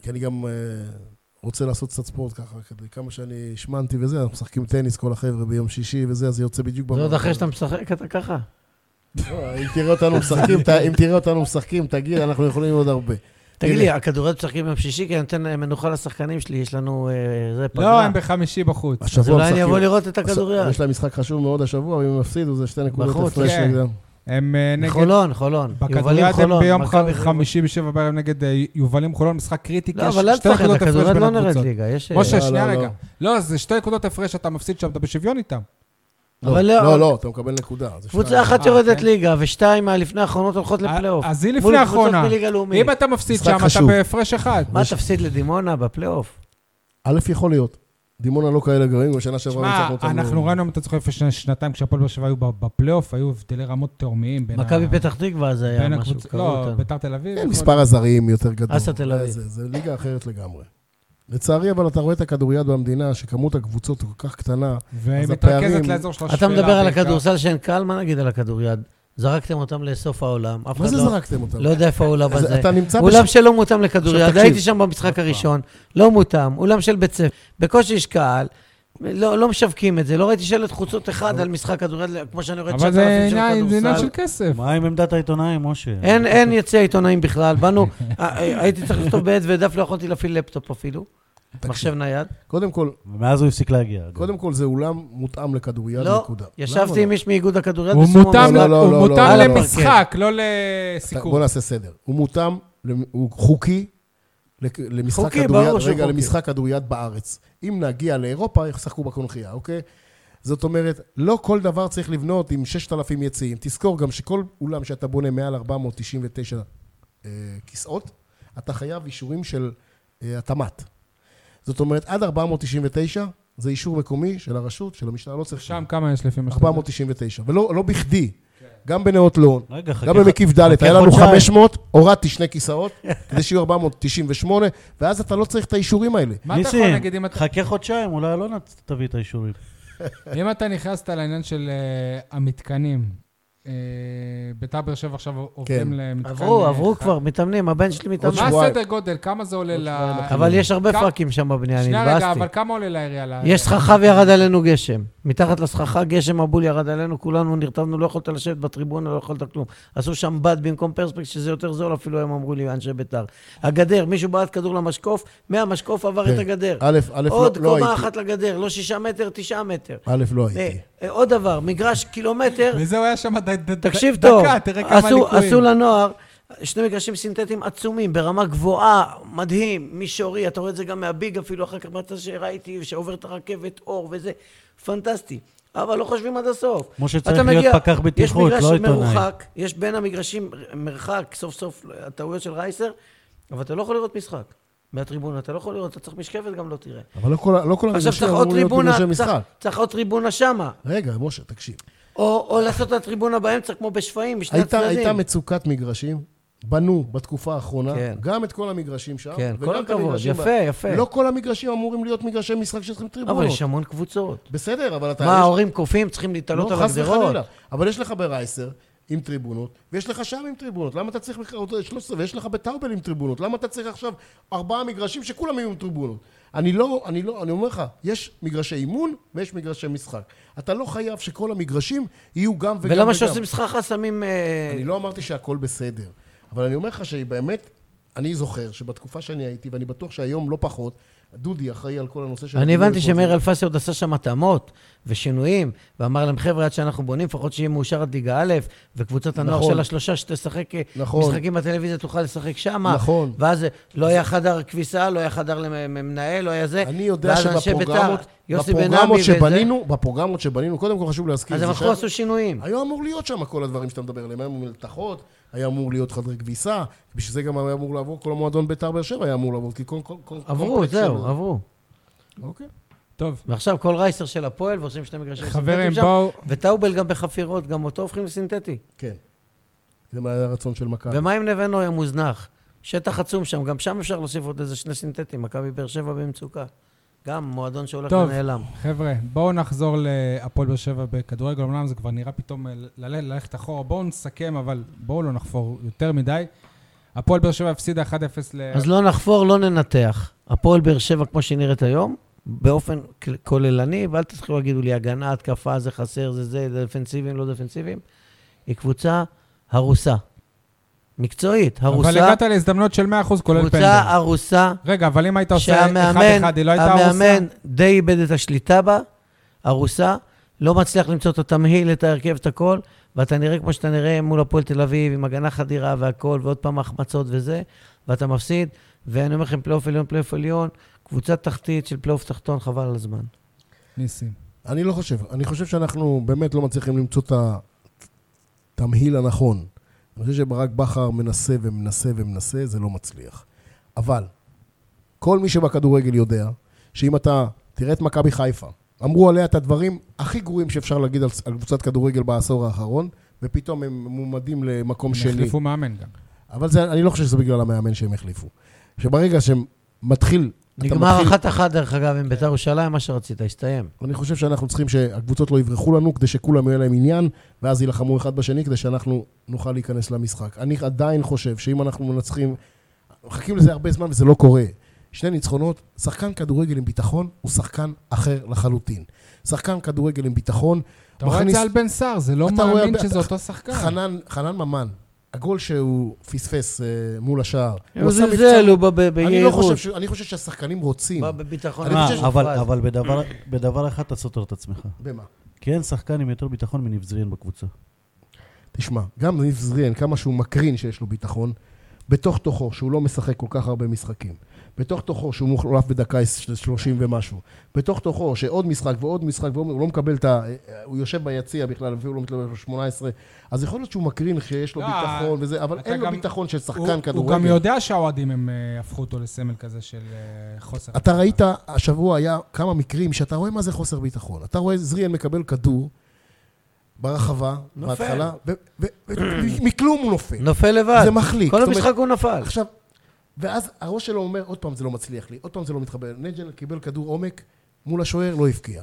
D: כי אני גם אה, רוצה לעשות קצת ספורט ככה, כדי כמה שאני השמנתי וזה, אנחנו משחקים טניס כל החבר'ה ביום שישי וזה, אז זה יוצא בדיוק
A: זה עוד אחרי שאתה משחק, אתה ככה.
D: לא, אם תראה אותנו משחקים, ת- אם תראה אותנו משחקים, תגיד, אנחנו יכולים עוד הרבה.
A: תגיד
D: הנה.
A: לי, הכדורגל משחקים ביום שישי, כי אני נותן להם מנוחה לשחקנים שלי, יש לנו... אה, זה
B: לא,
A: פגרה.
B: הם בחמישי בחוץ.
A: אז
D: השבוע
A: אולי אני
D: משחקים-
A: אבוא לראות את הכדוריד.
D: יש להם משחק חשוב מאוד השבוע, ואם הם יפסידו זה שתי נקודות
A: בחוץ,
D: הפרש
B: כן.
D: נגדם.
B: הם אה, נגד...
A: חולון, חולון.
B: בכדוריד
A: יובלים
B: הם
A: חולון.
B: ביום
A: מכבי
B: ח-
A: חולון.
B: חמישי בשבע בערב נגד אה, יובלים חולון, משחק קריטי, כי
A: לא,
B: יש
A: אבל אל
B: שתי
A: תשחק,
B: נקודות הפרש
A: הכדורגל
B: בין
A: לא נרד
B: הקבוצות.
A: ליגה. יש...
B: משה,
D: לא,
B: שנייה
D: לא,
B: רגע.
D: לא.
B: לא, זה שתי נקודות הפרש, אתה מפסיד שם, אתה בשוויון איתם.
D: לא,
A: אבל לא-
D: לא, לא, אתה מקבל נקודה. זה
A: קבוצה
D: שניים.
A: אחת
B: אה,
A: יורדת
B: כן.
A: ליגה, ושתיים מהלפני האחרונות הולכות לפלייאוף.
B: אה, אז היא
A: מול
B: לפני
A: קבוצות
B: האחרונה.
A: מליגה לאומית.
B: אם אתה מפסיד
D: משחק
B: שם, אתה
D: חשוב.
B: בהפרש אחד.
A: מה תפסיד לדימונה בפלייאוף?
D: א', יכול להיות. דימונה לא כאלה גרעים, בשנה שעברה
B: תשמע,
D: ניצחנו אותנו.
B: אנחנו ראינו, אם אתה זוכר, לפני שנה- שנתיים, כשהפועל באר שבע היו בפלייאוף, היו הבדלי רמות תאומיים בין ה-
A: מכבי פתח תקווה אז היה
B: בין
A: משהו,
B: הקבוצ-
A: קראו
B: לא,
A: אותנו.
B: ביתר תל אביב.
D: כן,
B: יכול-
D: מספר הזרים יותר גדול.
A: אסא תל אביב.
D: זה- זה ליגה אחרת לגמרי. לצערי, אבל אתה רואה את הכדוריד במדינה, שכמות הקבוצות כל כך קטנה.
B: והיא
D: אז הפערים-
B: מתרכזת לאזור של השפלה.
A: אתה מדבר על
B: בעיקר.
A: הכדורסל שאין קהל, מה נגיד על הכדוריד? זרקתם אותם לסוף העולם, אף
D: מה
A: אחד
D: זה
A: לא-
D: זרקתם אותם?
A: לא יודע איפה האולם
D: אז
A: הזה.
D: אתה נמצא בש...
A: אולם שלא מותאם לכדוריד,
D: תקשיב.
A: הייתי שם במשחק הראשון, לא מותאם, אולם של בית ספר, בקושי יש קהל, לא לא משווקים את זה, לא ראיתי שלט חוצות אחד על משחק כדוריד, כמו שאני רואה את
B: אבל זה
A: 9,000 של
B: עניין- זה עניין
A: כדורסל.
B: של כסף.
C: מה עם עמדת העיתונאים, משה?
A: אין, אין יציע עיתונאים בכלל, באנו, אה, אה, הייתי צריך לכתוב בעט ודף, לא יכולתי להפעיל לפטופ אפילו, מחשב נייד.
D: קודם כל,
C: ומאז הוא הפסיק להגיע. אגב.
D: קודם כל זה אולם מותאם לכדוריד,
A: לא,
D: נקודה. למה
A: ישבתי עם
D: לא?
A: איש מאיגוד הכדוריד,
B: הוא
A: וסימון
B: מותאם
A: אמר,
D: לא, לא,
B: הוא
D: לא, לא,
B: מותאם
A: לא, לא.
B: למשחק, לא
D: אתה-
B: לסיקור.
D: בוא נעשה סדר. הוא מותאם, למ- הוא חוקי לק- למשחק
A: חוקי,
D: כדוריד,
A: ברור שהוא
D: רגע,
A: חוקי.
D: למשחק כדוריד בארץ. אם נגיע לאירופה, ישחקו בקונכייה, אוקיי? זאת אומרת, לא כל דבר צריך לבנות עם 6,000 יציאים. תזכור גם שכל אולם שאתה בונה מעל 499 אה, כיסאות, אתה חייב אישורים של אה, התמ"ת. זאת אומרת, עד 499 זה אישור מקומי של הרשות, של המשטרה, לא צריך
B: שם כמה יש לפי מה שאתה יודע?
D: 499, ולא לא בכדי.
A: כן.
D: גם בנאות לון,
C: רגע, חכה.
D: גם במקיף ד',
C: חכה
D: היה לנו
C: חודשיים.
D: 500, הורדתי שני כיסאות, כדי שיהיו 498, ואז אתה לא צריך את האישורים האלה.
B: מה אתה יכול
C: ניסים,
B: להגיד אם אתה-
C: חכה חודשיים, אולי אלונה ת- תביא את האישורים.
B: אם אתה נכנסת לעניין של אה, המתקנים, אה, ביתר באר שבע עכשיו
D: כן.
B: עוברים למתקן...
A: עברו,
B: אה,
A: עברו
B: אחד.
A: כבר, מתאמנים, הבן שלי מתאמן.
B: מה
D: שבועיים.
B: הסדר גודל? כמה זה עולה ל...
A: אבל יש הרבה
B: כמה-
A: פאקים שם בבנייה,
B: אה,
A: אני
B: שנייה רגע, אבל
A: התבאסתי.
B: כמה עולה לעירייה? ל-
A: יש סככה וירד עלינו גשם. מתחת לסככה גשם מבול ירד עלינו, כולנו נרטבנו, לא יכולת לשבת בטריבונה, לא יכולת כלום. עשו שם בד במקום פרספקס, שזה יותר זול אפילו, הם אמרו לי, אנשי בית"ר. הגדר, מישהו בעט כדור למשקוף, מהמשקוף עבר את
D: כן.
A: הגדר.
D: א', א', לא
A: עוד
D: לא
A: קומה
D: הייתי.
A: אחת לגדר, לא שישה מטר, תשעה מטר.
D: א',
A: אה,
D: לא הייתי.
A: אה, עוד דבר, מגרש קילומטר,
B: וזה הוא היה שם ד- ד- ד-
A: תקשיב
B: דקה,
A: טוב,
B: תראה כמה
A: עשו- עשו
B: ליקויים.
A: לנוער שני מגרשים סינתטיים עצומים, ברמה גבוהה, מדהים, מישורי, אתה רואה את זה גם מהביג אפילו, אחר כך מהצד שראיתי, שעוברת הרכבת אור וזה, פנטסטי. אבל לא חושבים עד הסוף.
C: כמו שצריך
A: אתה
C: להיות
A: מגיע,
C: פקח בטיחות,
A: יש
C: לא
A: מגרש
C: עיתונאי.
A: מרוחק, יש בין המגרשים מרחק, סוף סוף, הטעויות של רייסר, אבל אתה לא יכול לראות משחק. מהטריבונה, אתה לא יכול לראות, אתה צריך משקפת, גם לא תראה.
D: אבל לא כל ה- לא כל
A: עכשיו
D: המגרשים
A: צריך עוד
D: אמורים להיות
A: טריבונה,
D: מגרשי
A: צריך-
D: משחק.
A: צריך עוד טריבונה שמה,
D: רגע, משה, תקשיב.
A: או או לעשות את הטריבונה באמצע, כמו בשפיים, משני
D: הייתה-
A: הצדדים.
D: הייתה מצוקת מגרשים, בנו בתקופה האחרונה,
A: כן.
D: גם את כל המגרשים שם.
A: כן,
D: וגם
A: כל
D: את
A: הכבוד,
D: המגרשים
A: יפה,
D: ב-
A: יפה.
D: לא כל המגרשים אמורים להיות מגרשי משחק שצריכים
A: אבל
D: טריבונות.
A: יש המון קבוצות.
D: בסדר, אבל אתה...
A: מה,
D: יש-
A: ההורים קופים, צריכים להתעלות על
D: לא, חס
A: הגדרות?
D: וחלילה. אבל יש לך ברייסר עם טריבונות, ויש לך שם עם טריבונות. למה אתה צריך בכלל עוד 13, ויש לך בטאובל עם טריבונות? למה אתה צריך עכשיו ארבעה מגרשים שכולם יהיו עם טריבונות? אני לא, אני לא, אני אומר לך, יש מגרשי אימון ויש מגרשי משחק. אתה לא חייב שכל המגרשים יהיו גם וגם
A: ולמה
D: וגם.
A: שעושים שככה שמים... אה,
D: אני לא אמרתי שהכל בסדר, אבל אני אומר לך שבאמת, אני זוכר שבתקופה שאני הייתי, ואני בטוח שהיום לא פחות, דודי אחראי על כל הנושא של...
A: אני
D: הדיור
A: הבנתי
D: וכל זה.
A: שמאיר אלפסי עוד עשה שם התאמות ושינויים, ואמר להם, חבר'ה, עד שאנחנו בונים, לפחות שיהיה מאושר עד ליגה א', וקבוצת הנוער
D: נכון.
A: של השלושה שתשחק אה,
D: נכון.
A: משחקים בטלוויזיה תוכל לשחק שמה.
D: נכון.
A: ואז אה, לא היה חדר כביסה, לא היה חדר למנהל, לא היה זה.
D: אני יודע
A: ואז אנשי
D: שבפרוגרמות
A: בית"ר, יוסי בן עמי
D: בפרוגרמות
A: וזה,
D: שבנינו, בפרוגרמות שבנינו, קודם כל חשוב להזכיר,
A: אז
D: זה
A: הם הלכו
D: שהיה-
A: עשו שינויים.
D: היה אמור להיות שם כל הדברים שאתה מדבר עליהם, היה אמור מלתחות, היה אמור להיות חדרי כביסה, בשביל זה גם היה אמור לעבור, כל המועדון בית"ר באר שבע היה אמור לעבור, כי כל... כל- כל-
A: עברו,
D: קומפלקס
A: זהו,
D: של-
A: עברו.
D: אוקיי.
B: טוב,
A: ועכשיו כל רייסר של הפועל, ועושים שני מגרשים
B: חברים,
A: סינתטיים שם,
B: בואו...
A: וטאובל גם בחפירות, גם אותו הופכים לסינתטי.
D: כן. זה מה היה הרצון של
B: כן.
D: מכבי.
A: ומה אם נווה נוי המוזנח? שטח עצום שם, גם שם אפשר להוסיף עוד איזה שני סינתטים, מכבי באר שבע במצוקה. גם מועדון שהולך
B: טוב.
A: ונעלם.
B: חבר'ה, בואו נחזור להפועל באר שבע בכדורגל, אמנם זה כבר נראה פתאום אה, ל- ללכת אחורה. בואו נסכם, אבל בואו לא נחפור יותר מדי. הפועל באר שבע הפסידה 1-0 ל...
A: אז לא נחפור, לא ננתח. הפועל באר שבע, כמו שהיא נראית היום, באופן כל- כוללני, ואל תתחילו להגידו לי, הגנה, התקפה, זה חסר, זה זה, זה דפנסיביים, לא דפנסיביים. היא קבוצה הרוסה. מקצועית, הרוסה.
B: אבל הגעת להזדמנות של 100% כולל
A: קבוצה
B: פנדל.
A: הרוסה,
B: רגע, אבל אם היית עושה 1-1,
A: שהמאמן,
B: היא לא הייתה הרוסה?
A: המאמן די איבד את השליטה בה, הרוסה, לא מצליח למצוא את התמהיל, את ההרכב, את הכל, ואתה נראה כמו שאתה נראה מול הפועל תל אביב, עם הגנה חדירה והכל, ועוד פעם החמצות וזה, ואתה מפסיד, ואני אומר לכם, פלייאוף עליון, פלייאוף עליון, קבוצה תחתית של פלייאוף תחתון, חבל על הזמן.
B: ניסים.
D: אני לא חושב. אני חושב שאנחנו באמת לא מצליחים למצוא את התמהיל הנכון. אני חושב שברק בכר מנסה ומנסה ומנסה, זה לא מצליח. אבל כל מי שבכדורגל יודע שאם אתה תראה את מכבי חיפה, אמרו עליה את הדברים הכי גרועים שאפשר להגיד על, על קבוצת כדורגל בעשור האחרון, ופתאום הם מועמדים למקום
B: הם
D: שני.
B: החליפו מאמן גם.
D: אבל זה, אני לא חושב שזה בגלל המאמן שהם החליפו. שברגע שמתחיל... אתה
A: נגמר
D: מתחיל-
A: אחת אחת, דרך אגב, עם בית"ר ירושלים, מה שרצית, הסתיים.
D: אני חושב שאנחנו צריכים שהקבוצות לא יברחו לנו, כדי שכולם יהיה להם עניין, ואז יילחמו אחד בשני, כדי שאנחנו נוכל להיכנס למשחק. אני עדיין חושב שאם אנחנו מנצחים... מחכים לזה הרבה זמן וזה לא קורה. שני ניצחונות, שחקן כדורגל עם ביטחון הוא שחקן אחר לחלוטין. שחקן כדורגל עם ביטחון...
B: אתה רואה את
D: מכניס-
B: זה על בן סער, זה לא
D: אתה רואה
B: מאמין
D: הרבה-
B: שזה
D: אתה-
B: אותו שחקן.
D: חנן, חנן ממן, הגול שהוא פספס אה, מול השער.
B: כן,
A: הוא
D: עשה מבצע-
A: זלזל, הוא בא ב-
D: אני לא חושב
A: ביהירות,
D: ש- אני חושב שהשחקנים רוצים.
A: בא בביטחון.
D: אני חושב
C: אה,
D: שזה
C: אבל-
A: מופרז.
C: אבל בדבר- בדבר אחד אתה סותר את עצמך.
D: במה?
C: כי אין שחקן עם יותר ביטחון מניב זרין בקבוצה.
D: תשמע, גם ניב זריאן, כמה שהוא מקרין שיש לו ביטחון, בתוך תוכו, שהוא לא משחק כל כך הרבה משחקים, בתוך תוכו, שהוא מוחלף בדקה 30 ומשהו, בתוך תוכו, שעוד משחק ועוד משחק, ועוד- הוא לא מקבל את ה... הוא יושב ביציע בכלל, אפילו לא מתלבש ב-18, אז יכול להיות שהוא מקרין שיש לו
B: לא,
D: ביטחון וזה, אבל
B: אתה
D: אין לו
B: גם-
D: ביטחון של
B: הוא-
D: שחקן
B: הוא גם
D: כדורגל.
B: יודע שהאוהדים הם אה, הפכו אותו לסמל כזה של אה, חוסר...
D: אתה ראית, השבוע היה כמה מקרים שאתה רואה מה זה חוסר ביטחון. אתה רואה זריאן מקבל כדור ברחבה,
A: נופל.
D: בהתחלה, ומכלום הוא נופל.
A: נופל לבד.
D: זה מחליק.
A: כל
D: זאת אומרת-
A: המשחק הוא נפל.
D: עכשיו, ואז הראש שלו אומר, עוד פעם זה לא מצליח לי, עוד פעם זה לא מתחבר. נג'ל קיבל כדור עומק מול השוער, לא הבקיע.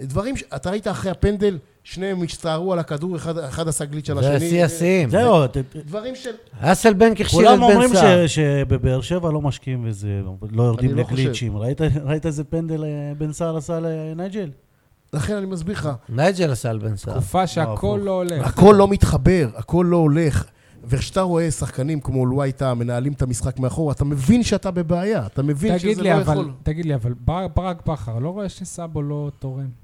D: דברים, ש- אתה ראית אחרי הפנדל, שניהם הצטערו על הכדור, אחד, אחד עשה גליץ' על
A: זה
D: השני.
A: השיא השיאים.
D: כן,
C: זהו, ת-
D: דברים של...
A: אסל בנק הכשיל את
C: כולם אומרים
A: בן סער.
C: ש- שבבאר שבע לא משקיעים וזה, לא יורדים
D: לא חושב.
C: לגליצ'ים. ראית- ראית איזה פנדל אה, בן סער עשה לנייג'ל?
D: לכן אני מסביר לך,
A: נייג'ל עשה על בן סער.
B: תקופה שהכל
C: הפוך.
B: לא הולך.
D: הכל לא מתחבר, הכל לא הולך. וכשאתה רואה שחקנים כמו לואי טאה מנהלים את המשחק מאחור, אתה מבין שאתה בבעיה, אתה מבין
B: תגיד
D: שזה לא
B: לי, אבל,
D: יכול.
B: תגיד לי, אבל בר- ברק בכר, לא רואה שסאבו לא תורם?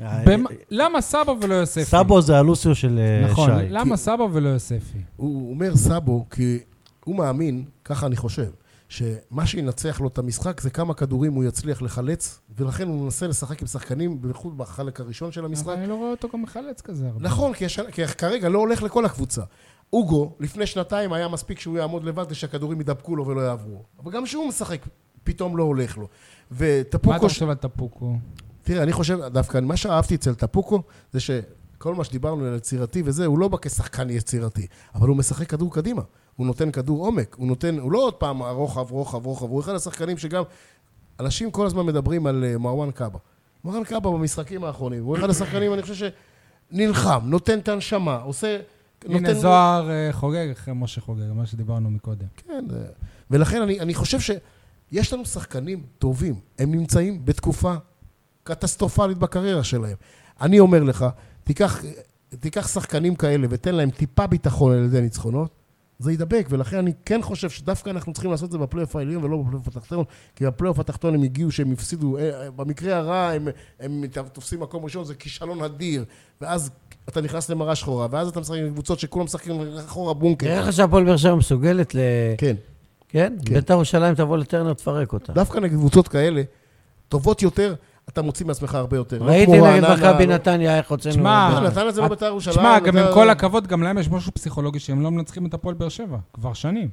C: אה,
B: במ- למה סאבו ולא יוספי?
C: סאבו זה הלוסיו של אה,
B: נכון,
C: שי.
B: למה סאבו ולא יוספי?
D: הוא אומר סאבו כי הוא מאמין, ככה אני חושב, שמה שינצח לו את המשחק זה כמה כדורים הוא יצליח לחלץ, ולכן הוא מנסה לשחק עם שחקנים, בייחוד בחלק הראשון של
B: אבל
D: המשחק.
B: אני לא רואה אותו גם מחלץ כזה הרבה.
D: נכון, כי, יש, כי כרגע לא הולך לכל הקבוצה. אוגו, לפני שנתיים היה מספיק שהוא יעמוד לבד כדי שהכדורים ידבקו לו ולא יעברו. אבל גם שהוא משחק, פתאום לא הולך לו.
B: מה אתה
D: וטפוקו,
B: חושב על טפוקו?
D: תראה, אני חושב, דווקא מה שאהבתי אצל טפוקו, זה שכל מה שדיברנו על יצירתי וזה, הוא לא בא כשחקן יצירתי, אבל הוא משחק כדור קדימה. הוא נותן כדור עומק, הוא נותן, הוא לא עוד פעם רוחב, רוחב, רוחב, הוא אחד השחקנים שגם... אנשים כל הזמן מדברים על אה, מרואן קאבה. מרואן קאבה במשחקים האחרונים, הוא אחד השחקנים, אני חושב שנלחם, נותן את הנשמה, עושה...
B: הנה זוהר אה, חוגג אחרי משה חוגג, מה שדיברנו מקודם.
D: כן, זה- ולכן אני, אני חושב שיש לנו שחקנים טובים, הם נמצאים בתקופה קטסטרופלית בקריירה שלהם. אני אומר לך, תיקח, תיקח שחקנים כאלה ותן להם טיפה ביטחון על ידי ניצחונות, זה יידבק, ולכן אני כן חושב שדווקא אנחנו צריכים לעשות את זה בפלייאוף העליון ולא בפלייאוף התחתון, כי בפלייאוף התחתון הם הגיעו שהם הפסידו, אה, אה, במקרה הרע הם, הם ת- תופסים מקום ראשון, זה כישלון אדיר, ואז אתה נכנס למראה שחורה, ואז אתה משחק עם קבוצות שכולם משחקים אחורה
A: נראה
D: בונקר.
A: לך שהפועל באר שבע מסוגלת ל...
D: כן.
A: כן?
D: כן.
A: בית"ר ירושלים תבוא לטרנר, תפרק אותה.
D: דווקא נגד קבוצות כאלה, טובות יותר, אתה מוציא מעצמך הרבה יותר. לא
A: ראיתי
D: כמו
A: נגד
D: רעננה,
A: מכבי
D: לא-
A: נתניה איך הוצאנו...
B: שמע,
A: את
D: לא,
A: זה.
D: נתניה זה לא בית"ר ירושלים.
B: תשמע, גם עם
D: אתה-
B: כל הכבוד, גם להם יש משהו פסיכולוגי שהם לא מנצחים את הפועל באר שבע, כבר שנים.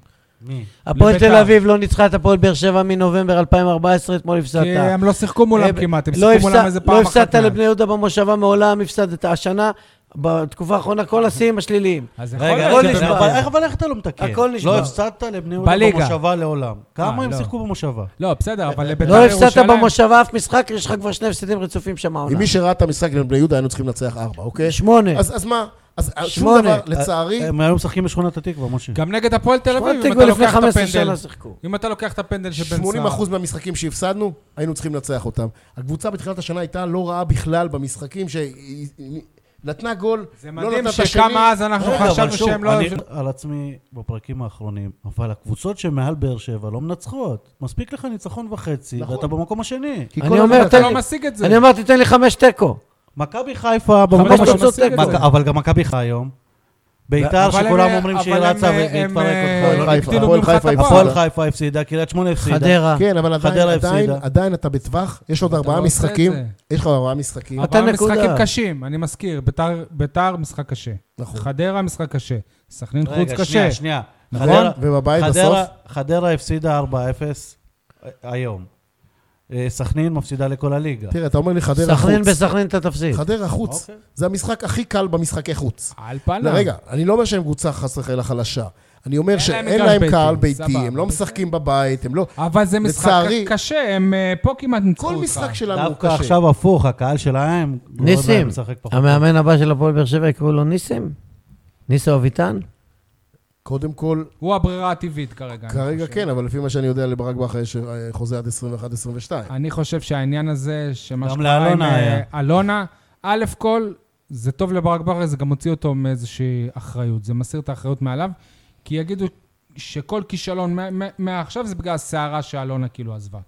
C: מי?
A: הפועל
B: לבית"ר.
A: תל אביב לא ניצחה את הפועל באר שבע מנובמבר 2014, אתמול
B: כי
A: הפסדת.
B: הם לא שיחקו מולם
A: אה,
B: כמעט, הם
A: לא
B: שיחקו
A: הפסד-
B: מולם איזה פעם
A: לא
B: אחת.
A: הפסדת
B: מאז.
A: לבני יהודה במושבה, מעולם הפסדת. השנה, בתקופה האחרונה, כל השיאים השליליים.
B: אז יכול
C: רגע,
A: הכל
B: להיות
C: רגע,
B: שזה-
A: נשבר.
C: אבל איך- אבל איך אתה לא מתקן?
A: הכל נשבר.
C: לא הפסדת לבני יהודה
B: בליגה.
C: במושבה לעולם. כמה הם
B: לא.
C: שיחקו במושבה?
B: לא, בסדר, אבל לביתר
A: לא
B: ירושלים...
A: הפסדת במושבה אף משחק, יש לך כבר שני הפסדים רצופים שם העונה.
D: עם מי שראה את המשחק נגד בני יהודה, היינו צריכים לנצח ארבע, אוקיי?
A: שמונה.
D: אז אז מה? אז שום
A: שמונה. אה,
D: דבר, לצערי,
C: אה, הם היו משחקים בשכונת התקווה, משה.
D: כן.
B: גם נגד הפועל תל
A: שמונה
B: אביב, אם
A: תיקו
B: אתה
A: לפני
B: לוקח את
A: 15 שנה
B: הפנדל...
A: שיחקו.
B: אם אתה לוקח את הפנדל של בן סער...
D: 80% מהמשחקים שהפסדנו, היינו צריכים לנצח אותם. הקבוצה בתחילת השנה הייתה לא רעה בכלל במשחקים שהיא היא- נתנה גול,
B: זה
D: לא
B: מדהים
D: נתנה את השני. אה,
B: שכמה אז אנחנו
C: רגע, אבל
B: חשבנו
C: שוב,
B: שהם לא...
C: אני על עצמי בפרקים האחרונים, אבל הקבוצות שמעל באר שבע לא מנצחות. מספיק לך ניצחון וחצי,
D: נכון.
C: ואתה במקום השני.
D: כי
A: אני
D: כל
A: אומר,
D: הזמן-
B: אתה
A: תן
B: לא
A: לי.
B: משיג את זה.
A: אני אמרתי, תן לי חמש תיקו.
C: מכבי חיפה במקום
B: חמש
A: אתה
C: השני.
A: משיג את
C: מכ-
A: זה.
C: אבל גם מכבי חיפה היום. ביתר
B: אבל הם-
C: שכולם אומרים
B: אבל
C: שהיא
B: הם- אה,
C: רצה והיא
B: הם-
C: תפרק
D: הפועל
B: הם
C: אותך.
D: חיפה,
B: הגדילו
D: לא, הפועל
B: ממך את
D: חיפה
B: הפער.
C: הפועל חיפה הפסידה, קריית שמונה הפסידה.
A: חדרה.
D: כן, אבל עדיין,
C: חדרה
D: עדיין,
C: הפסידה.
D: עדיין אתה בטווח, יש עוד
B: אתה
D: ארבעה
B: לא עושה את
D: משחקים,
B: זה.
D: יש לך ארבעה משחקים,
A: אתה
B: אבל
A: נקודה.
B: משחקים קשים, אני מזכיר. ביתר- ביתר משחק קשה.
D: נכון.
B: חדרה משחק קשה. סכנין כן, חוץ
C: רגע,
B: קשה.
C: שנייה, שנייה.
D: נכון?
C: חדרה-
D: ובבית בסוף,
C: חדרה- חדרה הפסידה 4-0 היום. אה, סכנין מפסידה לכל הליגה.
D: תראה, אתה אומר לי חדרה
A: סכנין
D: חוץ,
A: בסכנין אתה תפסיד.
D: חדרה חוץ,
C: אוקיי.
D: זה המשחק הכי קל במשחקי חוץ.
B: על
D: לא,
B: פניו.
D: רגע, אני לא אומר שהם קבוצה חס וחלילה חלשה. אני אומר
B: אין להם
D: שאין
B: קהל
D: להם
B: ביתי, סבבה.
D: קהל ביתי, הם לא משחקים בבית, הם לא...
B: אבל זה משחק
D: לצערי-
B: קשה, הם אה, פה כמעט ניצחו
D: כל
B: אותך.
D: משחק שלנו הוא
C: דווקא
D: קשה.
C: עכשיו הפוך, הקהל שלהם גורם
A: ניסים,
C: להם לשחק פחות.
A: המאמן הבא של הפועל באר שבע יקראו לו ניסים? ניסו אביטן?
D: קודם כל,
B: הוא הברירה הטבעית כרגע. אני
D: כרגע
B: חושב.
D: כן, אבל לפי מה שאני יודע, לברק בכר יש אה, חוזה עד 21-22.
B: אני חושב שהעניין הזה, שמה
C: גם
B: שקרה עם
C: לאלונה
B: אה,
C: היה.
B: אלונה, א' כל, זה טוב לברק בכר, זה גם מוציא אותו מאיזושהי אחריות. זה מסיר את האחריות מעליו, כי יגידו שכל כישלון מה- מה- מעכשיו זה בגלל הסערה שאלונה כאילו עזבה.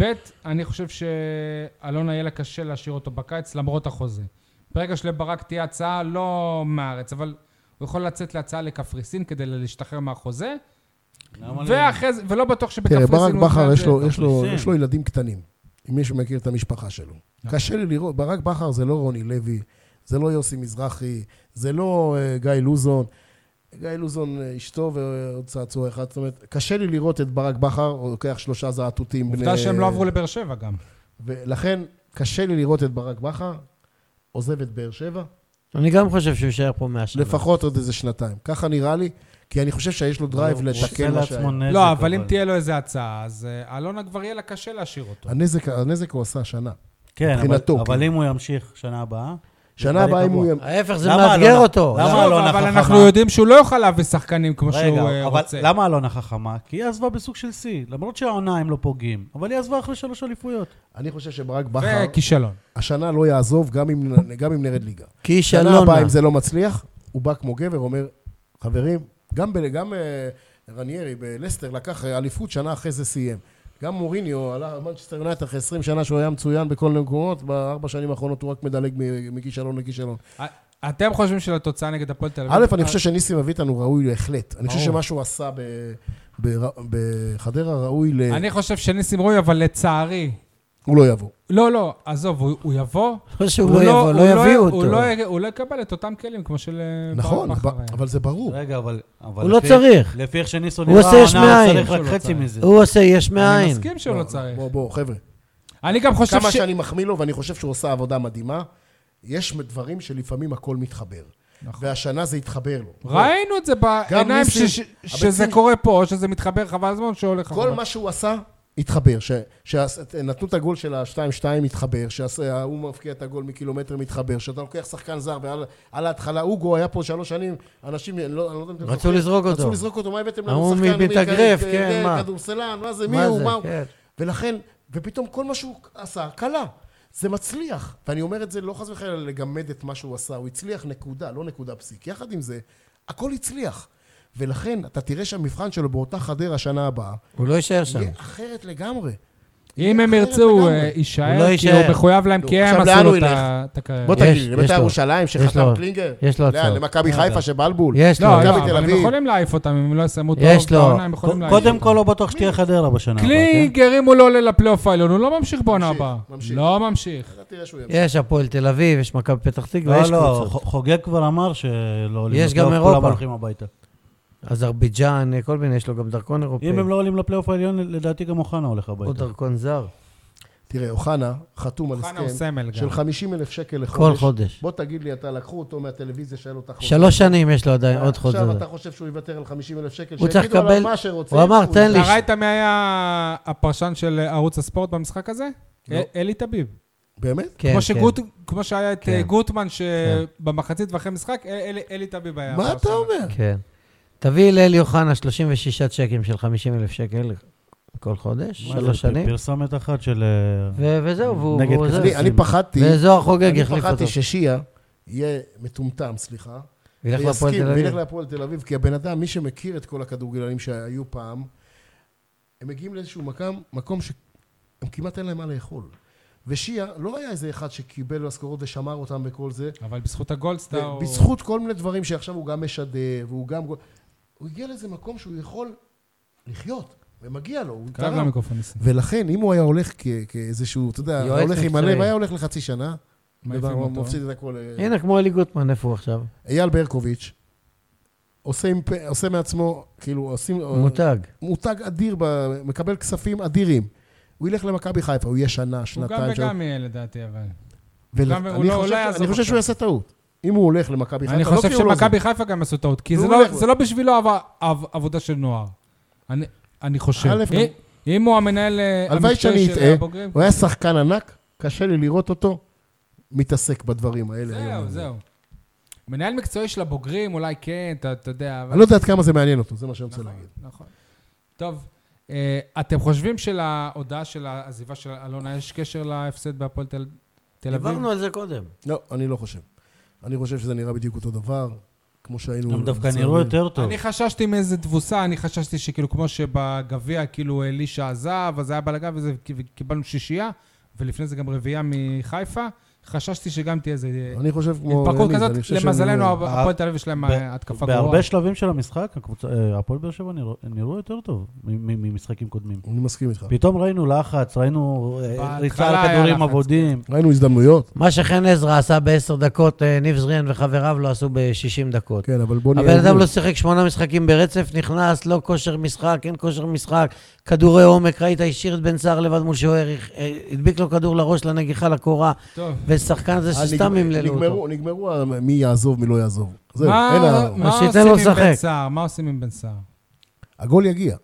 B: ב', אני חושב שאלונה יהיה לה קשה להשאיר אותו בקיץ, למרות החוזה. ברגע שלברק תהיה הצעה, לא מהארץ, אבל הוא יכול לצאת להצעה לקפריסין כדי להשתחרר מהחוזה,
C: למה לא?
B: ואחרי זה, ולא בטוח
D: תראה,
B: שבקפריסין...
D: כן, ברק
B: הוא
D: בכר
B: יעשה
D: יש
B: את
D: לו-
B: זה.
D: יש לו-
C: מפריסים.
D: יש לו ילדים קטנים, אם מישהו מכיר את המשפחה שלו.
B: נכון.
D: קשה לי לראות, ברק בכר זה לא רוני לוי, זה לא יוסי מזרחי, זה לא אה, גיא לוזון. גיא לוזון, אה, אשתו ועוד צעצוע אחד, זאת אומרת, קשה לי לראות את ברק בכר, הוא לוקח שלושה זעתותים.
B: עובדה
D: בני-
B: שהם לא עברו לבאר שבע גם.
D: ולכן, קשה לי לראות את ברק בכר עוזב את באר שבע,
A: אני גם חושב שהוא יישאר פה מהשנה.
D: לפחות עוד איזה שנתיים. ככה נראה לי, כי אני חושב שיש לו דרייב
C: הוא עושה
D: לתקן מה שהיה.
C: לעצמו נזק,
B: לא, אבל אם תהיה לו איזה הצעה, אז אה, אלונה כבר יהיה לה קשה להשאיר אותו.
D: הנזק, הנזק הוא עשה שנה.
C: כן, אבל-
D: מבחינתו,
C: אבל
D: כן.
C: אם הוא ימשיך שנה הבאה...
D: שנה הבאה אם הוא... ימ-
A: ההפך, זה
C: למה
A: מאתגר
C: אלונה?
A: אותו.
C: למה?
B: שוב,
C: אלונה
B: אבל
C: חכמה?
B: אנחנו יודעים שהוא לא יוכל להביא שחקנים כמו שהוא אה,
C: רגע, אבל
B: רוצה.
C: למה אלונה חכמה? כי היא עזבה בסוג של שיא. למרות שהעונה הם לא פוגעים, אבל היא עזבה אחרי שלוש אליפויות.
D: אני חושב שברק בכר
B: וכישלון. השנה
D: השנה לא יעזוב, גם אם- גם אם נרד ליגה.
A: כי
D: שנה
A: שלונה.
D: הבאה, אם זה לא מצליח, הוא בא כמו גבר, אומר, חברים, גם, ב, גם אה, רניירי בלסטר לקח אליפות, שנה אחרי זה סיים. גם מוריניו עלה מנצ'סטר יונייט אחרי 20 שנה שהוא היה מצוין בכל מיני מקומות, בארבע שנים האחרונות הוא רק מדלג מ- מכישלון לכישלון.
B: א- אה, אתם חושבים שלתוצאה נגד הפועל תל אביב?
D: א', אני חושב שניסים אביטן הוא ראוי בהחלט. אני חושב
B: ברור.
D: שמה שהוא עשה ב, ב, בחדרה ראוי ל...
B: אה, אני חושב שניסים רוי, אבל לצערי...
D: הוא לא יבוא.
B: לא, לא, עזוב, הוא הוא יבוא.
A: לא שהוא
B: הוא
A: לא יבוא, לא
B: הוא
A: יביאו
B: הוא
A: אותו.
B: לא י- הוא לא יקבל את אותם כלים כמו של אה,
D: נכון,
B: ברק בכר.
D: אבל-
B: היה.
D: אבל זה ברור.
C: רגע, אבל... אבל
A: הוא לא
C: לפי-
A: צריך.
C: לפי איך שניסו
A: הוא
C: נראה,
A: עושה יש
C: העונה הוא
A: מאין.
C: צריך
B: לא
C: רק חצי מזה.
A: הוא עושה יש
B: אני
A: מאין.
B: מסכים שהוא לא
D: לא,
B: צריך.
D: בוא, בוא, חבר'ה.
B: אני גם חושב
D: כמה
B: ש...
D: שאני מחמיא לו, ואני חושב שהוא עושה עבודה מדהימה, יש דברים שלפעמים הכל מתחבר.
B: נכון.
D: והשנה זה התחבר לו.
B: ראינו את זה בעיניים
D: ניסים-
B: ש- ש-
D: הביצים-
B: שזה קורה פה, או שזה מתחבר חבל הזמן, שהולך...
D: כל מה שהוא עשה, התחבר. שנתנו את הגול של ה-2-2, התחבר. שההוא מבקיע את הגול מקילומטר, מתחבר. שאתה לוקח שחקן זר, ועל על ההתחלה, אוגו היה פה שלוש שנים, אנשים, אני לא אני לא יודע אם אתם
A: רצו
D: זוכרים,
A: לזרוק אותו.
D: רצו לזרוק אותו, מה הבאתם
A: ההוא
D: לנו שחקן?
A: מתאגרף,
D: מי-
A: כן,
D: זה,
A: מה?
D: כדורסלן, מה זה, מי
A: מה
D: הוא,
A: זה?
D: מה הוא?
A: כן.
D: ולכן, ופתאום כל מה שהוא עשה, קלה. זה מצליח. ואני אומר את זה לא חס וחלילה לגמד את מה שהוא עשה, הוא הצליח נקודה, לא נקודה פסיק. יחד עם זה, הכל הצליח. ולכן אתה תראה שהמבחן שלו באותה חדרה שנה הבאה,
A: הוא לא יישאר שם.
D: יהיה אחרת לגמרי.
B: אם הם
D: אחרת
B: ירצו,
D: לגמרי.
B: אה,
A: הוא לא
B: יישאר, כי
A: יישאר.
B: הוא מחויב להם,
D: נו,
B: כי הם
D: עכשיו לאן
B: עשו לו
D: הוא
B: את
D: ילך?
B: ה- את הקריירה.
D: בוא
A: יש-
D: תגיד, לי,
A: יש
D: לבית"ר
A: לו.
D: ירושלים
A: יש
D: שחתם
A: לו.
D: קלינגר?
A: יש לו
D: לאן?
A: הצעות. אה,
D: למכבי חיפה שבלבול?
A: יש לו,
B: לא,
D: מכבי
B: לא,
D: תל
B: אבל הם
D: אביב.
B: יכולים להעיף אותם, אם הם לא יסיימו את
A: יש לו.
B: העונה, הם יכולים להעיף
C: קודם
B: אותם.
C: כל, לא בטוח שתהיה חדרה בשנה הבאה, כן?
B: קלינגר, אם הוא לא עולה לפלייאוף העליון, הוא לא ממשיך בעונה
D: אוקיי. ממשיך,
B: הבאה.
D: ממשיך.
B: לא ממשיך.
D: אתה תראה שהוא ימשיך.
A: יש הפועל תל אביב, יש מכבי פתח תקווה,
C: לא,
A: יש
C: לא,
A: קבוצות.
C: ח- חוגג כבר אמר שלא עולים
A: יש
C: לפלייאוף,
A: גם
C: כולם
A: אירופה.
C: הולכים הביתה.
A: אזרבייג'אן, כל מיני, יש לו גם דרכון אירופאי.
C: אם הם לא עולים לפלייאוף העליון, לדעתי גם אוחנה הולך
A: או
C: הביתה.
A: דרכון זר.
D: תראה, אוחנה חתום על
B: אוחנה הוא
D: הסכם
B: סמל גם.
D: של 50 אלף שקל לחודש.
A: כל חודש.
D: בוא תגיד לי, אתה לקחו אותו מהטלוויזיה שהיה לו את החודש.
A: שלוש שנים יש לו עדיין, עוד חוזה.
D: עכשיו אתה חושב שהוא יוותר על 50 אלף שקל?
A: הוא צריך
D: שיגידו עליו
A: לקבל-
D: מה שרוצים.
A: הוא אמר, תן לי.
B: אתה ראית מי היה הפרשן של ערוץ הספורט במשחק הזה?
D: לא.
B: אה, אלי טביב.
D: באמת?
A: כן,
B: כמו,
A: כן.
B: שגוט, כמו שהיה את
A: כן.
B: אה, גוטמן, שבמחצית ואחרי משחק, אל- אל- אלי טביב היה.
D: כן. מה
B: הפרשן.
D: אתה אומר?
A: כן. תביא לאלי אוחנה 36 צ'קים של 50 אלף שקל כל חודש,
C: מה זה,
A: שלוש שנים,
C: פרסומת אחת של... אה,
A: ו- וזהו, והוא...
C: נגד
A: והוא
C: כזה
A: זה. לא
D: אני- אני פחדתי,
A: וזוהר חוגג
D: אני
A: יחליף אותו.
D: פחדתי ששיעה יהיה מטומטם, סליחה.
A: וילך
D: ויסכים,
A: להפועל תל אביב.
D: וילך להפועל תל אביב, כי הבן אדם, מי שמכיר את כל הכדורגלנים שהיו פעם, הם מגיעים לאיזשהו מקום, מקום שהם כמעט אין להם מה לאכול. ושיעה לא היה איזה אחד שקיבל משכורות ושמר אותם וכל זה,
B: אבל בזכות הגולדסטאר... הוא-
D: בזכות כל מיני דברים שעכשיו הוא גם משדר, והוא גם... הוא הגיע לאיזה מקום שהוא יכול לחיות, ומגיע לו, הוא
B: קרב
D: תרם.
B: למיקרופון ניסים.
D: ולכן, אם הוא היה הולך כ- כאיזשהו, אתה יודע,
A: יועץ
D: הולך עם
A: מקצועי.
D: הלב, היה הולך לחצי שנה,
B: מעיפים
D: ובא-
B: אותו.
D: מפסיד את הכל. אה,
A: הנה, כמו אלי גוטמן, איפה הוא עכשיו?
D: אייל ברקוביץ' עושה, עם, פ- עושה מעצמו, כאילו, עושים...
A: מותג.
D: מותג אדיר, ב- מקבל כספים אדירים. הוא ילך למכבי חיפה, הוא יהיה שנה,
B: הוא גם
D: שנתיים.
B: וגם יהיה לדעתי, אבל.
D: ול-
B: גם- הוא
D: אני
B: לא- הוא לא
D: חושב, ש-
B: יעזוב
D: אני חושב
B: עכשיו.
D: שהוא יעשה טעות. אם הוא הולך למכבי חיפה,
B: אני
D: לא
B: חושב
D: כי הוא לא זה.
B: שמכבי חיפה גם עשו טעות, כי זה
D: הוא
B: לא-
D: הולך-
B: זה לא בשבילו עב- עב- עבודה של נוער. אני- אני חושב.
D: א',
B: אם- אם הוא המנהל אה,
D: הלוואי
B: המקצועי
D: שאני
B: של
D: אטעה.
B: הבוגרים...
D: הוא היה שחקן ענק, קשה לי לראות אותו מתעסק בדברים האלה.
B: זהו,
D: היום.
B: זהו. מנהל מקצועי של הבוגרים, אולי כן, אתה אתה יודע, אבל...
D: אני לא יודע עד כמה זה מעניין אותו, זה מה שאני רוצה
B: נכון,
D: להגיד.
B: נכון. טוב, אה, אתם חושבים שלהודעה של העזיבה של אלונה יש קשר להפסד בהפועל תל תל אביב?
A: דיברנו על זה קודם.
D: לא, אני לא חושב. אני חושב שזה נראה בדיוק אותו דבר, כמו שהיינו...
C: אה, הם דווקא
A: לא
C: נראו יותר טוב.
B: אני חששתי מאיזה תבוסה, אני חששתי שכאילו כמו שבגביע, כאילו אלישע עזב, אז היה בלגן וזה, וקיבלנו שישייה, ולפני זה גם רביעייה מחיפה, חששתי שגם תהיה איזה אה,
D: אני חושב כמו...
B: התפרקות
D: יניב,
B: כזאת,
D: אני חושב לא- שהם
B: למזלנו
D: נראו-
B: הפועל תל אביב יש להם
C: ב-
B: אה, התקפה גרועה.
C: בהרבה שלבים של המשחק, הקבוצה- אה, הפועל באר שבע נראו- נראו יותר טוב מ- מ- ממשחקים קודמים.
D: אני מסכים איתך.
C: פתאום ראינו לחץ, ראינו אה,
B: בהתחלה
C: ריצה על
B: היה
C: כדורים
B: לחץ. כן.
C: אבודים.
D: ראינו הזדמנויות.
A: מה שחן עזרא עשה בעשר דקות, אה, ניב זריאן וחבריו לא עשו ב-60 דקות.
D: כן, אבל בוא נהיה...
A: הבן אדם
D: הגונים.
A: לא שיחק שמונה משחקים ברצף, נכנס, לא כושר משחק, אין כושר משחק, כדורי עומק, ראית, השאיר את בן סער לבד מול שוער, אה, הדביק לו כדור לראש, לנגיחה, לקורה,
B: טוב.
A: ושחקן זה
D: אה,
A: שסתם
D: נגמ-
A: ימללו אותו.
D: נגמרו, נגמרו ה- מי יעזוב, מי לא יעזוב. זהו, אין
B: מה
D: ה...
B: מה
A: אז שייתן
B: עושים
A: לו
B: עם בן
A: לשחק.
B: סער? מה עושים עם בן סער?
D: הגול יגיע.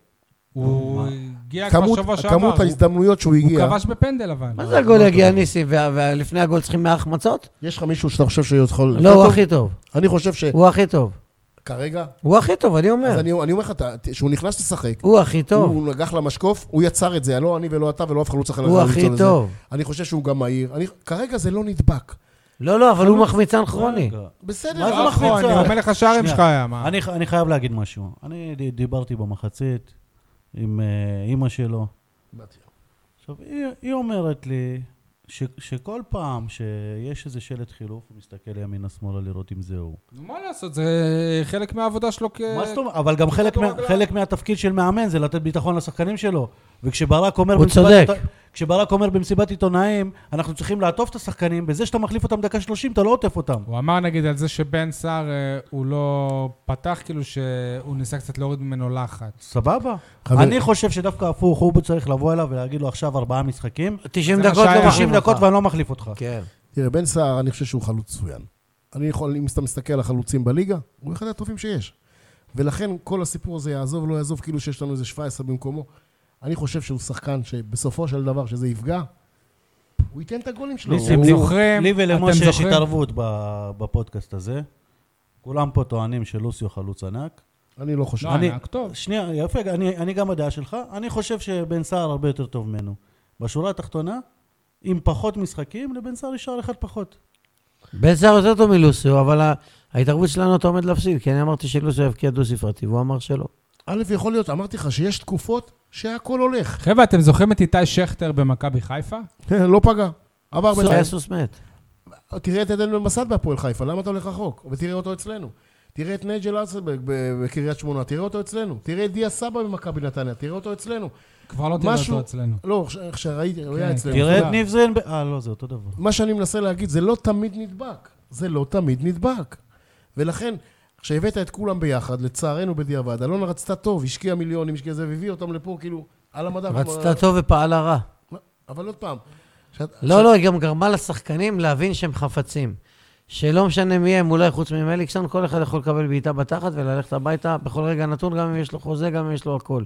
B: הוא הגיע כבר
D: כמות,
B: שבוע שעבר.
D: כמות
B: הוא-
D: ההזדמנויות שהוא
B: הוא
D: הגיע.
B: כבש בפנדל אבל.
D: אה,
A: מה זה הגול יגיע ניסים, וה- ולפני הגול צריכים 100 החמצות?
D: יש לך מישהו שאתה חושב שהוא יכול...
A: לא, הוא הכי טוב.
D: אני חושב ש...
A: הוא הכי טוב.
D: כרגע...
A: הוא הכי טוב, אני אומר.
D: אז אני אני אומר לך, אתה- ת- שהוא נכנס לשחק,
A: הוא הכי טוב.
D: הוא נגח למשקוף, הוא יצר את זה, לא אני ולא אתה ולא אף אחד לא צריך
A: הוא
D: ללכת
A: הכי
D: למצוא לזה.
A: טוב.
D: אני חושב שהוא גם מהיר. אני- כרגע זה לא נדבק.
A: לא, לא, אבל הוא מחמיצן כרוני.
C: רגע.
D: בסדר,
C: מה זה
D: אבל-
C: מחמיץ?
B: נכון, אני אומר לך שערים
C: שנייה.
B: שלך היה, מה?
C: אני, ח- אני חייב להגיד משהו. אני ד- דיברתי במחצית עם אה, אימא שלו. עכשיו, היא, היא אומרת לי ש, שכל פעם שיש איזה שלט חילוף, הוא מסתכל ימינה-שמאלה לראות אם זה הוא.
B: נו, מה לעשות, זה חלק מהעבודה שלו כ...
C: מה זאת אומרת? אבל גם חלק, מה,
B: רגליים.
C: חלק מהתפקיד של מאמן זה לתת ביטחון לשחקנים שלו. וכשברק אומר...
A: הוא
C: במסיבת
A: צודק.
C: עיתונא- כשברק אומר במסיבת עיתונאים, אנחנו צריכים לעטוף את השחקנים, בזה שאתה מחליף אותם דקה 30, אתה לא עוטף אותם.
B: הוא אמר נגיד על זה שבן סער אה, הוא לא פתח, כאילו שהוא ניסה קצת להוריד ממנו לחץ.
C: סבבה.
D: חבר-
C: אני חושב שדווקא הפוך, הוא צריך לבוא אליו ולהגיד לו עכשיו ארבעה משחקים,
A: 90
B: זה מה
A: דקות
B: שהיה.
A: לא
C: 90
A: מחליף
C: דקות
A: אותך.
C: ואני לא מחליף אותך.
A: כן.
D: תראה, בן סער, אני חושב שהוא חלוץ מצוין. אני יכול, אם אתה מסתכל על החלוצים בליגה, הוא אחד הטובים שיש. ולכן כל הסיפור הזה יעזוב, לא יעזוב, כאילו שיש לנו איזה 17 במקומו. אני חושב שהוא שחקן שבסופו של דבר, שזה יפגע, הוא ייתן את הגולים שלו.
B: ניסים,
D: הוא-
B: אתם זוכרים?
C: לא. לי
B: אתם
C: ולמשה יש
B: זוכרים?
C: התערבות ב- בפודקאסט הזה. כולם פה טוענים שלוסיו חלוץ ענק.
D: אני לא חושב.
B: לא
C: אני-
B: ענק, טוב.
C: שנייה, יפה, אני, אני גם הדעה שלך. אני חושב שבן סער הרבה יותר טוב ממנו. בשורה התחתונה, עם פחות משחקים, לבן סער יש שער אחד פחות.
A: בן סער יותר טוב מלוסיו, אבל ה- ההתערבות שלנו אתה עומד להפסיד, כי אני אמרתי שלוסיו יבקיע דו-ספרתי, והוא אמר שלא.
D: א', יכול להיות, אמרתי לך שיש תקופות שהכל הולך.
B: חבר'ה, אתם זוכרים את איתי שכטר במכבי חיפה?
D: לא פגע. עבר
A: זה היה
D: בינתיים.
A: סוס מת.
D: תראה את עדן בן מסד בהפועל חיפה, למה אתה הולך רחוק? ותראה אותו אצלנו. תראה את נייג'ל אסלברג ב- בקריית שמונה, תראה אותו אצלנו. תראה את דיה סבא במכבי נתניה, תראה אותו אצלנו.
B: כבר לא תראה
D: משהו-
B: אותו אצלנו.
D: לא, כש- כשראיתי, הוא
B: כן,
D: היה אצלנו.
C: תראה
D: אתה
C: את
D: יודע,
C: ניב זרין... אה, לא, זה אותו דבר.
D: מה שאני מנסה להגיד, זה לא תמיד נדבק. זה לא תמיד נדבק. ולכן, כשהבאת את כולם ביחד, לצערנו בדיעבד, אלונה רצתה טוב, השקיעה מיליונים, השקיעה זה, והביאה אותם לפה, כאילו, על המדף.
A: רצתה טוב ופעלה רע.
D: אבל עוד פעם. שאת-
A: לא, לא, היא גם גרמה לשחקנים להבין שהם חפצים. שלא משנה מי הם, אולי חוץ ממליקסון, כל אחד יכול לקבל בעיטה בתחת וללכת הביתה בכל רגע נתון, גם אם יש לו חוזה, גם אם יש לו הכל.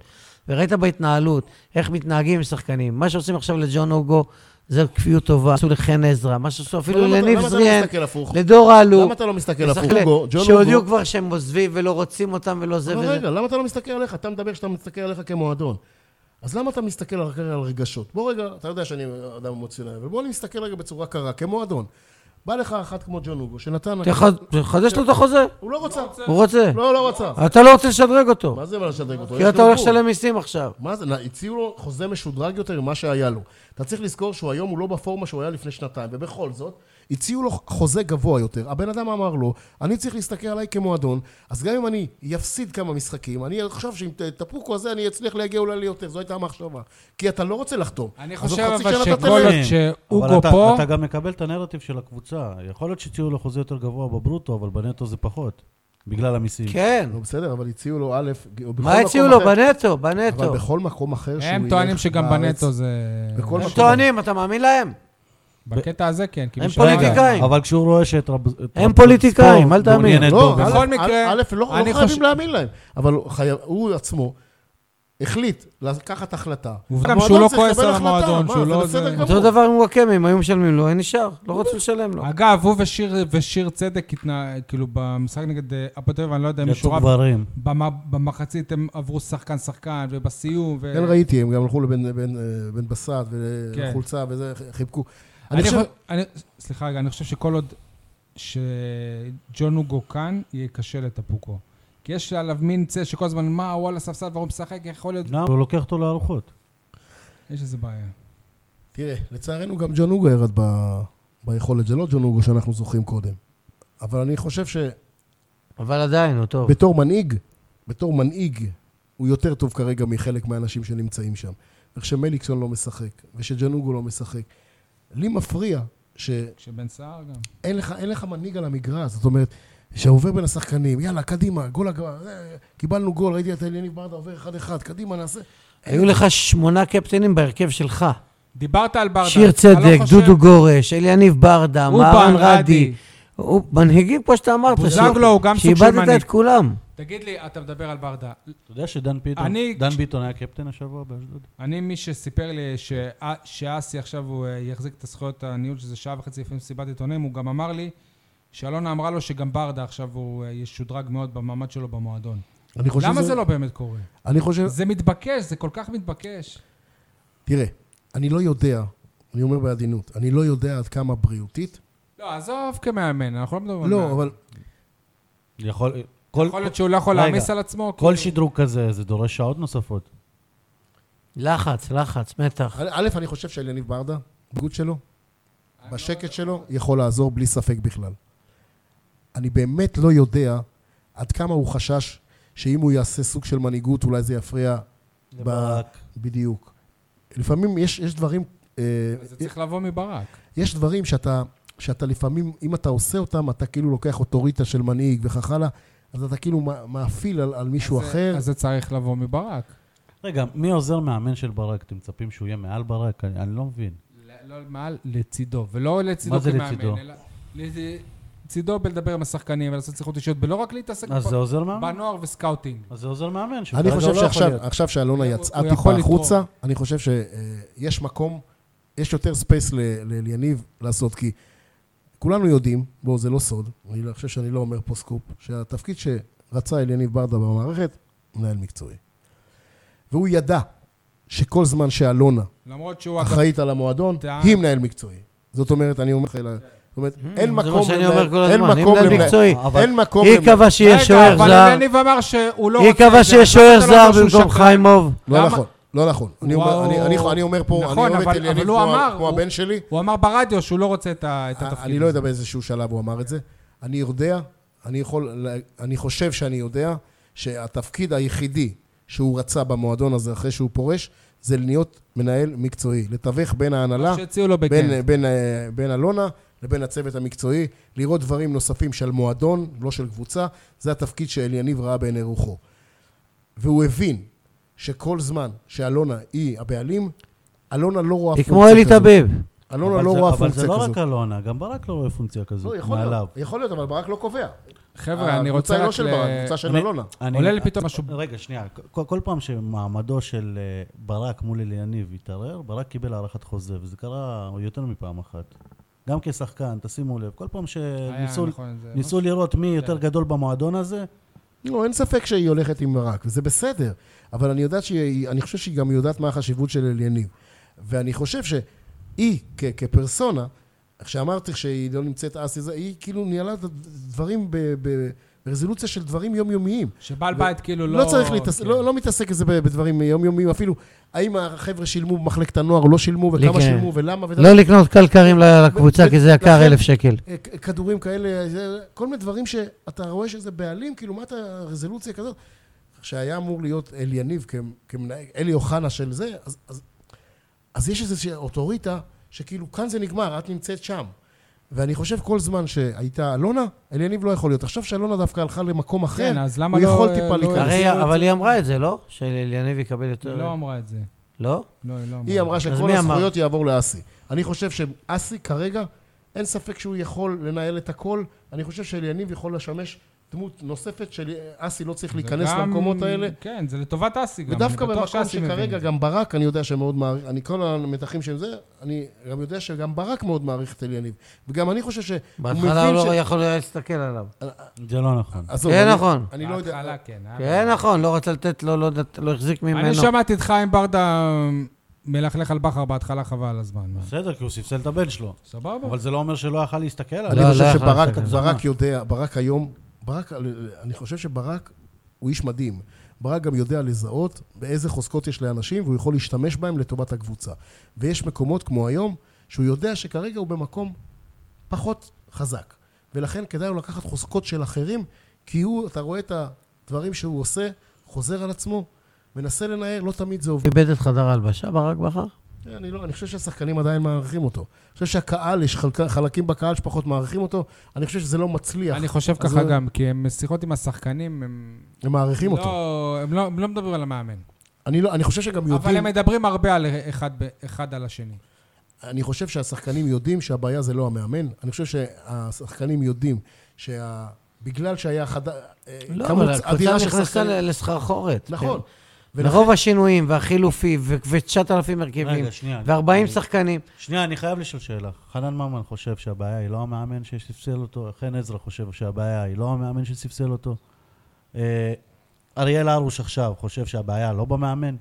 A: וראית בהתנהלות, איך מתנהגים עם שחקנים. מה שעושים עכשיו לג'ון אוגו, זה כפיות טובה, עשו לחן עזרא, מה שעשו אפילו
D: למה אתה-
A: לניב
D: למה אתה לא
A: זריאן,
D: מסתכל הפוך?
A: לדור אלו.
D: למה אתה לא מסתכל הפוך?
A: לשחקן-
D: הוגו, ג'ון
A: שהודיעו
D: הוגו.
A: כבר שהם עוזבים ולא רוצים אותם ולא זה
D: אבל
A: וזה.
D: רגע, למה אתה לא מסתכל עליך? אתה מדבר שאתה מסתכל עליך כמועדון. אז למה אתה מסתכל רק על רגשות? בוא רגע, אתה יודע שאני אדם אמוציונלי, אבל בוא אני מסתכל רגע בצורה קרה, כמועדון. בא לך אחת כמו ג'ון אוגו, שנתן...
A: תחד- תחדש לו את החוזה,
D: הוא לא רוצה.
A: הוא רוצה.
D: לא, לא רצה.
A: אתה לא רוצה לשדרג אותו,
D: מה זה מה לשדרג אותו?
A: כי
D: יש
A: אתה
D: לו
A: הולך
D: גבול.
A: לשלם מיסים עכשיו.
D: מה זה, נא, הציעו לו חוזה משודרג יותר ממה שהיה לו. אתה צריך לזכור שהוא היום הוא לא בפורמה שהוא היה לפני שנתיים, ובכל זאת, הציעו לו חוזה גבוה יותר. הבן אדם אמר לו, אני צריך להסתכל עליי כמועדון, אז גם אם אני אפסיד כמה משחקים, אני חושב שעם ת- תפוקו הזה אני אצליח להגיע אולי ליותר, זו הייתה המחשבה. כי אתה לא רוצה לחתום.
B: אני
D: אז
B: חושב
D: עוד חצי
B: אבל
D: שנה אתה
B: שכל
D: תלך.
B: עוד
C: כן,
B: שהוגו
C: אבל אתה-
B: פה-
C: אתה גם מקבל את הנרטיב של הקבוצה. יכול להיות שהציעו לו חוזה יותר גבוה בברוטו, אבל בנטו זה פחות. בגלל המיסים.
A: כן.
D: נו, לא, בסדר, אבל הציעו לו א', או בכל
A: מה הציעו לו?
D: מקום אחר-
A: בנטו,
D: אבל
A: בנטו.
D: בכל מקום אחר שהוא
B: הם
D: ילך
B: טוענים שגם
D: בארץ-
B: בנטו זה...
D: בכל
A: הם
D: מקום.
A: טוענים, אתה מאמין להם?
B: בקטע הזה כן. כי
A: הם
B: מי שאמר-
A: פוליטיקאים.
C: אבל כשהוא רואה שאת רב... את
A: הם
C: רב-
A: פוליטיקאים,
C: ספורט
A: אל תאמין.
C: מעוניינת
D: לא,
C: בו.
B: בכל
D: א',
B: מקרה,
D: א', לא לא
B: אני חושב-
D: חייבים להאמין להם, אבל הוא חייב- הוא עצמו החליט לקחת החלטה.
B: עובדה
D: המועדון
B: שהוא לא
D: צריך
B: כועס
D: לקבל
B: על
D: החלטה,
B: המועדון,
D: מה,
B: שהוא
D: זה
B: לא-
D: בסדר
B: זה-
D: גמור.
A: אותו דבר עם וואקמה, אם היו משלמים לו, היה נשאר, לא רצו לשלם לו.
B: אגב, הוא ושיר ושיר צדק, התנה- כאילו, במשחק נגד אה, הפועל תל אביב, אני לא יודע אם
C: יצאו
B: מישהו רב,
C: גברים.
B: במ- במחצית הם עברו שחקן-שחקן, ובסיום, ו...
D: כן, ראיתי, הם גם הלכו לבן בן- אה, בן בסט
B: כן.
D: ולחולצה וזה, חיבקו.
B: אני
D: אני חושב,
B: חו- אני- סליחה רגע, אני חושב שכל עוד שג'ון אוגו כאן, יהיה קשה לטפוקו. כי יש עליו מין צל שכל הזמן, מה, הוא על הספסל והוא משחק, יכול להיות...
C: למה? הוא לוקח אותו לארוחות.
B: יש איזה בעיה.
D: תראה, לצערנו גם ג'ון אוגו ירד ב- ביכולת, זה לא ג'ון אוגו שאנחנו זוכרים קודם. אבל אני חושב
A: אבל עדיין, הוא טוב.
D: שבתור מנהיג, בתור מנהיג, הוא יותר טוב כרגע מחלק מהאנשים שנמצאים שם. וכשמליקסון לא משחק, ושג'ון אוגו לא משחק. לי מפריע ש...
B: כשבן סער גם.
D: אין לך, אין לך מנהיג על המגרש, זאת אומרת, שעובר בין השחקנים, יאללה, קדימה, גול הגמר, קיבלנו גול, ראיתי את אליניב ברדה עובר אחד-אחד, קדימה, נעשה.
A: היו לך שמונה קפטנים בהרכב שלך.
B: דיברת על ברדה.
A: שיר
B: אתה
A: צדק,
B: לא חושב-
A: דודו גורש, אליניב ברדה,
B: אובן,
A: מהרן
B: רדי.
A: רדי. הוא מנהיגים, כמו שאתה אמרת.
B: בוזגלו הוא גם סוג של
A: שאיבדת
B: מנהיג.
A: את כולם.
B: תגיד לי, אתה מדבר על ברדה.
C: אתה יודע שדן ביטון,
B: אני-
C: דן ביטון היה קפטן השבוע באשדוד?
B: אני, מי שסיפר לי שא- שאסי עכשיו הוא אה, יחזיק את הזכויות הניהול, שזה שעה וחצי לפני מסיבת עיתונאים, הוא גם אמר לי שאלונה אמרה לו שגם ברדה עכשיו הוא אה, ישודרג מאוד במעמד שלו במועדון.
D: אני חושב
B: למה זה לא באמת קורה?
D: אני חושב...
B: זה מתבקש, זה כל כך מתבקש.
D: תראה, אני לא יודע, אני אומר בעדינות, אני לא יודע עד כמה בריאותית.
B: לא, עזוב כמאמן, אנחנו לא מדברים על מאמן.
D: לא, אבל
C: יכול...
B: יכול להיות שהוא לא יכול
C: רגע,
B: להעמיס על עצמו.
C: כל
B: כאילו.
C: שדרוג כזה, זה דורש שעות נוספות.
A: לחץ, לחץ, מתח.
D: א', א', אני חושב שאליניב ברדה, בגוד שלו,
B: לא
D: בשקט שלו, יכול לעזור בלי ספק בכלל. אני באמת לא יודע עד כמה הוא חשש שאם הוא יעשה סוג של מנהיגות, אולי זה יפריע
C: ברק.
D: בדיוק. לפעמים יש, יש דברים... אה,
B: זה צריך לבוא מברק.
D: יש דברים שאתה, שאתה לפעמים, אם אתה עושה אותם, אתה כאילו לוקח אוטוריטה של מנהיג וכך הלאה, אז אתה כאילו מ- מאפיל על, על מישהו
B: אז זה-
D: אחר.
B: אז זה צריך לבוא מברק.
C: רגע, מי עוזר מאמן של ברק? אתם מצפים שהוא יהיה מעל ברק? אני, אני לא מבין.
B: ל- לא מעל, לצידו, ולא לצידו
C: מה זה
B: כמאמן,
C: לצידו?
B: אלא לצידו בלדבר עם השחקנים ולעשות שיחות אישיות, ולא רק להתעסק
C: אז זה עוזר מאמן?
B: בנוער וסקאוטינג.
C: אז זה עוזר מאמן. שהוא
D: אני
C: כרגע
D: חושב
C: לא יכול
D: שעכשיו
C: להיות.
D: עכשיו שאלונה
B: הוא-
D: יצאה
B: הוא יכול
D: טיפה
B: לתרום.
D: החוצה, אני חושב שיש מקום, יש יותר ספייס ל- ל- ליניב לעשות, כי כולנו יודעים, בואו, זה לא סוד, אני לא- חושב שאני לא אומר פה סקופ, שהתפקיד שרצה אל יניב ברדה במערכת, מנהל מקצועי. והוא ידע שכל זמן שאלונה
B: למרות שהוא... אגב-
D: אחראית על המועדון,
B: טען-
D: היא מנהל מקצועי. זאת אומרת, אני אומר לך, אלא- זאת אומרת,
C: Hmm.
D: אין
A: זה מה
D: מקום
A: שאני
D: לנהל-
A: אומר כל
D: אין
A: הזמן, אם
D: מקום
A: זה
D: לנהל-
A: מקצועי.
C: אבל-
D: אין מקום
A: היא
D: לנהל-
A: קבעה שיהיה
B: רגע,
A: שוער
B: אבל
A: זר,
B: יניב אמר שהוא לא...
A: היא
B: רוצה
A: קבעה
B: את זה,
A: שיהיה
B: אבל
A: שוער
B: אתה לא אומר
A: זר
B: שהוא
A: במקום
B: שקרן.
A: חיימוב.
D: לא
B: למה?
D: נכון, לא נכון. אני אומר-
B: וואו.
D: אני- אני- אני אומר פה, אני
B: נכון,
D: אוהב את
B: אבל-
D: אליניב
B: אבל הוא
D: כמו ה-
B: אמר,
D: כמו
B: הוא-
D: הבן שלי.
B: הוא אמר ברדיו שהוא לא רוצה את ה- את התפקיד.
D: אני לא יודע באיזשהו שלב הוא אמר את זה. אני יודע, אני יכול, לה- אני חושב שאני יודע, שהתפקיד היחידי שהוא רצה במועדון הזה אחרי שהוא פורש, זה להיות מנהל מקצועי. לתווך בין ההנהלה,
B: שהציעו לו
D: בין,
B: בגן.
D: בין, בין, אה, בין אלונה לבין הצוות המקצועי, לראות דברים נוספים של מועדון, לא של קבוצה. זה התפקיד שאליניב ראה בעיני רוחו. והוא הבין שכל זמן שאלונה היא הבעלים, אלונה לא רואה
A: היא כמו אלי תביב.
D: אלונה
C: אבל
D: לא
C: זה-
D: רואה
C: אבל
D: פונקציה
C: זה
D: כזאת.
C: לא רק אלונה, גם ברק לא רואה פונקציה
D: לא,
C: כזאת
D: יכול
C: מעליו.
D: להיות, יכול להיות, אבל ברק לא קובע.
B: חבר'ה, אני רוצה
D: הקבוצה היא
B: רק...
D: לא של
B: ל-
D: ברק, הקבוצה של
C: אני-
D: אלונה.
C: אני-
B: עולה לי פתאום משהו-
C: רגע, שנייה. כל כל פעם שמעמדו של אה, ברק מול אליניב התערער, ברק קיבל הארכת חוזה, וזה קרה יותר מפעם אחת. גם כשחקן, תשימו לב, כל פעם
D: אה,
B: היה,
C: שניסו
B: נכון, זה-
C: ניסו לראות מי יותר גדול במועדון הזה,
D: לא, אין ספק שהיא הולכת עם ברק, וזה בסדר. אבל אני יודעת שהיא, אני חושב שהיא גם יודעת מה החשיבות של אליניב. ואני חושב שהיא, כ- כפרסונה, איך שאמרתי שהיא לא נמצאת אסי, זה- היא כאילו ניהלה את הדברים ב- ב- ברזולוציה של דברים יומיומיים.
B: שבעל בית כאילו לא...
D: לא צריך להתעסק,
B: כן.
D: לא, לא מתעסק בזה ב- בדברים יומיומיים, אפילו האם החבר'ה שילמו במחלקת הנוער או לא שילמו, וכמה
A: לי כן.
D: שילמו, ולמה, ודבר-
A: לא לקנות קלקרים ל- לקבוצה,
D: ו-
A: כי זה יקר
D: לכן-
A: אלף שקל.
D: אה, כ- כדורים כאלה, זה- כל מיני דברים שאתה רואה שזה בעלים, כאילו, מה אתה, רזולוציה כזאת? שהיה אמור להיות אלי יניב כ- כמנהל, אלי אוחנה של זה, אז, אז, אז יש איזושהי אוטוריטה שכאילו, כאן זה נגמר, את נמצאת שם. ואני חושב כל זמן שהייתה אלונה, אלי יניב לא יכול להיות. עכשיו שאלונה דווקא הלכה למקום אחר,
B: כן, אז למה
D: הוא
B: לא-
D: יכול טיפה
B: לא-
D: להיכנס.
A: הרי,
B: הסירו את
A: אבל
B: זה.
A: היא אמרה את זה, לא? שאליניב יקבל
B: היא
A: יותר...
B: לא אמרה את זה.
A: לא?
B: לא, היא לא אמרה.
D: היא אמרה
A: אז מי
D: שכל
A: אמר?
D: הזכויות יעבור לאסי. אני חושב שאסי כרגע, אין ספק שהוא יכול לנהל את הכל. אני חושב שאליניב יכול לשמש דמות נוספת של אסי לא צריך
B: זה
D: להיכנס
B: גם-
D: למקומות האלה.
B: כן, זה לטובת אסי גם.
D: ודווקא
B: אני בטוח
D: במקום
B: שאסי מבין
D: שכרגע
B: את זה.
D: גם ברק, אני יודע שמאוד מעריך, אני כל המתחים של זה, אני גם יודע שגם ברק מאוד מעריך את אליניב. וגם אני חושב שהוא מבין
A: בהתחלה הוא
D: ש-
A: לא יכול היה להסתכל עליו.
C: זה לא נכון.
D: עזוב,
A: כן,
D: אני-
A: נכון.
D: אני לא יודע.
B: בהתחלה כן. היה
A: כן, נכון, לא רצה לתת לו, לא דת- לא החזיק ממנו.
B: אני שמעתי את חיים ברדה אמ, מלכלך על בכר בהתחלה, חבל על הזמן.
C: בסדר, כי הוא ספסל את הבן שלו.
B: סבבה?
C: אבל זה לא אומר שלא יכל להסתכל עליו.
D: אני
A: לא,
D: חושב
A: לא יכול
D: שברק
A: להסתכל.
D: ברק יודע, ברק היום, ברק, אני חושב שברק הוא איש מדהים. ברק גם יודע לזהות באיזה חוזקות יש לאנשים, והוא יכול להשתמש בהם לטובת הקבוצה. ויש מקומות כמו היום, שהוא יודע שכרגע הוא במקום פחות חזק. ולכן כדאי לו לקחת חוזקות של אחרים, כי הוא, אתה רואה את הדברים שהוא עושה, חוזר על עצמו, מנסה לנער, לא תמיד זה עובד.
A: איבד את חדר ההלבשה, ברק בכר?
D: אני, לא, אני חושב שהשחקנים עדיין מעריכים אותו. אני חושב שהקהל, יש חלק, חלקים בקהל שפחות מעריכים אותו, אני חושב שזה לא מצליח.
B: אני חושב
D: אז
B: ככה
D: זה-
B: גם, כי הם שיחות עם השחקנים, הם...
D: הם מעריכים
B: לא-
D: אותו.
B: הם לא- הם לא מדברים על המאמן.
D: אני, לא, אני חושב שגם
B: אבל
D: יודעים,
B: הם מדברים הרבה על אחד ב- אחד על השני.
D: אני חושב שהשחקנים יודעים שהבעיה זה לא המאמן. אני חושב שהשחקנים יודעים שבגלל שהיה חד... אה,
A: לא,
D: כמות
A: אבל
D: אדירה
A: הקבוצה
D: של
A: נכנסה
D: שחקנים-
A: ל- לסחרחורת.
D: נכון.
A: כן.
D: ולכן-
A: מרוב השינויים והחילופים ו-9,000 הרכבים,
C: רגע, שנייה.
A: ו-40
C: אני-
A: שחקנים.
C: שנייה, אני חייב לשאול שאלה. חנן ממן חושב שהבעיה היא לא המאמן שספסל אותו, חן עזרא חושב שהבעיה היא לא המאמן שספסל אותו. אה, אריאל הרוש עכשיו חושב שהבעיה לא במאמן.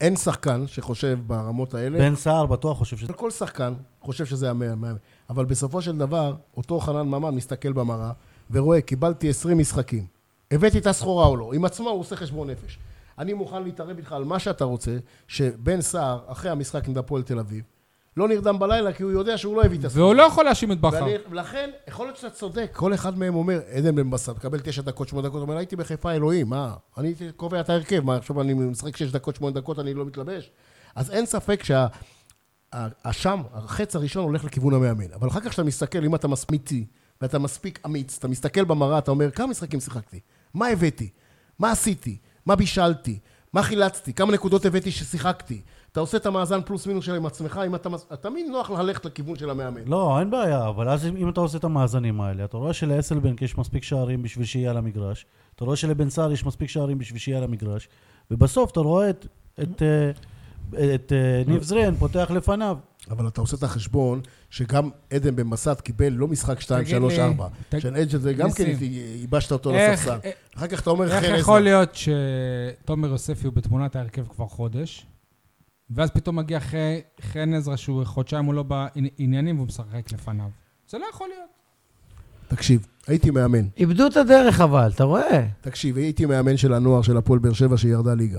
D: אין שחקן שחושב ברמות האלה.
C: בן סער בטוח חושב ש...
D: אבל כל שחקן חושב שזה המאמן. אבל בסופו של דבר, אותו חנן ממן מסתכל במראה ורואה, קיבלתי 20 משחקים. הבאתי את הסחורה או לא. עם עצמו הוא עושה חשבון נפש. אני מוכן להתערב איתך על מה שאתה רוצה, שבן סער, אחרי המשחק נגד הפועל תל אביב, לא נרדם בלילה כי הוא יודע שהוא לא הביא את הסחורה.
B: והוא לא יכול להאשים את בכר.
D: ואני- ולכן, יכול להיות שאתה צודק, כל אחד מהם אומר, עדן בן בסט, מקבל תשע דקות, שמונה דקות, הוא אומר, הייתי בחיפה, אלוהים, מה? אני הייתי קובע את ההרכב, מה, עכשיו אני משחק שש דקות, שמונה דקות, אני לא מתלבש? אז אין ספק שה... ה- השם, החץ הראשון הולך לכיוון המאמן. אבל אחר כך כשאתה מסתכל, אם אתה מסמיתי, ואתה מספיק אמיץ, אתה מסתכל במראה, אתה אומר, כמה משחקים שיחקתי? מה הבאתי? מה עשיתי? מה בישלתי? מה חילצתי? כמה נקודות הבאתי ששיחקתי? אתה עושה את המאזן פלוס מינוס של עם עצמך, אם אתה... מס- תמיד נוח ללכת לכיוון של המאמן.
C: לא, אין בעיה, אבל אז אם אם אתה עושה את המאזנים האלה, אתה רואה שלאסלבנק יש מספיק שערים בשביל שיהיה על המגרש, אתה רואה שלבן סער יש מספיק שערים בשביל שיהיה על המגרש, ובסוף אתה רואה את- את אה, את, אה, ניב זריאן פותח לפניו.
D: אבל אתה עושה את החשבון שגם עדן בן מסת קיבל לא משחק 2,
B: תגיד
D: 3,
B: לי,
D: 4.
B: תג-
D: של אג'ן זה גם כן
B: ניסים.
D: ייבשת אותו
B: איך-
D: לספסל.
B: אה,
D: אחר כך אתה אומר
B: איך
D: חרז.
B: יכול להיות שתומר יוספי הוא בתמונת ההרכב כבר חודש, ואז פתאום מגיע ח- חן עזרא שהוא חודשיים הוא לא בעניינים והוא משחק לפניו? זה לא יכול להיות.
D: תקשיב, הייתי מאמן.
A: איבדו את הדרך אבל, אתה
D: אה,
A: רואה?
D: תקשיב, הייתי מאמן של הנוער של הפועל באר שבע שירדה ליגה.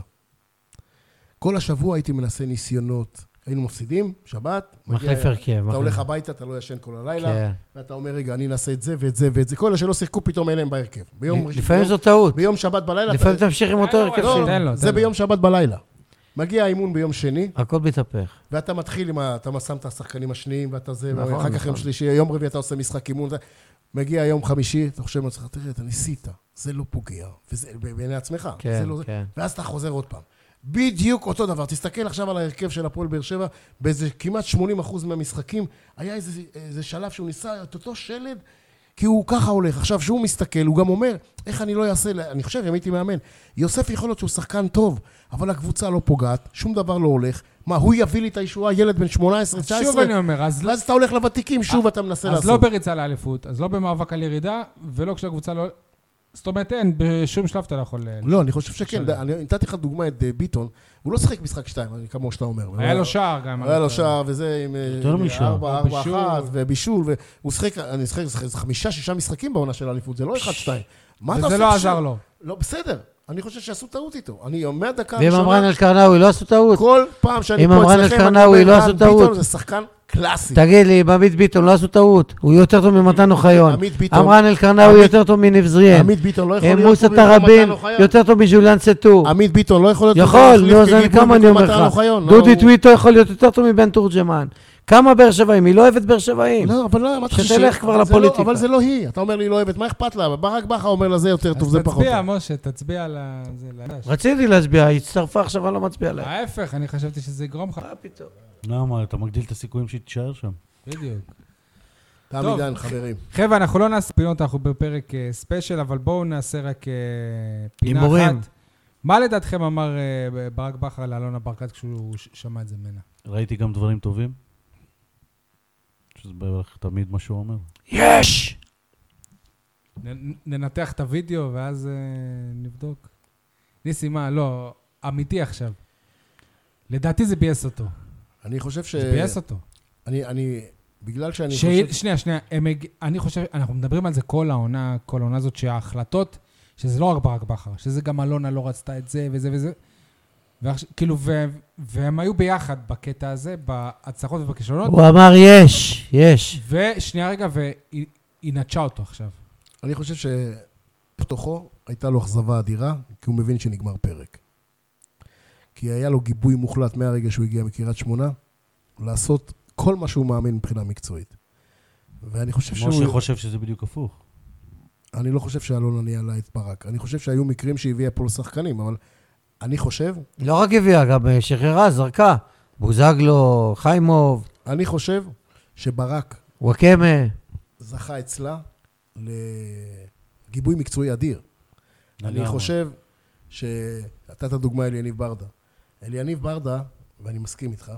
D: כל השבוע הייתי מנסה ניסיונות. היינו מפסידים, שבת, מגיע-
A: מחליף הרכב.
D: אתה
A: מחליף-
D: הולך הביתה, אתה לא ישן כל הלילה,
A: כן.
D: ואתה אומר, רגע, אני אנסה את זה ואת זה ואת זה. כל אלה שלא שיחקו, פתאום אין להם בהרכב. ביום ראשון- אה,
A: לפעמים זו טעות.
D: ביום שבת בלילה,
A: לפעמים
D: אתה-
A: תמשיך עם אותו
B: לא,
A: הרכב
B: לא.
A: שלי.
B: תן לו,
D: זה
B: תן לו.
D: ביום שבת בלילה. מגיע האימון ביום שני,
A: הכל מתהפך.
D: ואתה מתחיל עם ה... אתה שם את השחקנים השניים, ואתה זה,
A: נכון,
D: ואחר כך
A: נכון.
D: יום שלישי, יום רביעי אתה עושה משחק אימון. זה- מגיע יום חמישי, אתה חושב לעצמך, תראה, אתה ניסית, זה לא פוגע, וזה בעיני עצמך.
A: כן,
D: זה לא זה."
A: כן.
D: ואז אתה חוזר עוד פעם. בדיוק אותו דבר. תסתכל עכשיו על ההרכב של הפועל באר שבע, באיזה כמעט 80 אחוז מהמשחקים, היה איזה, איזה שלב שהוא ניסה את אותו שלד, כי הוא ככה הולך. עכשיו, כשהוא מסתכל, הוא גם אומר, איך אני לא אעשה, ל- אני חושב, אם הייתי מאמן, יוסף יכול להיות שהוא שחקן טוב, אבל הקבוצה לא פוגעת, שום דבר לא הולך. מה, הוא יביא לי את הישועה, ילד בן 18-19?
B: אז שוב אני אומר, אז לא-
D: ואז אתה הולך לוותיקים, שוב אתה מנסה
B: אז לא
D: לעשות.
B: בריצה לאליפות, אז לא במאבק על ירידה, ולא כשהקבוצה לא... זאת אומרת, אין, בשום שלב אתה לא יכול... ל-
D: לא, אני חושב שכן.
B: שלם.
D: אני נתתי לך דוגמה את אה, ביטון, הוא לא שיחק משחק שתיים, אני- כמו שאתה אומר.
B: היה
D: אבל-
B: לו שער גם.
D: היה לו שער וזה עם... אה,
C: יותר משער.
D: ארבע, ארבע,
B: בישול.
D: אחת, ובישול, והוא שחק, אני זוכר, זה- זה חמישה, שישה משחקים בעונה של האליפות, זה לא אחד, שתיים. מה אתה עושה?
B: וזה לא
D: עכשיו?
B: עזר לו.
D: לא, בסדר. אני חושב שעשו טעות איתו. אני אומר דקה
A: ואם אמרן אלקרנאווי לא עשו טעות?
D: כל פעם שאני
A: אם
D: פה
A: אמרן
D: אצלכם, אני
A: אלקרנאווי,
D: אומר,
A: לא
D: רן
A: עשו טעות.
D: ביטון זה שחקן קלאסי.
A: תגיד לי, אם עמית ביטון לא עשו טעות, הוא יותר טוב ממתן אוחיון.
D: עמית ביטון-
A: אמרן אלקרנאווי
D: עמית-
A: יותר טוב מנבזריאן.
D: עמית ביטון לא יכול
A: אה,
D: להיות...
A: מוסא
D: פה במקום
A: תראבין
D: מתן אוחיון.
A: יותר טוב מז'וליאן סטור.
D: עמית ביטון לא יכול להיות...
A: יכול,
D: מחליף
A: נו, אז אני-
D: כגיבוי
A: כמה אני
D: במקום
A: אומר
D: מתן
A: לך?
D: אוחיון. לא-
A: דודי
D: הוא-
A: טוויטו יכול להיות יותר טוב מבן תורג'מן. כמה באר שבעים? היא לא אוהבת באר שבעים.
D: לא, אבל לא, אמרתי
A: שתלך כבר
D: זה לא-
A: לפוליטיקה.
D: אבל זה לא היא. אתה אומר לי, לא אוהבת, מה אכפת לה? ברק בכר אומר לה, זה יותר טוב,
B: אז
D: זה פחות.
B: תצביע,
D: טוב.
B: משה, תצביע על ה... זה, לדש.
A: רציתי להצביע, היא הצטרפה עכשיו, אני לא מצביע
D: אה,
A: לה.
B: ההפך, אני חשבתי שזה יגרום לך.
A: מה פתאום?
C: למה? אתה מגדיל את הסיכויים שהיא תישאר שם.
B: בדיוק.
D: תם
B: טוב.
D: עידן, חברים.
B: חבר'ה, אנחנו לא נעשה פינות, אנחנו בפרק אה, ספיישל, אבל בואו נעשה רק אה, פינה אחת.
A: הימורים.
B: מה לדעתכם אמר אה, ברק בכר לאלונה ברקת כשהוא ש- שמע את זה ממנה?
C: ראיתי גם דברים טובים. שזה בערך תמיד מה שהוא אומר.
A: יש!
B: נ- ננתח את הוידאו ואז אה, נבדוק. ניסי, מה? לא, אמיתי עכשיו. לדעתי זה ביאס אותו.
D: אני חושב ש...
B: זה ביאס אותו.
D: אני, אני, בגלל שאני
B: ש...
D: חושב...
B: שנייה, שנייה, הם... הג- אני חושב, אנחנו מדברים על זה כל העונה, כל העונה הזאת, שההחלטות, שזה לא רק ברק בכר, שזה גם אלונה לא רצתה את זה וזה וזה. ועכשיו, כאילו, ו... והם היו ביחד בקטע הזה, בהצלחות
D: לא-
B: ובכישלונות,
A: הוא אמר יש, יש.
B: ושנייה רגע, והיא היא נטשה אותו עכשיו.
D: אני חושב שפתוחו הייתה לו אכזבה אדירה, כי הוא מבין שנגמר פרק. כי היה לו גיבוי מוחלט מהרגע שהוא הגיע מקריית שמונה, לעשות כל מה שהוא מאמין מבחינה מקצועית. ואני חושב שהוא...
C: משה חושב שזה בדיוק הפוך.
D: אני לא חושב שאלונה ניהלה את ברק. אני חושב שהיו מקרים שהביאה פה לשחקנים, אבל אני חושב,
A: לא רק הביאה, גם אה, שחררה, זרקה. בוזגלו, חיימוב,
D: אני חושב שברק אה,
A: וואקמה.
D: זכה אצלה לגיבוי מקצועי אדיר. אני
C: לגמרי.
D: חושב ש... נתת דוגמה אל יניב ברדה. אל יניב ברדה, ואני מסכים איתך,